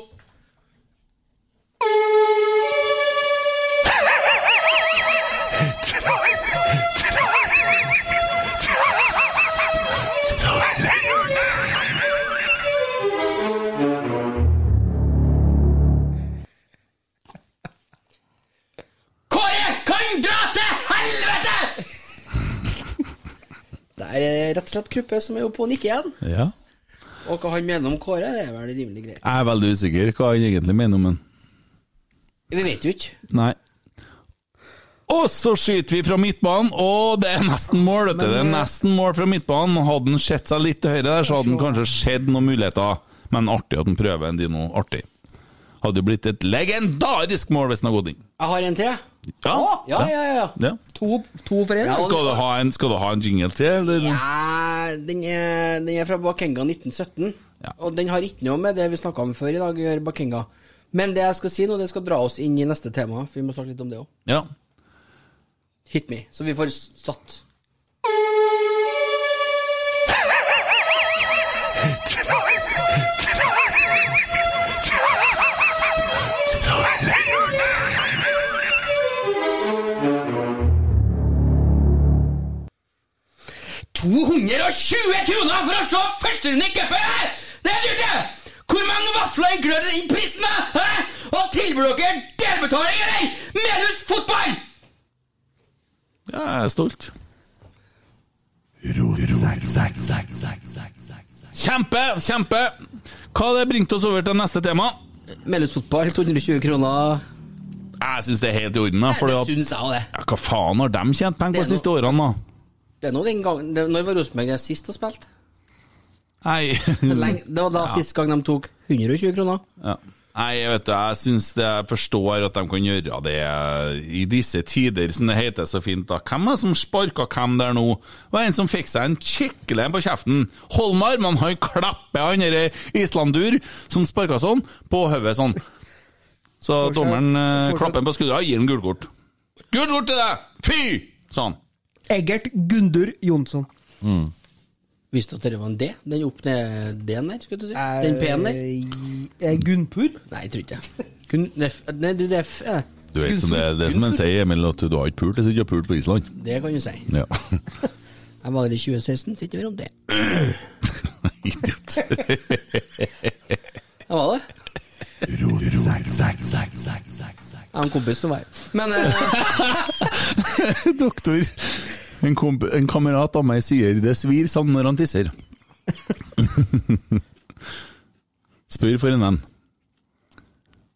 [SPEAKER 7] Kåre kan dra til helvete! Det er eh, rett og slett Kruppe som er oppe og nikker igjen.
[SPEAKER 6] Ja.
[SPEAKER 7] Og hva han mener om Kåre, det er vel rimelig greit.
[SPEAKER 6] Jeg er veldig usikker hva han egentlig mener om den.
[SPEAKER 7] Vi vet jo ikke.
[SPEAKER 6] Nei. Og så skyter vi fra midtbanen, og det er nesten mål, vet du. Det er
[SPEAKER 7] eh,
[SPEAKER 6] nesten mål fra midtbanen. Hadde han sett seg litt til høyre der, så hadde han kanskje sett noen muligheter. Men artig at han prøver en dino. Artig. Hadde jo blitt et legendarisk mål hvis han hadde gått inn.
[SPEAKER 7] Jeg har en til, jeg.
[SPEAKER 6] Ja,
[SPEAKER 7] ja, ja, ja.
[SPEAKER 6] Ja.
[SPEAKER 8] To, to for én.
[SPEAKER 7] Ja, og-
[SPEAKER 6] Skal, du ha en, skal du ha en jingle til, eller?
[SPEAKER 7] Ja, den er, den er fra Bakenga 1917. Og den har ikke noe med det vi snakka om før i dag, å gjøre, Bakenga. Men det jeg skal si nå, det skal dra oss inn i neste tema, for vi må snakke litt om det òg.
[SPEAKER 6] Ja.
[SPEAKER 7] Hit me. Så vi får satt
[SPEAKER 15] kroner for å slå førsterunde i cupen her! Det er dyrt, det! Hvor mange vafler inkludert i den prisen, da? Hæ? Og tilbyr dere delbetaling, eller? Medus fotball!
[SPEAKER 6] Ja, jeg er stolt. Kjempe! Kjempe! Hva det bringte oss over til neste tema?
[SPEAKER 7] Melhus fotball, 220 kroner.
[SPEAKER 6] Jeg syns det er helt i orden. Da, fordi
[SPEAKER 7] det
[SPEAKER 6] at-
[SPEAKER 7] syns jeg òg, det.
[SPEAKER 6] ja, hva faen har de tjent penger på de
[SPEAKER 7] Det er
[SPEAKER 6] siste årene, da?
[SPEAKER 7] Det er nå den gangen det, Når var Rosenborg sist og spilte?
[SPEAKER 6] Nei.
[SPEAKER 7] Det er lenge- det var da
[SPEAKER 6] Mm. Ja.
[SPEAKER 7] sist gang de tok 120 kroner.
[SPEAKER 6] Ja. Nei, jeg vet du, jeg syns det jeg forstår at de kan gjøre det i disse tider, som det heter så fint. da. Hvem er det som sparka hvem der nå? Det var en som fikk seg en kikkele på kjeften. Holmar, man han klapper han derre islandur som sparka sånn, på hodet sånn. Så
[SPEAKER 7] Fortsett.
[SPEAKER 6] dommeren eh,
[SPEAKER 7] Fortsett.
[SPEAKER 6] klapper han på skuldra og gir ham gult kort. Gult kort til deg! Fy! sa han.
[SPEAKER 8] Egert Gundur Jonsson.
[SPEAKER 7] Visste du at det var en D? Den opp ned D-en der, skulle du si? Den P-en der?
[SPEAKER 8] Eh, Gunnpur?
[SPEAKER 7] Nei, jeg tror ikke det. Kun, nei, f- nei, du, det er F... eh.
[SPEAKER 6] Du vet, som det, det er som en sier, Emil, at du har ikke pult hvis du ikke har pult på Island.
[SPEAKER 7] Det kan du si.
[SPEAKER 6] Ja.
[SPEAKER 7] Jeg var der i 2016, sitter vi om det.
[SPEAKER 6] Idiot.
[SPEAKER 7] Jeg var det. Jeg har en kompis som var her. Men eh,
[SPEAKER 6] Doktor. En, komp en kamerat av meg sier det svir sånn når han tisser. Spør for en venn.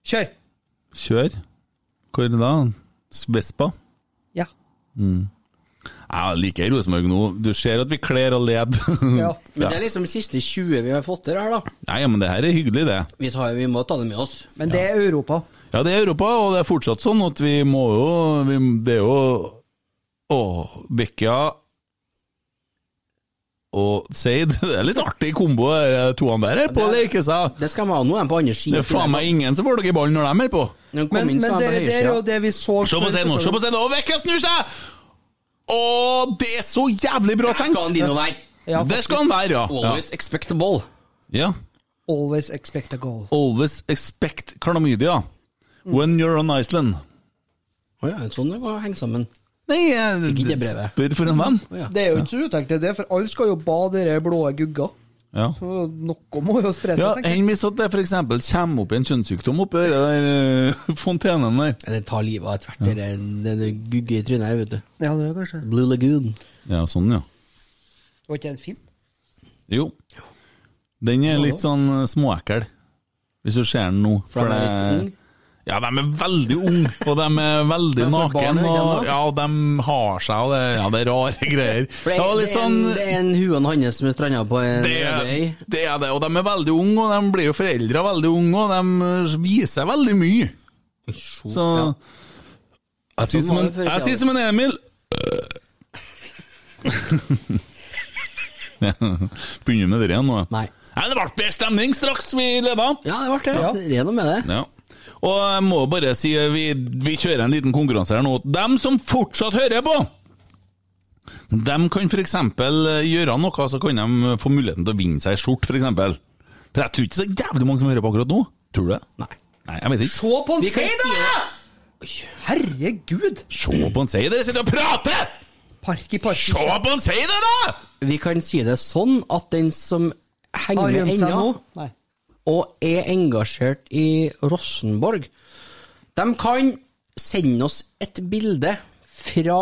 [SPEAKER 8] Kjør!
[SPEAKER 6] Kjør. Hvor da? Vespa?
[SPEAKER 8] Ja.
[SPEAKER 6] Mm. Jeg liker Rosenborg nå. Du ser at vi kler og led. ja.
[SPEAKER 7] Men det er liksom de siste 20 vi har fått til her, da.
[SPEAKER 6] Nei, men det her er hyggelig, det.
[SPEAKER 7] Vi, tar, vi må ta det med oss.
[SPEAKER 8] Men det er Europa.
[SPEAKER 6] Ja, det er Europa, og det er fortsatt sånn at vi må jo vi, Det er jo Å, Vecchia og Seid. Det er litt artig kombo, de toene der er på å leke seg.
[SPEAKER 7] Det skal de ha nå, de på andre siden.
[SPEAKER 6] Det er faen meg ingen som får dere i ballen når de er på.
[SPEAKER 7] Men,
[SPEAKER 8] Men, men det, det er jo det vi så
[SPEAKER 6] Se på
[SPEAKER 8] før
[SPEAKER 6] scenen nå, se på
[SPEAKER 8] sesongen.
[SPEAKER 6] scenen nå, og Vecchia snur seg! Å, det er så jævlig bra tenkt!
[SPEAKER 7] skal han dino være.
[SPEAKER 8] Ja,
[SPEAKER 6] Der skal han være, ja.
[SPEAKER 7] Always expect the ball.
[SPEAKER 6] ja. ja.
[SPEAKER 8] Always expect a goal.
[SPEAKER 6] Always expect chlamydia when you're on Iceland.
[SPEAKER 7] Å ja, sånn det var å henge sammen.
[SPEAKER 6] Nei, jeg
[SPEAKER 7] Fikk ikke det brevet.
[SPEAKER 6] spør for en venn.
[SPEAKER 8] Det er jo ikke så utenkt det, for alle skal jo bade i de blå gugga.
[SPEAKER 6] Ja.
[SPEAKER 8] Så noe må jo spre seg,
[SPEAKER 6] Ja,
[SPEAKER 8] tenker jeg.
[SPEAKER 6] Enn hvis at det f.eks. kommer opp en kjønnssykdom oppi det der eh, fontenen der.
[SPEAKER 7] Det tar livet av ethvert ja. det, det gugge i trynet her, vet du.
[SPEAKER 8] Ja, det er kanskje
[SPEAKER 7] Blue Lagoon.
[SPEAKER 6] Ja, sånn, ja.
[SPEAKER 8] Var ikke det en film?
[SPEAKER 6] Jo. Den er litt sånn eh, småekkel, hvis du ser den nå.
[SPEAKER 7] For de er litt ung.
[SPEAKER 6] Ja, de er veldig unge, og de er veldig
[SPEAKER 7] Men for barn
[SPEAKER 6] naken,
[SPEAKER 7] er det
[SPEAKER 6] og
[SPEAKER 7] ikke
[SPEAKER 6] ja, de har seg, og det, ja, det er rare greier.
[SPEAKER 7] For det,
[SPEAKER 6] Ja,
[SPEAKER 7] det,
[SPEAKER 6] litt
[SPEAKER 7] er en,
[SPEAKER 6] sånn
[SPEAKER 7] det er en huen hans som er stranda på en
[SPEAKER 6] det er,
[SPEAKER 7] øy.
[SPEAKER 6] det er det, og de er veldig unge, og de blir jo foreldre veldig unge, og de eh, viser veldig mye. Så Jeg sier som en, jeg sier som en Emil Begynner med det igjen nå.
[SPEAKER 7] Nei.
[SPEAKER 6] Ja, det ble bedre stemning straks vi leda.
[SPEAKER 7] Ja, det ble det. Det er noe med det.
[SPEAKER 6] Ja. Og jeg må bare si vi, vi kjører en liten konkurranse her nå. Dem som fortsatt hører på, dem kan f.eks. gjøre noe, så kan de få muligheten til å vinne seg ei skjorte, f.eks. For, eksempel. for jeg tror ikke så jævlig mange som hører på akkurat nå. Tror du det?
[SPEAKER 7] Nei.
[SPEAKER 6] Nei, jeg vet ikke.
[SPEAKER 8] Se på en
[SPEAKER 7] Vi kan
[SPEAKER 8] scene!
[SPEAKER 7] si det.
[SPEAKER 8] Herregud!
[SPEAKER 6] Se på en seier, dere sitter og prater!
[SPEAKER 8] Park i park.
[SPEAKER 6] Se på en seier, da!
[SPEAKER 7] Vi kan si det sånn at den som henger
[SPEAKER 8] Har
[SPEAKER 7] med
[SPEAKER 8] gjemt seg nå?
[SPEAKER 7] ennå,
[SPEAKER 8] Nei.
[SPEAKER 7] og er engasjert i Rosenborg, de kan sende oss et bilde fra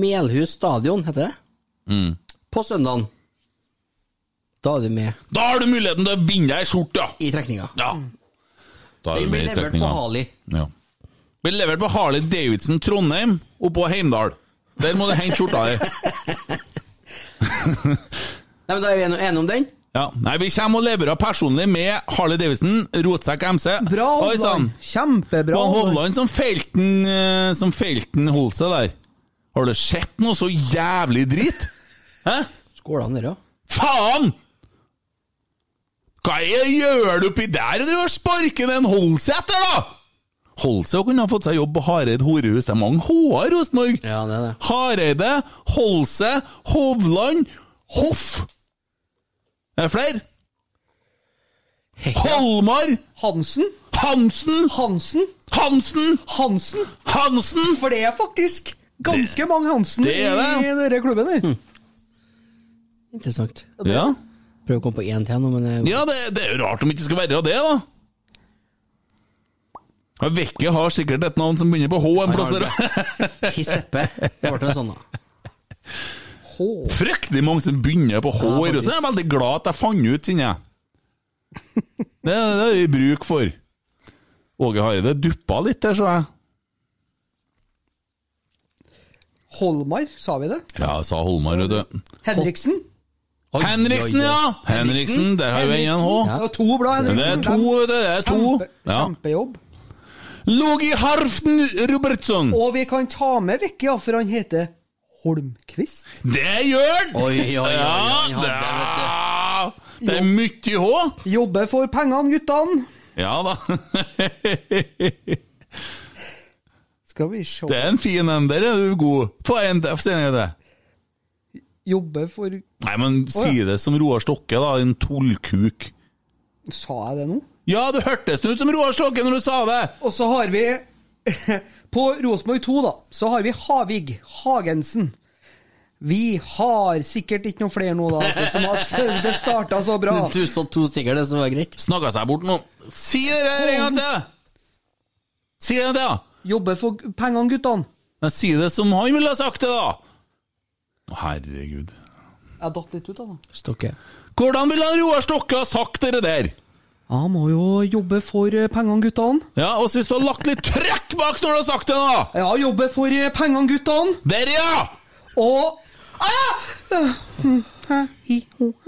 [SPEAKER 7] Melhus stadion, heter det,
[SPEAKER 6] Mm.
[SPEAKER 7] på søndagen. Da er du med
[SPEAKER 6] Da har du muligheten til å vinne deg ei skjorte, ja!
[SPEAKER 7] i trekninga.
[SPEAKER 6] ja. Da er
[SPEAKER 7] Den
[SPEAKER 6] du med
[SPEAKER 7] blir
[SPEAKER 6] i
[SPEAKER 7] levert på
[SPEAKER 6] trekninga.
[SPEAKER 7] Hali.
[SPEAKER 6] Ja. Blir levert på Harley Davidson Trondheim oppå Heimdal. Der må du hente skjorta di.
[SPEAKER 7] Nei, men Da er vi enige om den?
[SPEAKER 6] Ja. Nei, vi kommer og leverer personlig med Harley Davidson, rotsekk MC.
[SPEAKER 8] Bra,
[SPEAKER 6] Oi
[SPEAKER 8] Hovland!
[SPEAKER 6] sann! Det
[SPEAKER 8] Kjempebra!
[SPEAKER 6] var
[SPEAKER 8] Hovland.
[SPEAKER 6] Hovland som felten eh, Som felten holdt seg der. Har du sett noe så jævlig drit? Hæ?
[SPEAKER 7] Skålene der, ja.
[SPEAKER 6] Faen! Hva er, gjør du oppi der? Du har sparken en Holsæter, da! Holse kunne ha fått seg jobb på Hareid horehus. Det er mange H-er hos Norge. Hareide, Holse, Hovland, Hoff. Er det flere? Holmar!
[SPEAKER 8] Hansen.
[SPEAKER 6] Hansen!
[SPEAKER 8] Hansen!
[SPEAKER 6] Hansen!
[SPEAKER 8] Hansen!
[SPEAKER 6] Hansen!
[SPEAKER 8] For det er faktisk ganske mange Hansen
[SPEAKER 7] det er det.
[SPEAKER 8] i denne klubben her.
[SPEAKER 6] Hmm.
[SPEAKER 7] Interessant.
[SPEAKER 6] Ja.
[SPEAKER 7] Prøver å komme på én til nå, men jeg-
[SPEAKER 6] Ja, det, det er jo rart om det ikke skal være det, da. Ja, Vekke har sikkert et navn som begynner på H en plass der.
[SPEAKER 7] Hiseppe. Det ble det sånn, da.
[SPEAKER 6] Fryktelig mange som begynner på H.
[SPEAKER 7] Ja,
[SPEAKER 6] i Russland. Jeg er veldig glad at jeg fant ut den, jeg. Det, det har vi bruk for. Åge Hareide duppa litt der, så jeg.
[SPEAKER 8] Holmar, sa vi det?
[SPEAKER 6] Ja, sa Holmar, vet du.
[SPEAKER 8] Henriksen?
[SPEAKER 6] Henriksen, ja! Henriksen, der har vi en H.
[SPEAKER 8] Ja, det var to blad, Henriksen.
[SPEAKER 6] Det er to, vet du. Det er to.
[SPEAKER 8] Kjempe-
[SPEAKER 6] Ja.
[SPEAKER 8] Kjempejobb.
[SPEAKER 6] Logi Harften Robertson!
[SPEAKER 8] Og vi kan ta med Vekke, ja, for han heter Holmquist.
[SPEAKER 6] Det gjør han!
[SPEAKER 8] Oi, oi, oi,
[SPEAKER 6] Ja,
[SPEAKER 8] han hadde
[SPEAKER 6] da. Det er mye H.
[SPEAKER 8] Jobber for pengene, guttene.
[SPEAKER 6] Ja da.
[SPEAKER 8] Skal vi se
[SPEAKER 6] Det er en fin en. Der er du god. Få en til, få se en til.
[SPEAKER 8] Jobber for
[SPEAKER 6] Nei, men
[SPEAKER 8] Å,
[SPEAKER 6] si
[SPEAKER 8] ja.
[SPEAKER 6] det som Roar Stokke, da. En tullkuk.
[SPEAKER 8] Sa jeg det nå?
[SPEAKER 6] Ja, det hørtes ut som Roar Stokke når du sa det!
[SPEAKER 8] Og så har vi På Rosenborg 2, da, så har vi Havig Hagensen. Vi har sikkert ikke noen flere nå, da, ettersom at det starta så bra.
[SPEAKER 7] Du så to stykker, det som var greit.
[SPEAKER 6] Snakka seg bort nå. Si det der en gang til! Si det, da!
[SPEAKER 8] Jobber for pengene, guttene.
[SPEAKER 6] Men si det som han ville ha sagt det, da! Å, Herregud.
[SPEAKER 8] Jeg datt litt ut av det.
[SPEAKER 7] Stokke.
[SPEAKER 6] Hvordan ville han Roar Stokke ha sagt det der?
[SPEAKER 8] Jeg må jo jobbe for eh, pengene, guttene.
[SPEAKER 6] Ja, og så hvis du har lagt litt trøkk bak når du har sagt det, da!
[SPEAKER 8] Ja, jobbe for eh, pengene, guttene.
[SPEAKER 6] Der, ja!
[SPEAKER 8] Og ah!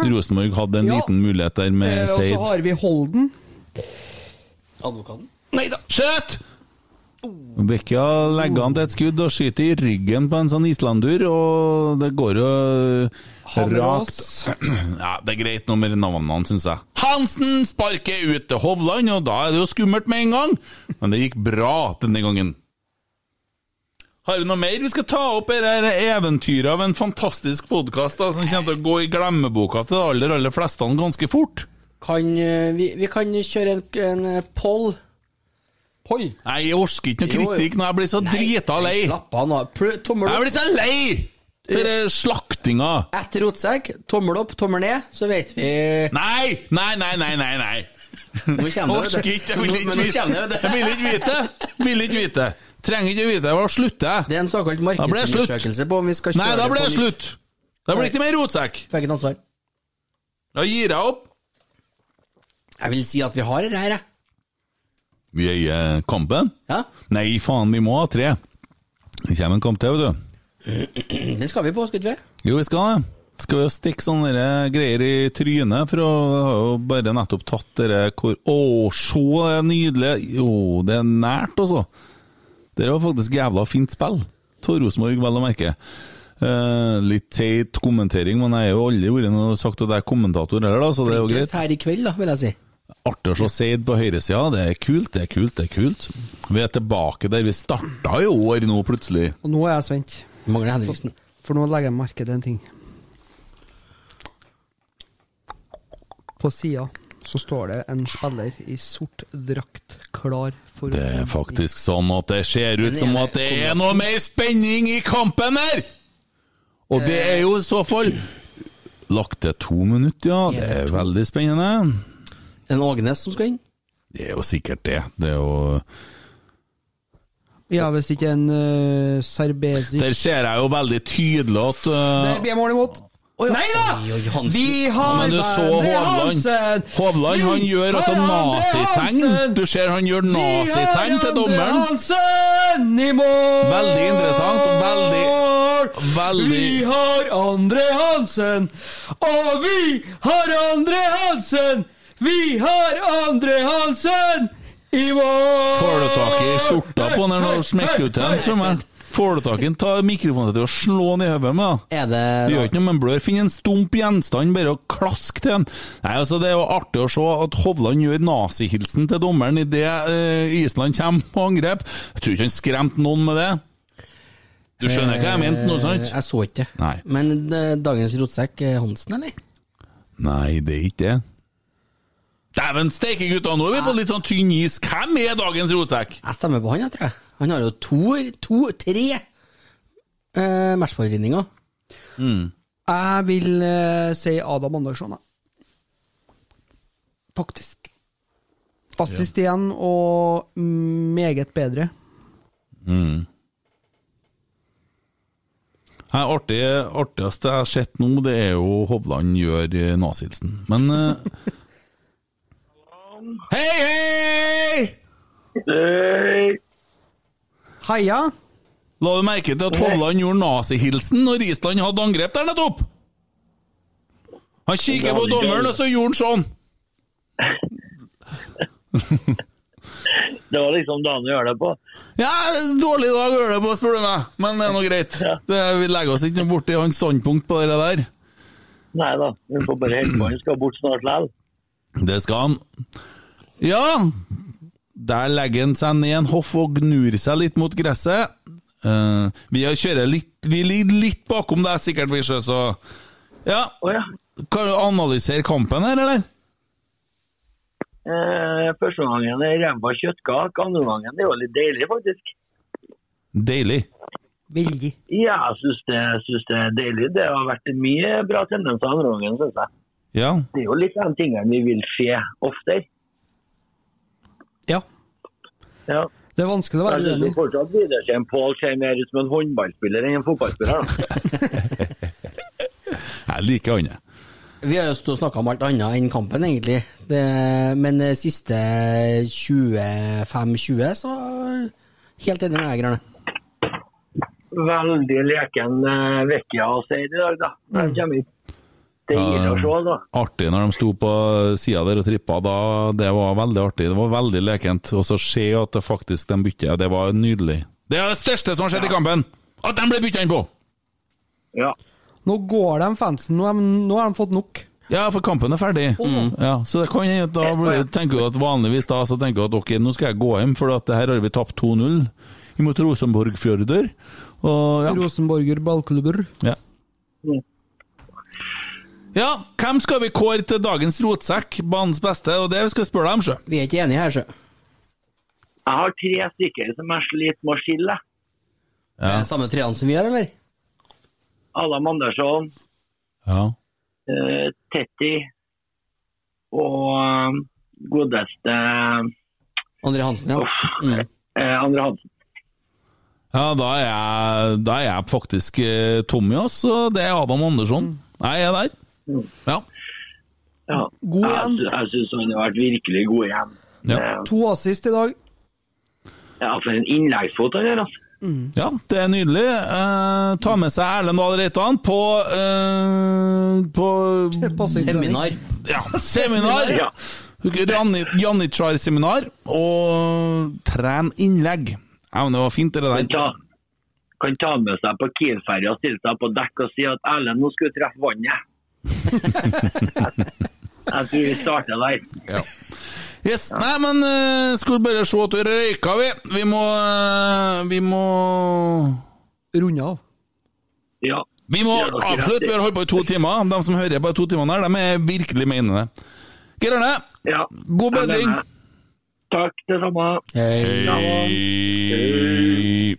[SPEAKER 6] Rosenborg hadde en
[SPEAKER 8] Ja.
[SPEAKER 6] liten mulighet der
[SPEAKER 8] Eh,
[SPEAKER 6] med
[SPEAKER 8] Og så
[SPEAKER 6] Seid.
[SPEAKER 8] har vi Holden.
[SPEAKER 7] Advokaten.
[SPEAKER 6] Nei da. Skjøt! Bekkja legger han til et skudd og skyter i ryggen på en sånn islandur, og det går jo rakt
[SPEAKER 8] Hammerås.
[SPEAKER 6] Ja, det er greit nå med navnene, syns jeg. Hansen sparker ut til Hovland, og da er det jo skummelt med en gang. Men det gikk bra denne gangen. Har vi noe mer? Vi skal ta opp det her eventyret av en fantastisk podkast som kommer til å gå i glemmeboka til de aller, aller fleste ganske fort.
[SPEAKER 7] Kan, eh, vi, vi kan kjøre en, en eh, poll. Poll?
[SPEAKER 6] Nei, jeg orker ikke noe kritikk nå, jeg blir så drita lei.
[SPEAKER 7] Slapp av nå. Pl- Tommel
[SPEAKER 6] Jeg blir så lei! Dere
[SPEAKER 7] eh,
[SPEAKER 6] slaktinga.
[SPEAKER 7] Etter rotsekk, tommel opp, tommel ned, så vet vi
[SPEAKER 6] Nei, nei, nei, nei, nei. nei.
[SPEAKER 7] Nå kommer det,
[SPEAKER 6] Orker
[SPEAKER 7] vet
[SPEAKER 6] ikke, jeg
[SPEAKER 7] du.
[SPEAKER 6] vil
[SPEAKER 7] Nå-
[SPEAKER 6] ikke
[SPEAKER 7] men nå
[SPEAKER 6] vite.
[SPEAKER 7] kommer det, vet du.
[SPEAKER 6] Jeg vil ikke vite. Vil ikke vite. Trenger ikke vite. Da slutter jeg.
[SPEAKER 7] Det er en såkalt
[SPEAKER 6] Da blir det slutt.
[SPEAKER 7] markedsundersøkelse på om vi skal kjøre
[SPEAKER 6] Nei, da blir
[SPEAKER 7] på
[SPEAKER 6] det
[SPEAKER 7] nytt.
[SPEAKER 6] slutt. Da blir det ikke mer rotsekk.
[SPEAKER 7] Får jeg ikke noe ansvar.
[SPEAKER 6] Da gir jeg opp.
[SPEAKER 7] Jeg vil si at vi har det her, jeg.
[SPEAKER 6] Vi er i eh, kampen.
[SPEAKER 7] Ja.
[SPEAKER 6] Nei, faen, vi må ha tre. Det kommer en kamp til, vet du.
[SPEAKER 7] Den skal vi på, skal ikke vi?
[SPEAKER 6] Jo, vi skal det. Skal vi jo stikke sånne der eh, greier i trynet, for å har jo bare nettopp tatt dere hvor Å, se det nydelige Å, det er nært, altså. Det var faktisk jævla fint spill. Av Rosenborg, vel å merke. Eh, litt teit kommentering, men jeg har jo aldri vært noe sagt at jeg er kommentator heller, da, så det er jo greit.
[SPEAKER 7] Flinkest her i kveld, da, vil jeg si.
[SPEAKER 6] Artig å se Seid på høyresida. Det er kult, det er kult, det er kult. Vi er tilbake der vi starta i år nå, plutselig.
[SPEAKER 8] Og nå er jeg spent.
[SPEAKER 7] Mangler Henriksen.
[SPEAKER 8] For nå legger jeg merke til en ting. På sida så står det en spiller i sort drakt klar for
[SPEAKER 6] Det er faktisk sånn at det ser ut som at det er noe mer spenning i kampen her! Og det er jo i så fall Lagt til to minutter, ja. Det er veldig spennende.
[SPEAKER 7] En Ågnes som skal inn.
[SPEAKER 6] Det er jo sikkert det. Det er jo
[SPEAKER 8] Ja, hvis ikke en uh, Serbesic
[SPEAKER 6] Der ser jeg jo veldig tydelig at
[SPEAKER 8] Det
[SPEAKER 6] eh,
[SPEAKER 8] blir mål imot. Nei da! Vi har
[SPEAKER 6] Men du så Hovland. Hovland han gjør altså nazitegn. Du ser han gjør nazitegn til dommeren.
[SPEAKER 8] Hansen i mål!
[SPEAKER 6] Veldig interessant. Veldig Veldig
[SPEAKER 8] Vi har Andre Hansen, og vi har Andre Hansen! Vi har Andre Hansen i mål!
[SPEAKER 6] Får du tak i skjorta på den når du smekker ut den for meg? Får du tak i den, ta mikrofonen til og slå den i hodet med den.
[SPEAKER 7] Er det
[SPEAKER 6] Du gjør ikke noe med en blør. Finn en stump gjenstand, bare og klask til den. Nei, altså Det er jo artig å se at Hovland gjør nazihilsen til dommeren idet uh, Island kommer på angrep. Jeg tror ikke han skremte noen med det. Du skjønner hva jeg mente nå, sant?
[SPEAKER 7] Eh, Jeg så ikke det.
[SPEAKER 6] Nei.
[SPEAKER 7] Men eh, dagens rotsekk er Hansen, eller?
[SPEAKER 6] Nei, det er ikke det. Dæven steike, gutta! Nå er vi på litt sånn tynn is. Hvem er dagens rotsekk?
[SPEAKER 7] Jeg stemmer på han, jeg tror jeg. Han har jo to, to tre eh, matchballredninger.
[SPEAKER 8] Jeg vil eh, si Adam Andersson, da. Faktisk. Assist igjen, og meget bedre.
[SPEAKER 6] Mm. Nei, artig, artigste jeg har sett nå, det er jo Hovland gjør eh, nazihilsen. Men eh, Hei, hei!
[SPEAKER 8] Hei! Heia!
[SPEAKER 6] la du merke til at Hovland gjorde nazihilsen når Island hadde angrep der nettopp? Han kikker på dommeren, og så gjorde han sånn.
[SPEAKER 16] Det var liksom dagen å gjøre det på.
[SPEAKER 6] Ja, dårlig dag å gjøre det på, spør du meg, men det er nå greit. Det, vi legger oss ikke noe borti hans standpunkt på det der.
[SPEAKER 16] Nei da, vi får bare helt på. Han skal bort snart likevel.
[SPEAKER 6] Det skal han. Ja! Der legger han seg ned en hoff og gnur seg litt mot gresset. Eh, vi har- kjører litt Vi ligger litt bakom deg, sikkert, vi, sjø, så Ja. Kan du analysere kampen her, eller?
[SPEAKER 16] Eh, første gangen er ræva kjøttkake, andre gangen er jo litt deilig, faktisk.
[SPEAKER 6] Deilig.
[SPEAKER 8] Veldig.
[SPEAKER 16] Ja, jeg syns det, jeg synes det er deilig. Det har vært mye bra tendenser andre gangen, syns jeg.
[SPEAKER 6] Ja.
[SPEAKER 16] Det er jo litt den tingene vi vil se oftere.
[SPEAKER 8] Ja.
[SPEAKER 16] Ja.
[SPEAKER 8] Det er vanskelig å
[SPEAKER 16] Jeg
[SPEAKER 8] være
[SPEAKER 16] synes
[SPEAKER 8] uenig.
[SPEAKER 16] jo fortsatt Widersen Pål ser mer ut som en håndballspiller enn en fotballspiller. da.
[SPEAKER 6] Jeg liker han, jeg.
[SPEAKER 7] Vi har jo stått og snakka om alt annet enn kampen, egentlig. Det, men eh, siste 25-20, så helt enig med deg, Grønne.
[SPEAKER 16] Veldig leken uh, Vekkia sier i dag, da.
[SPEAKER 8] Mm.
[SPEAKER 16] Når han kommer hit. Det gir å se, da.
[SPEAKER 6] Artig når de sto på sida der og trippa, da. Det var veldig artig. Det var veldig lekent. Og så se at det faktisk de bytter. Det var nydelig. Det er det største som har skjedd i kampen! At de ble bytta inn på!
[SPEAKER 8] Nå går de fansen. Nå har de, nå har de fått nok.
[SPEAKER 6] Ja, for kampen er ferdig.
[SPEAKER 8] Mm.
[SPEAKER 6] Ja, så det kan hende at da blir, tenker du at vanligvis da så tenker du at ok, nå skal jeg gå hjem, for at det her har vi tapt 2-0 imot Rosenborg Fjorder. Og ja.
[SPEAKER 8] Rosenborger ballklubber.
[SPEAKER 6] ja. Ja, hvem skal vi kåre til dagens rotsekk, banens beste? Og det vi skal spørre dem, sjø.
[SPEAKER 7] Vi er ikke enige her, sjø.
[SPEAKER 16] Jeg har tre stykker som jeg sliter med å skille.
[SPEAKER 7] Er det Samme treene som vi har, eller?
[SPEAKER 16] Adam Andersson,
[SPEAKER 6] Ja.
[SPEAKER 16] eh, Tetti og eh, godeste
[SPEAKER 7] André Hansen, ja.
[SPEAKER 16] eh, Andre Hansen.
[SPEAKER 6] Ja, da er jeg, da er jeg faktisk eh, tom i oss, og det er Adam Andersson. Nei, jeg er der. Ja.
[SPEAKER 16] Ja.
[SPEAKER 8] God
[SPEAKER 16] igjen. Jeg, jeg syns han har vært virkelig god igjen. Eh,
[SPEAKER 8] To assist i dag.
[SPEAKER 16] Ja, for en innleggsfot han gjør, altså.
[SPEAKER 6] Ja, det er nydelig. Eh, ta med seg Erlend Dahl Reitan på eh, På
[SPEAKER 7] Seminar.
[SPEAKER 6] Ja, seminar!
[SPEAKER 7] Ja.
[SPEAKER 6] Rani- Janitsjar-seminar. Og tren innlegg. Ja, men det var fint, det
[SPEAKER 16] Kan ta,
[SPEAKER 6] der.
[SPEAKER 16] kan ta med seg på Kiel-ferja og stille seg på dekk og si at Erlend, nå skal du treffe vannet. jeg tror vi starter der.
[SPEAKER 6] Ja. Yes. Nei, men eh, skulle bare se at du røyka, vi. Vi må eh, Vi må
[SPEAKER 8] Runde av.
[SPEAKER 16] Ja.
[SPEAKER 6] Vi må
[SPEAKER 16] Det er nok rett.
[SPEAKER 6] avslutte. Vi har holdt på i to timer. De som hører på i to timer der, de er virkelig mener det. Geir Arne,
[SPEAKER 16] Ja.
[SPEAKER 6] god
[SPEAKER 16] Jeg
[SPEAKER 6] bedring!
[SPEAKER 16] mener det. Takk, det samme.
[SPEAKER 6] Hei.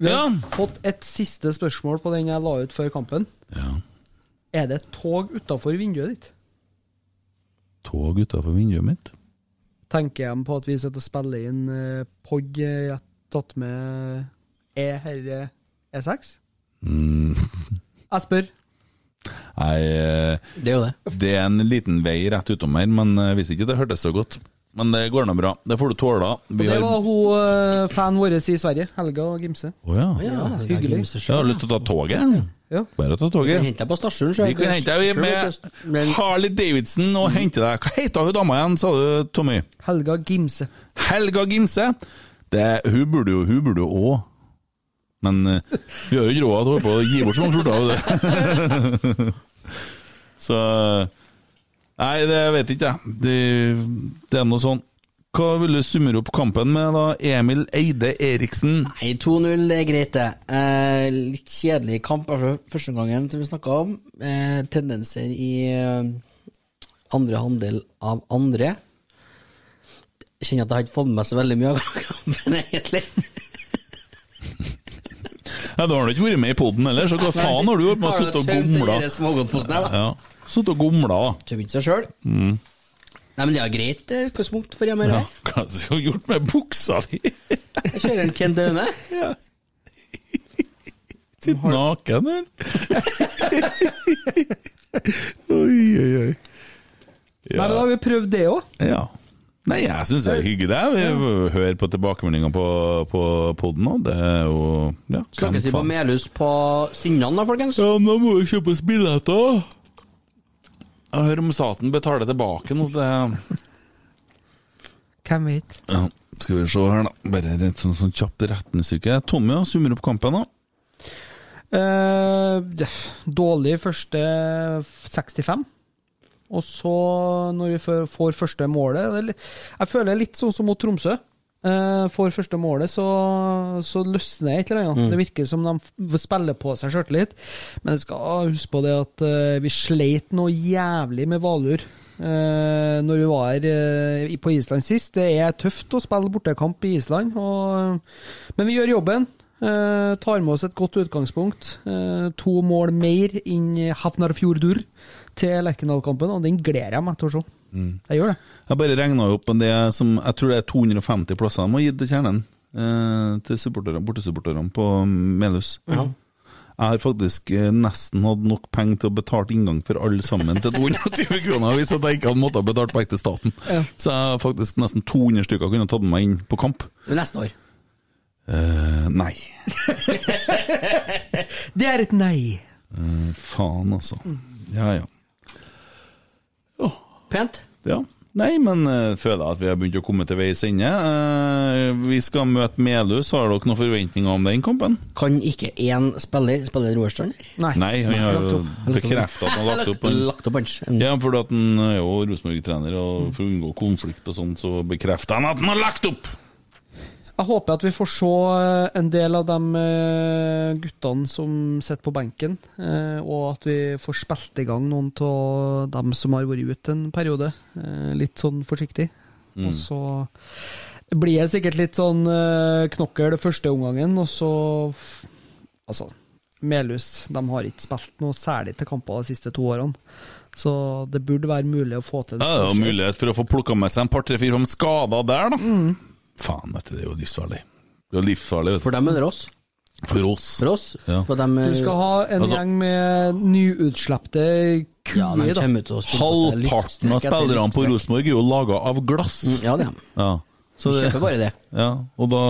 [SPEAKER 8] Vi har fått et siste spørsmål på den jeg la ut før kampen. Er det et tog utafor vinduet ditt?
[SPEAKER 6] Tog utafor vinduet mitt.
[SPEAKER 8] Tenker jeg på at vi sitter og spiller inn eh, pod eh, jeg har tatt med Er herre E6?
[SPEAKER 6] Mm.
[SPEAKER 8] Jeg spør.
[SPEAKER 6] Nei, eh,
[SPEAKER 7] Det er jo det.
[SPEAKER 6] det er en liten vei rett utom her, men eh, hvis ikke det hørtes så godt. Men det går nå bra. Det får du tåle.
[SPEAKER 8] Og
[SPEAKER 6] Vi
[SPEAKER 8] det
[SPEAKER 6] har
[SPEAKER 8] var hun eh, fan vår i Sverige, Helga Gimse.
[SPEAKER 6] Å ja.
[SPEAKER 8] hyggelig.
[SPEAKER 6] Jeg har lyst til å ta toget.
[SPEAKER 8] Ja.
[SPEAKER 6] Bare ta toget.
[SPEAKER 7] Hent deg på stasjonen, sjø.
[SPEAKER 6] Vi kan hente deg med Harley Davidson og hente deg Hva heter hun dama igjen, sa du, Tommy?
[SPEAKER 8] Helga Gimse.
[SPEAKER 6] Helga Gimse. Det, hun burde jo hun burde jo òg Men eh, vi har jo ikke råd til å holde på å gi bort så mange skjorter. vet du. så Nei, det vet ikke jeg. Det, det er noe sånn. Hva vil du summere opp kampen med, da? Emil Eide Eriksen?
[SPEAKER 7] Nei, 2-0 er greit, det. Eh, litt kjedelig kamp altså, første gangen som vi snakka om. Eh, tendenser i eh, andre handel av andre. Jeg kjenner at jeg har ikke fått med meg så veldig mye av kampen, egentlig.
[SPEAKER 6] Nei, da har du ikke vært med i poden heller, så hva faen har du gjort med å sitte og gomle?
[SPEAKER 7] gomle?
[SPEAKER 6] Ja. Sitte og gomle, da.
[SPEAKER 7] Tømmer ikke seg sjøl.
[SPEAKER 6] Mm.
[SPEAKER 7] Nei, men det er greit eh, utgangspunkt for hjemme.
[SPEAKER 6] Ja.
[SPEAKER 7] Ja.
[SPEAKER 6] Hva har du gjort med buksa di?
[SPEAKER 7] Jeg kjører en Kent Aune.
[SPEAKER 6] Sitter naken her. oi, oi, oi.
[SPEAKER 5] Nei, men da har vi prøvd det òg.
[SPEAKER 6] Ja. Nei, jeg syns det er hyggelig. det. Vi hører på tilbakemeldingene på, på poden nå. Det er jo ja, hvem
[SPEAKER 7] Snakkes vi på
[SPEAKER 6] faen?
[SPEAKER 7] Melhus på Synnan da, folkens?
[SPEAKER 6] Ja, men da må jo kjøpes billetter. Jeg hører om staten betaler tilbake noe. Det
[SPEAKER 8] Hvem vet?
[SPEAKER 6] ja, skal vi se her, da. Bare et sånn, sånn kjapt retningsstykke. Tommy ja, summer opp kampen, da.
[SPEAKER 8] Eh, det- dårlig første 65. Og så, når vi får- får første målet det er litt- Jeg føler litt sånn som mot Tromsø. Eh, får første målet, så, så løsner et eller annet.
[SPEAKER 5] Mm.
[SPEAKER 8] Det virker som de f- spiller på seg sjøltillit. Men jeg skal huske på det at eh, vi sleit noe jævlig med Valur eh, når vi var eh, i- på Island sist. Det er tøft å spille bortekamp i Island, og, men vi gjør jobben. Eh, tar med oss et godt utgangspunkt. Eh, to mål mer inn i Hafnarfjordur til Lerkendal-kampen, og den gleder jeg meg til å se.
[SPEAKER 6] Mm.
[SPEAKER 8] Jeg gjør det.
[SPEAKER 6] Jeg bare regna opp men det er som Jeg tror det er 250 plasser de har gitt til kjernen. Eh, til supporterne- bortesupporterne på Melhus.
[SPEAKER 7] Ja.
[SPEAKER 6] Jeg har faktisk eh, nesten hatt nok penger til å betale inngang for alle sammen til 220 kroner, hvis at jeg ikke hadde måttet ha betalt penger til staten.
[SPEAKER 7] Ja.
[SPEAKER 6] Så jeg har faktisk nesten 200 stykker kunne tatt med meg inn på kamp.
[SPEAKER 7] Neste år.
[SPEAKER 6] Eh, nei.
[SPEAKER 8] Det er et nei.
[SPEAKER 6] Eh, faen, altså. Ja, ja.
[SPEAKER 7] Pent.
[SPEAKER 6] Ja. Nei, men eh, føler jeg at vi har begynt å komme til veis ende. Eh, vi skal møte Melhus. Har dere noen forventninger om den kampen?
[SPEAKER 7] Kan ikke én spiller spille Roar Strand? her?
[SPEAKER 6] Nei, han har
[SPEAKER 7] lagt
[SPEAKER 6] jo
[SPEAKER 7] opp.
[SPEAKER 6] bekreftet at han har lagt opp. Mm.
[SPEAKER 7] Lagt-
[SPEAKER 6] Han-
[SPEAKER 7] Lagt opp hans.
[SPEAKER 6] Ja, fordi at han er jo Rosenborg-trener, og for å unngå konflikt og sånn, så bekrefter han at han har lagt opp!
[SPEAKER 8] Jeg håper at vi får se eh, en del av de eh, guttene som sitter på benken, eh, og at vi får spilt i gang noen av dem som har vært ute en periode, eh, litt sånn forsiktig.
[SPEAKER 5] Mm.
[SPEAKER 8] Og så blir jeg sikkert litt sånn eh, knokkel det første omgangen, og så f- Altså, Melhus de har ikke spilt noe særlig til kamper de siste to årene, så det burde være mulig å få til
[SPEAKER 6] Ja,
[SPEAKER 8] det.
[SPEAKER 6] Det er jo mulighet for å få plukka med seg en par, tre, fire, fem skader der, da. Faen, vet du, det er jo livsfarlig. Det er jo livsfarlig, vet du.
[SPEAKER 7] For dem eller oss?
[SPEAKER 6] For oss.
[SPEAKER 7] For oss?
[SPEAKER 6] Ja.
[SPEAKER 7] For dem,
[SPEAKER 8] Du skal ha en
[SPEAKER 6] Altså-
[SPEAKER 8] gjeng med nyutslepte kuer,
[SPEAKER 7] Ja, de
[SPEAKER 8] da.
[SPEAKER 7] kommer til å spille på seg
[SPEAKER 6] Halvparten av
[SPEAKER 7] lyststrekk etter
[SPEAKER 6] spillerne på
[SPEAKER 7] lyststrekk.
[SPEAKER 6] Rosenborg er jo laga av glass.
[SPEAKER 7] Ja, det er de.
[SPEAKER 6] Ja. Mm. Så
[SPEAKER 7] Vi kjøper bare det.
[SPEAKER 6] Ja, og da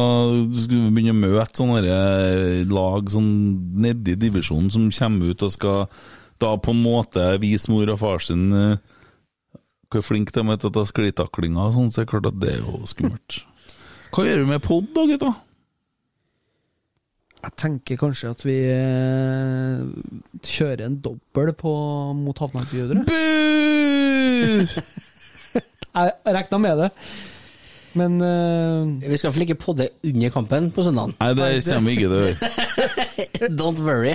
[SPEAKER 6] skal vi begynne å møte sånne der lag sånn nedi divisjonen som kommer ut og skal da på en måte vise mor og far sin eh, hvor flink de er til å ta sklitaklinger og sånn, så er det klart at det er jo skummelt. Hva gjør du med pod da, gutta?
[SPEAKER 8] Jeg tenker kanskje at vi eh, kjører en dobbel på, mot Havnarfjordere. Jeg regna med det, men eh,
[SPEAKER 7] Vi skal i hvert fall ikke podde under kampen på søndagen.
[SPEAKER 6] Nei, det kommer vi ikke til å gjøre.
[SPEAKER 7] Don't worry.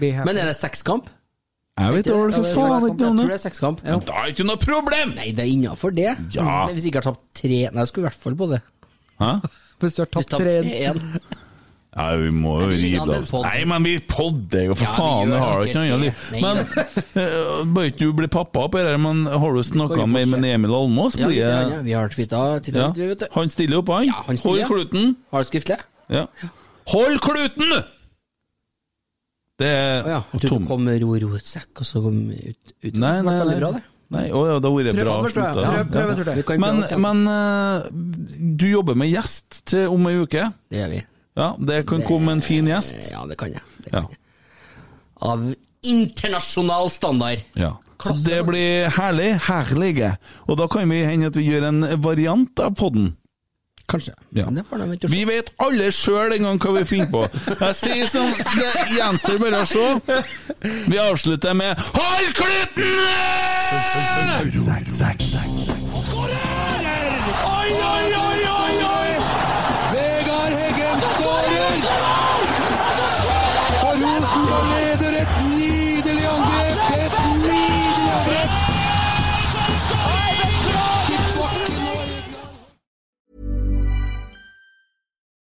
[SPEAKER 8] happy.
[SPEAKER 7] Men er det sekskamp?
[SPEAKER 6] Jeg vet
[SPEAKER 7] Ja,
[SPEAKER 6] da,
[SPEAKER 7] det
[SPEAKER 6] for faen
[SPEAKER 7] sekskamp.
[SPEAKER 6] ikke noe om
[SPEAKER 7] Jeg tror det
[SPEAKER 6] det.
[SPEAKER 7] er sekskamp.
[SPEAKER 6] Men Da er det ikke noe problem!
[SPEAKER 7] Nei, det er innafor det.
[SPEAKER 6] Ja.
[SPEAKER 7] Hvis jeg ikke har tapt tre Nei, jeg skulle i hvert fall på det.
[SPEAKER 6] Hæ?
[SPEAKER 8] hvis du har tapt
[SPEAKER 7] Tapt
[SPEAKER 8] tre
[SPEAKER 7] én.
[SPEAKER 6] Ja, vi må jo
[SPEAKER 7] Men vi
[SPEAKER 6] rive
[SPEAKER 7] hadde
[SPEAKER 6] av oss
[SPEAKER 7] podd.
[SPEAKER 6] Nei, men vi podder jo, for
[SPEAKER 7] Ja, vi
[SPEAKER 6] faen!
[SPEAKER 7] gjør
[SPEAKER 6] Det har jo ikke
[SPEAKER 7] sikkert
[SPEAKER 6] noe annet
[SPEAKER 7] det.
[SPEAKER 6] liv.
[SPEAKER 7] Nei,
[SPEAKER 6] Men eh, bør ikke du bli pappa på det her, men har du snakka mer med Emil Almås?
[SPEAKER 7] Ja,
[SPEAKER 6] Blir
[SPEAKER 7] litt,
[SPEAKER 6] jeg-
[SPEAKER 7] grann, ja. Vi har twitta litt,
[SPEAKER 6] Ja.
[SPEAKER 7] vi, vet du.
[SPEAKER 6] Han stiller opp, han.
[SPEAKER 7] Ja, han stiller.
[SPEAKER 6] Hold kluten!
[SPEAKER 7] Har du skriftlig?
[SPEAKER 6] Ja. Hold kluten! Det er
[SPEAKER 7] Å ja. Jeg trodde det kom ro, ro, sekk, og så kom ut, ut.
[SPEAKER 6] Nei, nei,
[SPEAKER 7] Det var
[SPEAKER 6] nei.
[SPEAKER 7] veldig bra, det.
[SPEAKER 6] nei. Å ja, det har vært bra
[SPEAKER 7] Prøv, tror jeg.
[SPEAKER 6] slutta.
[SPEAKER 7] Ja,
[SPEAKER 6] sånn.
[SPEAKER 7] prøv, prøv, tror jeg. Vi kan
[SPEAKER 6] Men,
[SPEAKER 7] prøve altså. oss, ja.
[SPEAKER 6] men eh, du jobber med gjest til om ei uke?
[SPEAKER 7] Det gjør vi.
[SPEAKER 6] Ja, det kan
[SPEAKER 7] Det-
[SPEAKER 6] komme en fin gjest.
[SPEAKER 7] Ja, det kan jeg. Det
[SPEAKER 6] Ja.
[SPEAKER 7] kan jeg. Av internasjonal standard.
[SPEAKER 6] Ja. Så det blir herlig. Herlige. Og da kan vi hende at vi gjør en variant av podden.
[SPEAKER 7] Kanskje. Men det får de ikke
[SPEAKER 6] Vi vet alle sjøl en gang hva vi finner på. Jeg sier som det gjenstår bare å se. Vi avslutter med Hold kluten!
[SPEAKER 4] Oi, oi, oi, oi, oi! Vegard Heggen skårer! Og Rosenborg leder et nydelig angrep! Et nydelig angrep!